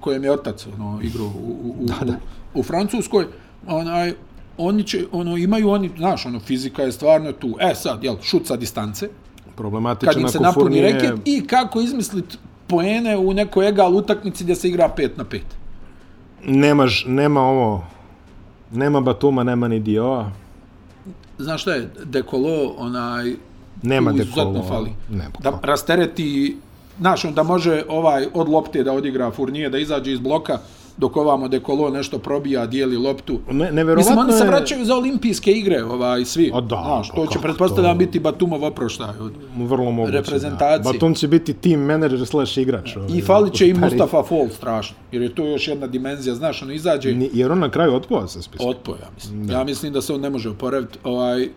S2: kojem je otac ono, igrao u, u, u, u, u Francuskoj, onaj, oni će, ono, imaju oni, znaš, ono, fizika je stvarno tu. E sad, jel, šut sa distance, kad
S1: Problematičan
S2: im se
S1: ako
S2: napuni
S1: Furnije...
S2: reket i kako izmisliti poene u nekoj egal utakmici gdje se igra 5 na 5.
S1: Nemaš, nema ovo... Nema Batuma, nema ni Dioa.
S2: Znaš šta je, Dekolo, onaj,
S1: Nema
S2: tu
S1: Dekolo.
S2: izuzetno fali.
S1: Nema.
S2: Da rastereti, znaš, on da može ovaj od lopte da odigra Furnije, da izađe iz bloka, dok ovamo Dekolo nešto probija, dijeli loptu.
S1: Ne, neverovatno
S2: Mislim, oni se
S1: je-
S2: vraćaju za olimpijske igre, ovaj, svi.
S1: A da,
S2: Znaš,
S1: pa
S2: to će
S1: kako
S2: pretpostavljam
S1: to?
S2: biti Batumov oproštaj. od-
S1: Vrlo moguće.
S2: reprezentaciji.
S1: Da. Batum će biti team manager slash igrač. ovaj,
S2: I falit će i
S1: stari.
S2: Mustafa Fall strašno, jer je to još jedna dimenzija, znaš, ono izađe...
S1: Ni- Jer on na kraju otpova se spisa.
S2: Otpo, ja mislim. Ja mislim da se on ne može oporaviti, ovaj,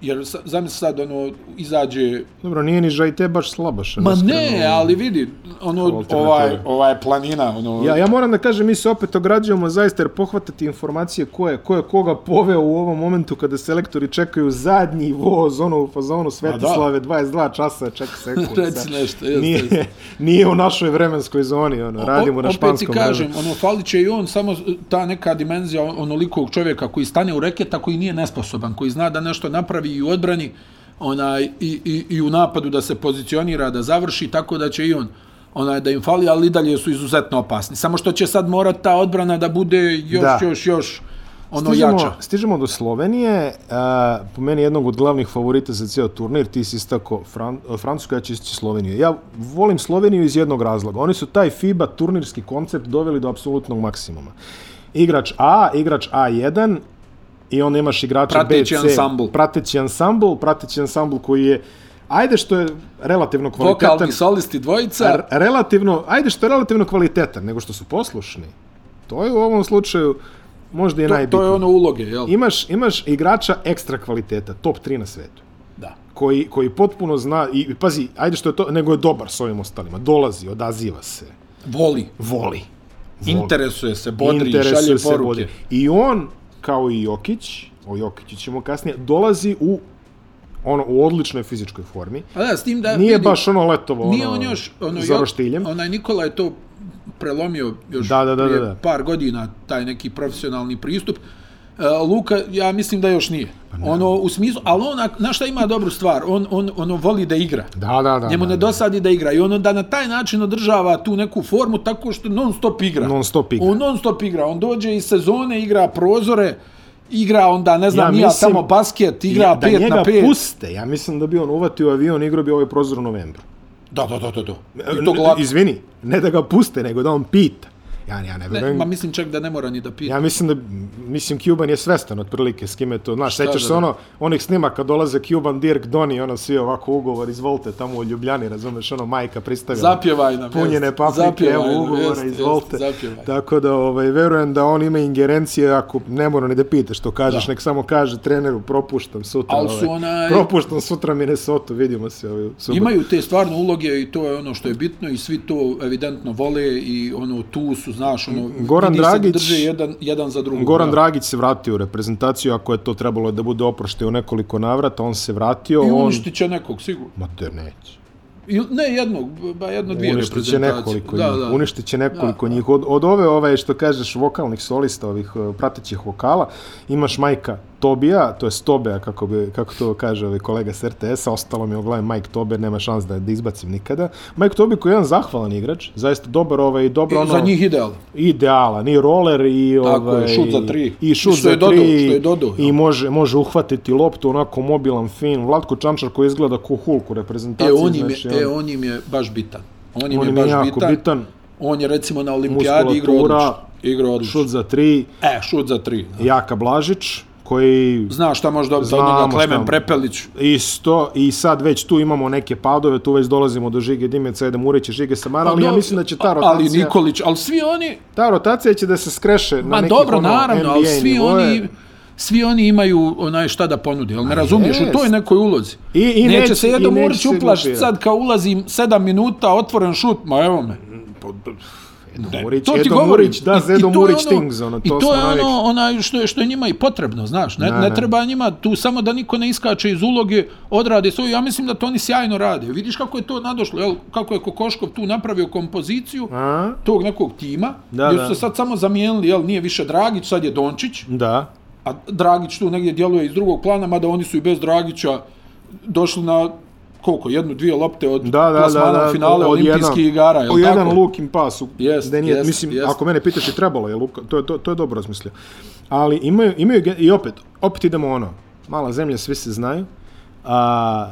S2: jer sa- zamisli sad, ono, izađe...
S1: Dobro, nije ni Žajte baš slabaše.
S2: Ma
S1: iskreno.
S2: ne, ali vidi, ono,
S1: Alternativa.
S2: ovaj, ovaj planina, ono...
S1: Ja, ja moram da kažem, mi se opet ograđujemo zaista jer pohvatati informacije ko je, ko je koga poveo u ovom momentu kada selektori čekaju zadnji voz, ono u fazonu Svetislave, 22 časa, čeka sekund.
S2: Reci nešto, jeste, jeste.
S1: Nije, nije u našoj vremenskoj zoni, ono, radimo
S2: O-
S1: na španskom
S2: Opet ti kažem,
S1: vremenu.
S2: ono, falit će i on samo e, ta neka dimenzija on- onolikog čovjeka koji stane u reketa, koji nije nesposoban, koji zna da nešto napravi i u odbrani, onaj, i, i, i u napadu da se pozicionira, da završi, tako da će i on onaj da im fali, ali i dalje su izuzetno opasni. Samo što će sad morat ta odbrana da bude još,
S1: Da.
S2: još, još ono
S1: Stižemo,
S2: jača.
S1: stižemo do Slovenije, a, po meni jednog od glavnih favorita za cijel turnir, ti si istako Fran, e, Francusku, ja ću istići Sloveniju. Ja volim Sloveniju iz jednog razloga. Oni su taj FIBA turnirski koncept doveli do apsolutnog maksimuma. Igrač A, igrač A1 i onda imaš igrača
S2: Prateći
S1: B, C.
S2: ansambl.
S1: Prateći ansambl, prateći ansambl koji je ajde što je relativno kvalitetan.
S2: Vokalni solisti dvojica,
S1: R- relativno, ajde što je relativno kvalitetan, nego što su poslušni. To je u ovom slučaju možda i
S2: to je
S1: najbitnije
S2: ono uloge, jel?
S1: imaš, imaš igrača ekstra kvaliteta, top 3 na svetu,
S2: Da.
S1: koji, koji potpuno zna, i i pazi, ajde što je to, nego je dobar s ovim ostalima, dolazi, odaziva se,
S2: Voli,
S1: voli. Voli.
S2: interesuje se, bodri,
S1: Interesuje
S2: šalje
S1: se,
S2: poruke.
S1: bodri. I on, kao i Jokić, o Jokiću ćemo kasnije, dolazi u ono u odličnoj fizičkoj formi.
S2: A da, s tim da
S1: Nije
S2: vidi,
S1: baš ono letovo
S2: Nije
S1: ono,
S2: on još, ono,
S1: za
S2: jo-
S1: roštiljem.
S2: onaj Nikola je to prelomio još
S1: Da, da, da,
S2: prije
S1: da, da.
S2: par godina, taj neki profesionalni pristup. E, Luka, ja mislim da još nije.
S1: Pa
S2: Ono, u smislu, ali on, ak- znaš šta ima dobru stvar? On, on ono, voli da igra.
S1: Da, da, da.
S2: Njemu
S1: da,
S2: ne dosadi da igra i ono da na taj način održava tu neku formu tako što non stop igra.
S1: Non stop igra.
S2: On non stop igra. On dođe iz sezone, igra prozore, igra onda, ne znam,
S1: Ja
S2: ja, ja
S1: mislim
S2: tamo basket, igra
S1: da
S2: 5
S1: njega
S2: na 5.
S1: puste. Ja mislim da bi on uvatio avion, igrao bi ovaj prozor u novembru.
S2: Da, da, da, da, da. I to
S1: Ne,
S2: glavno.
S1: Izvini, ne da ga puste, nego da on pita. Ja, ja ne
S2: Ne,
S1: verujem.
S2: ma mislim čak da ne mora ni da pita.
S1: Ja mislim da, mislim, Cuban je svestan otprilike s kime to, znaš, sećaš
S2: da,
S1: se
S2: da?
S1: ono, onih snimaka dolaze Cuban, Dirk, Doni, ono svi ovako ugovor, izvolite, tamo u Ljubljani, razumeš, ono, majka pristavila.
S2: Zapjevaj nam.
S1: Punjene
S2: jest.
S1: paprike,
S2: Zapjevaj nam,
S1: evo ugovora,
S2: jest, jest,
S1: izvolite.
S2: zapjevaj.
S1: Tako da, ovaj, verujem da on ima ingerencije, ako ne mora ni da pita što kažeš,
S2: Da.
S1: nek samo kaže treneru, propuštam sutra. ovaj,
S2: Al su onaj-
S1: Propuštam sutra Minnesota, vidimo se ovaj, super.
S2: Imaju te stvarno uloge i to je ono što je bitno i svi to evidentno vole i ono tu su, znaš, ono,
S1: Goran
S2: vidi se da
S1: Dragić-
S2: drže jedan, jedan za drugog.
S1: Goran
S2: da.
S1: Dragić se vratio u reprezentaciju, ako je to trebalo da bude oprošte u nekoliko navrata, on se vratio,
S2: I
S1: on...
S2: uništit će nekog, sigurno.
S1: Ma te neće.
S2: I, ne jednog, ba jedno dvije
S1: Uništit će
S2: reprezentacije.
S1: nekoliko
S2: da,
S1: njih.
S2: da.
S1: Uništit će nekoliko
S2: Da.
S1: njih. Od, od ove, ove, što kažeš, vokalnih solista, ovih e, pratećih vokala, imaš majka Tobija, to je Tobea, kako, bi, kako to kaže ovaj kolega s RTS-a, ostalo mi je u glavi Mike Tobe, nema šans da, da izbacim nikada. Mike Tobi koji je jedan zahvalan igrač, zaista dobar ovaj, dobro
S2: I,
S1: ono...
S2: E, za njih idealno.
S1: idealan i roller i
S2: Tako je,
S1: ovaj
S2: šut za tri.
S1: i šut
S2: I što
S1: za
S2: je dodao,
S1: tri
S2: što je dodao,
S1: i
S2: jel?
S1: može može uhvatiti loptu onako mobilan fin Vlatko Čančar koji izgleda kao Hulk u reprezentaciji
S2: E on, im je,
S1: znači,
S2: e, on im je baš bitan. On im
S1: on
S2: je
S1: im je
S2: baš
S1: jako
S2: bitan.
S1: bitan.
S2: On je recimo na olimpijadi igrao
S1: Muskulatura,
S2: odlično. Igrao odlično.
S1: šut za tri
S2: E, šut za tri. da.
S1: Jaka Blažić koji
S2: Zna šta može dobiti od
S1: Znamo
S2: njega
S1: šta
S2: Klemen
S1: mu-
S2: Prepelić.
S1: isto i sad već tu imamo neke padove tu već dolazimo do Žige Dimeca Edem Urića Žige Samara ali ja
S2: do-
S1: mislim da će ta
S2: Pa
S1: rotacija
S2: Ali Nikolić, ali svi oni,
S1: ta rotacija će da se skreše na
S2: ma
S1: nekih
S2: dobro,
S1: ono
S2: naravno,
S1: NBA
S2: ali svi
S1: nivoe.
S2: oni, svi oni imaju onaj šta da ponude, jel me razumiješ?
S1: jest.
S2: U toj nekoj ulozi.
S1: I- i
S2: neće,
S1: neće-
S2: se
S1: i
S2: jednom
S1: neće
S2: Murić
S1: se
S2: uplaš
S1: glupirati.
S2: sad kao ulazim 7 minuta, otvoren šut, ma evo me.
S1: Edo Murić,
S2: to ti
S1: Edo
S2: govorim.
S1: Murić, da,
S2: I- i
S1: Edo
S2: to je
S1: Murić Things, ono, to,
S2: I to
S1: smo
S2: je
S1: navikli.
S2: ono, onaj što je, što je njima i potrebno, znaš, ne,
S1: Da,
S2: ne,
S1: da.
S2: treba njima tu samo da niko ne iskače iz uloge, odrade svoju, ja mislim da to oni sjajno rade. Vidiš kako je to nadošlo, jel, kako je Kokoškov tu napravio kompoziciju
S1: A?
S2: tog nekog tima,
S1: Da,
S2: gdje
S1: da.
S2: su se sad samo zamijenili, jel, nije više Dragić, sad je Dončić,
S1: Da.
S2: a Dragić tu negdje djeluje iz drugog plana, mada oni su i bez Dragića došli na koliko, jednu, dvije lopte od
S1: Da, da,
S2: plasmana
S1: da, da,
S2: u finale
S1: od
S2: olimpijskih
S1: jedan-
S2: igara, jel
S1: O jedan
S2: tako?
S1: lukim pas. u-
S2: Jest,
S1: da nije,
S2: jest,
S1: mislim,
S2: jest.
S1: ako mene pitaš i trebalo je Luka, to, je- to, to je dobro razmislio. Ali imaju, imaju, ge- i opet, opet idemo ono, mala zemlja, svi se znaju, a,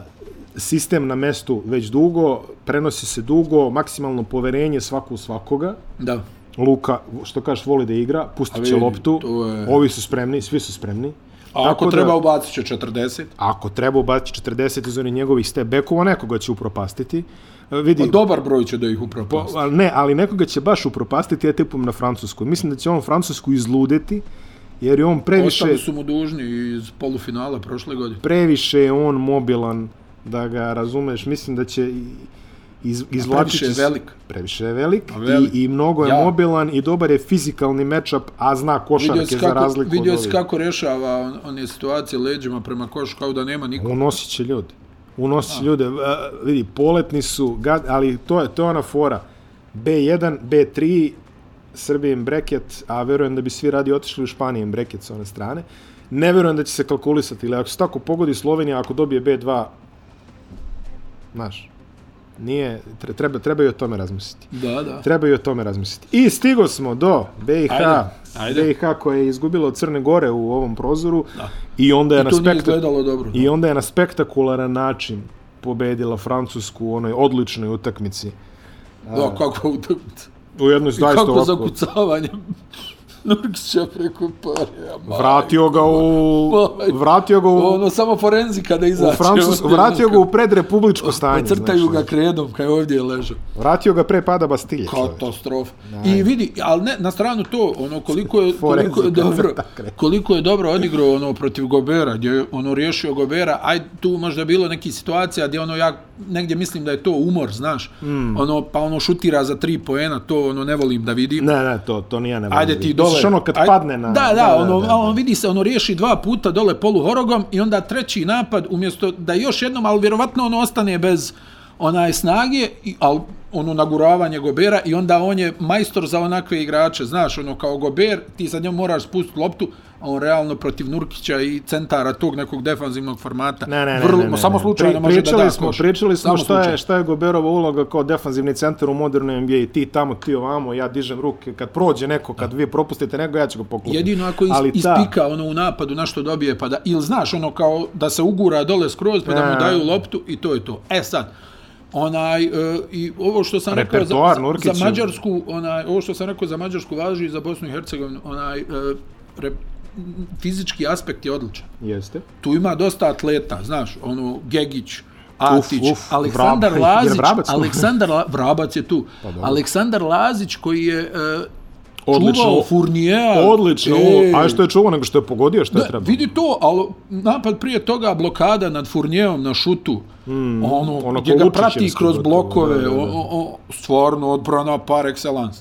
S1: sistem na mestu već dugo, prenosi se dugo, maksimalno poverenje svaku u svakoga,
S2: Da.
S1: Luka, što kažeš, voli da igra, pustit će
S2: A vidi,
S1: loptu,
S2: to je-
S1: ovi su spremni, svi su spremni.
S2: A Pa ako treba ubacit će 40.
S1: Ako treba ubaciti 40 iz onih njegovih step-backova, nekoga će upropastiti. E, Vidi,
S2: Pa dobar broj će da ih upravo
S1: Pa, ali ne, ali nekoga će baš upropastiti, ja tipujem na Francusku. Mislim da će on Francusku izludeti, jer je on previše,
S2: Ostali su mu dužni iz polufinala prošle godine.
S1: previše je on mobilan, da ga razumeš. Mislim da će i- iz, izvlačiti...
S2: previše je
S1: s-
S2: velik.
S1: Previše je velik,
S2: A velik.
S1: I, i mnogo je
S2: Ja.
S1: mobilan i dobar je fizikalni matchup, a zna
S2: Vidio
S1: košarke
S2: si
S1: za
S2: kako,
S1: razliku
S2: vidio
S1: od
S2: si
S1: ovih.
S2: kako rješava on, one situacije leđima prema košu kao da nema nikog.
S1: Unosit će ljudi. Unosit će ljude. E, vidi, poletni su, gad, ali to je, to je ona fora. B1, B3, Srbijim breket, a verujem da bi svi radi otišli u Španijem breket sa one strane. Ne verujem da će se kalkulisati, ili ako se tako pogodi Slovenija, ako dobije B2, znaš, nije, tre- treba, treba i o tome razmisliti.
S2: Da, da.
S1: Treba i o tome razmisliti. I stigo smo do BiH,
S2: Ajde, ajde.
S1: BiH koja je izgubila od Crne Gore u ovom prozoru i onda je na
S2: To nije
S1: spektakl-
S2: izgledalo dobro.
S1: I onda je na spektakularan način pobedila Francusku u onoj odličnoj utakmici.
S2: Da, kako utakmica.
S1: U jednoj zaista
S2: Kako
S1: ovako.
S2: zakucavanje Nurkića preko pare. a majko.
S1: Vratio ga u...
S2: Majko.
S1: Vratio ga u...
S2: Ovaj. Ono, samo forenzika da
S1: u
S2: izače.
S1: Francus,
S2: Ono,
S1: vratio ga u predrepubličko stanje.
S2: Ocrtaju
S1: znaš,
S2: Ovaj, ga
S1: ono.
S2: kredom kad je ovdje ležao.
S1: Vratio ga pre pada Bastilje. čovječe.
S2: Katastrofa. I vidi, ali ne, na stranu to, ono koliko je, koliko
S1: Forenzika,
S2: je dobro,
S1: crta kreta.
S2: koliko je dobro odigrao ono protiv Gobera, gdje je ono riješio Gobera, aj tu možda bilo neki situacija gdje ono ja negdje mislim da je to umor, znaš, mm. ono pa ono šutira za tri poena, to ono ne volim da vidim.
S1: Ne, ne, to, to nije nemoguće.
S2: Ajde ti dole.
S1: Misliš ono kad
S2: Ajde-
S1: padne na...
S2: Da, da, ono, on vidi se, ono riješi dva puta dole poluhorogom i onda treći napad, umjesto da još jednom, ali vjerovatno ono ostane bez onaj snage, i, ali ono naguravanje Gobera i onda on je majstor za onakve igrače, znaš, ono kao Gober, ti sad njom moraš spustiti loptu, a on realno protiv Nurkića i centara tog nekog defanzivnog formata.
S1: Ne, ne, ne,
S2: vrlo,
S1: ne, ne,
S2: samo
S1: ne.
S2: slučajno
S1: Pri-
S2: može da
S1: pričali
S2: da
S1: smo,
S2: koš.
S1: Pričali smo
S2: Samo
S1: šta
S2: slučajno.
S1: je, šta je Goberova uloga kao defanzivni centar u modernoj NBA. I Ti tamo, ti ovamo, ja dižem ruke. Kad prođe neko, kad vi propustite nego, ja ću ga poklopiti.
S2: Jedino ako iz, ispika ono u napadu na što dobije pa da ili znaš ono kao da se ugura dole skroz pa da
S1: Ne.
S2: mu daju loptu i to je to. E sad onaj e, i ovo što sam rekao za,
S1: Repertoar
S2: za,
S1: Nurkićev.
S2: za Mađarsku onaj ovo što sam rekao za Mađarsku važi i za Bosnu i Hercegovinu onaj e, re, m, fizički aspekt je odličan.
S1: Jeste.
S2: Tu ima dosta atleta, znaš, ono Gegić, Atić,
S1: Uf, uf,
S2: Aleksandar
S1: Vrab-
S2: Lazić,
S1: je Vrabac tu? Pa
S2: Aleksandar La, Vrabac je tu.
S1: dobro.
S2: Aleksandar Lazić koji je e,
S1: Odlično.
S2: čuvao Furnijea.
S1: Odlično.
S2: Ej.
S1: E... A što je čuo nego što je pogodio, što je
S2: Da,
S1: trebao.
S2: vidi to, ali napad prije toga blokada nad Furnijevom na šutu, mm, ono,
S1: ono
S2: ono gdje ga
S1: Kolučićevski
S2: prati kroz
S1: gotovo,
S2: blokove,
S1: da, da, da.
S2: O, o, o, stvarno odbrana par excellence.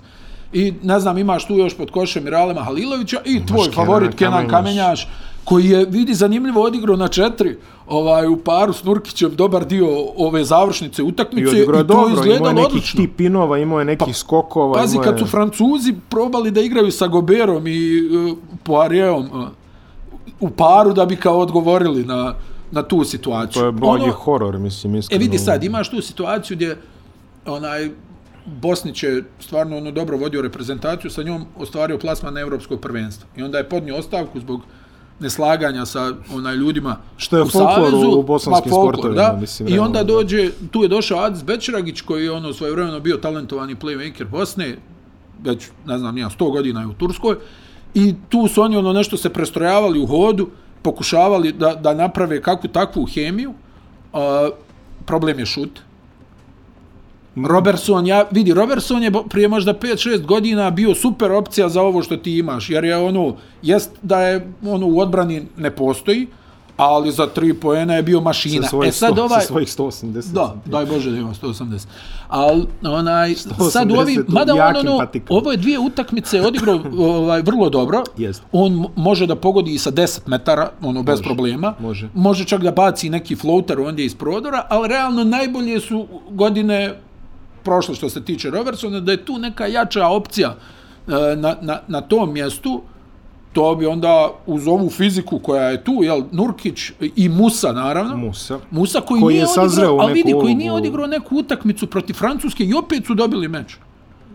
S2: I ne znam, imaš tu još pod košem Miralema Halilovića i tvoj
S1: Kenana
S2: favorit Kenan
S1: Kamenjaš.
S2: Kamenjaš, koji je, vidi, zanimljivo odigrao na četiri ovaj, u paru s Nurkićem dobar dio ove završnice
S1: I
S2: utakmice i,
S1: odigrao
S2: to
S1: je dobro, imao je
S2: izgledalo
S1: nekih
S2: odlično. Pa,
S1: tipinova, imao je nekih skokova.
S2: Pazi,
S1: imao je...
S2: kad su Francuzi probali da igraju sa Goberom i uh, Poirijevom uh, u paru da bi kao odgovorili na, na tu situaciju.
S1: To je blagi ono... horor, mislim,
S2: E
S1: iskreno.
S2: vidi sad, imaš tu situaciju gdje onaj Bosnić je stvarno ono dobro vodio reprezentaciju, sa njom ostvario plasman na evropsko prvenstvo. I onda je podnio ostavku zbog neslaganja sa onaj ljudima
S1: Što je
S2: u
S1: folklor
S2: savezu,
S1: u bosanskim
S2: pa folklor,
S1: sportovima,
S2: da.
S1: mislim,
S2: I
S1: realno,
S2: onda
S1: da.
S2: dođe, tu je došao Adis Bečeragić koji je ono svojevremeno bio talentovani playmaker Bosne, već ne znam nija 100 godina je u Turskoj i tu su oni ono nešto se prestrojavali u hodu, pokušavali da, da naprave kakvu takvu hemiju. A, problem je šut. Robertson, ja, vidi, Robertson je bo- prije možda 5-6 godina bio super opcija za ovo što ti imaš, jer je ono, jest da je ono u odbrani ne postoji, ali za 3 poena je bio mašina.
S1: Sa svojih,
S2: E sad
S1: 100,
S2: ovaj...
S1: sa svojih 180.
S2: Da, daj Bože da ima 180. Ali onaj, sad u
S1: 180
S2: ovim,
S1: u
S2: mada on,
S1: jakim
S2: ono,
S1: patikama.
S2: ovo je dvije utakmice odigrao ovaj, vrlo dobro.
S1: Jest.
S2: On mo- može da pogodi i sa 10 metara, ono, bez problema.
S1: može.
S2: Može čak da baci neki floater ondje iz prodora, ali realno najbolje su godine prošle što se tiče Robertsona, da je tu neka jača opcija e, na, na, na tom mjestu, to bi onda uz ovu fiziku koja je tu, jel, Nurkić i Musa naravno,
S1: Musa.
S2: Musa koji,
S1: Koji
S2: nije
S1: je sazreo
S2: odigrao,
S1: u
S2: ali vidi,
S1: neku
S2: koji
S1: ulogu.
S2: nije odigrao neku utakmicu protiv Francuske i opet su dobili meč.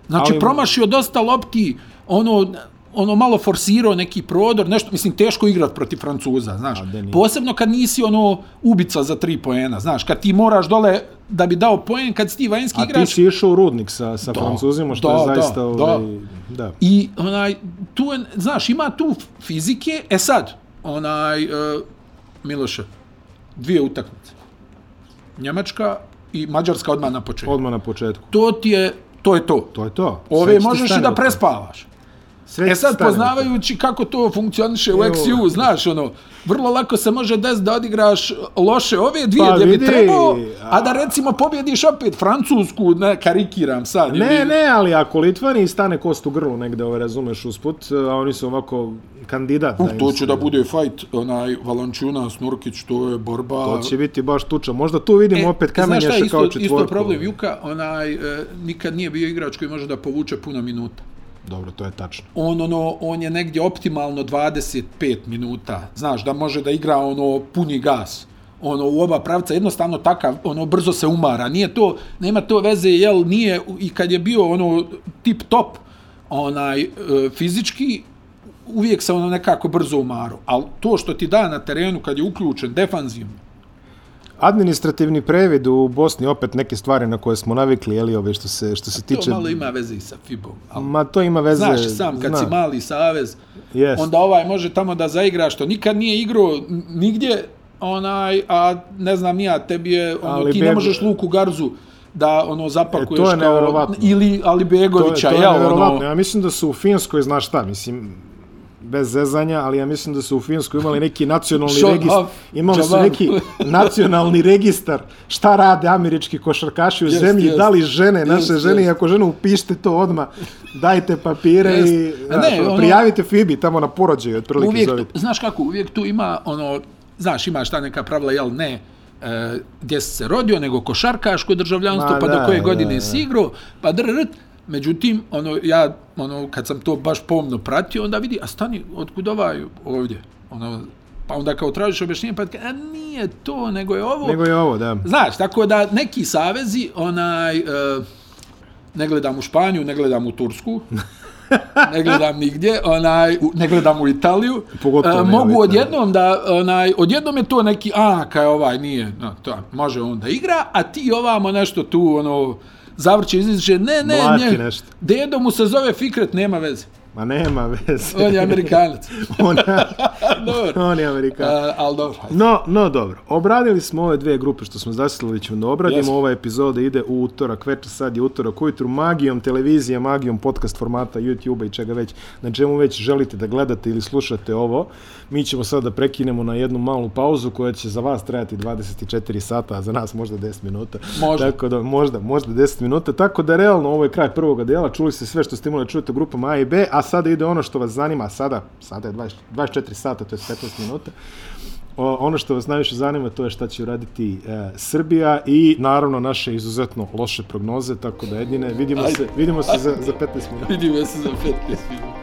S2: Znači,
S1: Ali-
S2: ali... promašio dosta lopti, ono, ono malo forsirao neki prodor, nešto, mislim, teško igrat protiv Francuza, znaš.
S1: A, da nije.
S2: Posebno kad nisi ono ubica za tri poena, znaš, kad ti moraš dole da bi dao poen, kad si ti vanjski
S1: A ti
S2: igrač,
S1: si išao u rudnik sa, sa Francuzima, što
S2: da,
S1: je
S2: da,
S1: zaista...
S2: da.
S1: ovaj, da.
S2: I onaj tu je, znaš, ima tu fizike. E sad, onaj e, Miloše, dvije utakmice. Njemačka i Mađarska odmah na početku.
S1: Odmah na početku.
S2: To ti je to je to.
S1: To je to.
S2: Ove
S1: Sreći ti
S2: možeš i
S1: stane
S2: da
S1: u to.
S2: prespavaš.
S1: Sreći
S2: E
S1: ti
S2: sad
S1: stane u to.
S2: poznavajući kako to funkcioniše u
S1: Evo.
S2: XU, znaš, ono, vrlo lako se može desiti da odigraš loše ove dvije
S1: Pa
S2: gdje bi
S1: vidi,
S2: trebao,
S1: a-
S2: a da recimo pobjediš opet Francusku, ne, karikiram sad.
S1: Ne,
S2: ili-
S1: ne, ali ako Litvani stane kost u grlu negde, ove, razumeš, usput, a oni su ovako kandidat.
S2: Uh,
S1: im
S2: to
S1: se-
S2: će da bude fight, onaj Valančunas, Nurkić, to je borba. E,
S1: To će biti baš tuča. Možda tu vidimo opet kamenjaša
S2: znaš šta,
S1: kao
S2: isto,
S1: četvorku.
S2: Isto problem Juka, onaj, e, nikad nije bio igrač koji može da povuče puno minuta.
S1: Dobro, to je tačno.
S2: On, ono, on je negdje optimalno 25 minuta, znaš, da može da igra ono puni gas ono u oba pravca jednostavno takav ono brzo se umara nije to nema to veze jel nije i kad je bio ono tip top onaj e, fizički uvijek se ono nekako brzo umaro al to što ti da na terenu kad je uključen defanzivno
S1: Administrativni previd u Bosni, opet neke stvari na koje smo navikli, jeli ove što se, što se
S2: To
S1: tiče...
S2: malo ima veze i sa FIBom. Ali,
S1: Ma to ima veze...
S2: znaš i sam, kad
S1: zna.
S2: si mali savez,
S1: Jest.
S2: onda ovaj može tamo da zaigra što nikad nije igrao n- nigdje, onaj, a ne znam nija, tebi je, ono,
S1: Ali
S2: ti
S1: Bego-
S2: ne možeš Luku Garzu da ono zapakuješ
S1: je nevjerovatno.
S2: ili Ali Begovića,
S1: to je, to
S2: jel,
S1: je nevjerovatno.
S2: ono,
S1: Ja mislim da su u Finskoj, znaš šta, mislim, bez zezanja, ali ja mislim da su u Finskoj imali neki nacionalni
S2: Shut
S1: registar.
S2: up,
S1: Imali su
S2: Javan.
S1: neki nacionalni registar šta rade američki košarkaši u
S2: Jest,
S1: zemlji,
S2: jest.
S1: da li žene, naše
S2: Jest,
S1: žene, i
S2: jest.
S1: ako žene upište to odma, dajte papire
S2: Jest.
S1: i
S2: A
S1: znaš,
S2: ne,
S1: ono,
S2: ono-
S1: prijavite Fibi tamo na porođaju, otprilike
S2: uvijek, tu,
S1: zovite.
S2: znaš kako, uvijek tu ima, ono, znaš, imaš ta neka pravila, jel, ne, e, gdje si se rodio, nego košarkaško državljanstvo,
S1: Ma
S2: pa
S1: da,
S2: do koje
S1: da,
S2: godine
S1: da.
S2: si igrao, pa drrt, međutim, ono, ja, ono, kad sam to baš pomno pratio, onda vidi, a stani, otkud ovaj ovdje, ono, pa onda kao tražiš objašnjenje, pa ka- a nije to, nego je ovo,
S1: Nego je ovo, da.
S2: Znaš, tako da neki savezi, onaj, e, ne gledam u Španiju, ne gledam u Tursku, ne gledam nigdje, onaj, u, ne gledam u Italiju. E,
S1: Pogotovo ne u
S2: mogu
S1: Italiju.
S2: odjednom da, onaj, odjednom je to neki, a, kaj ovaj nije, no, to, može on da igra, a ti ovamo nešto tu, ono, zavrće, izliče, ne, ne,
S1: Mlati
S2: ne,
S1: nešto.
S2: dedo mu se zove Fikret, nema veze,
S1: Ma nema veze.
S2: on je Amerikanac.
S1: on,
S2: dobro,
S1: on je Amerikan.
S2: e, ali dobro,
S1: No, no dobro. Obradili smo ove dve grupe što smo zasilili ćemo da obradimo.
S2: Jesmo.
S1: Ova epizoda ide u utorak večer, sad je utorak ujutru magijom televizije, magijom podcast formata YouTube-a i čega već, na čemu već želite da gledate ili slušate ovo. Mi ćemo sad da prekinemo na jednu malu pauzu koja će za vas trajati 24 sata, a za nas možda 10 minuta.
S2: Možda.
S1: Tako da, možda, možda 10 minuta. Tako da, realno, ovo je kraj prvoga dela. Čuli ste sve što ste imali da čujete u grupama A i B, a sada ide ono što vas zanima. A Sada, sada je 20, 24 sata, to je 15 minuta. O, ono što vas najviše zanima to je šta će uraditi e, Srbija i naravno naše izuzetno loše prognoze, tako da jedine vidimo
S2: Ajde.
S1: se vidimo se za za 15 minuta.
S2: vidimo se za 15 minuta.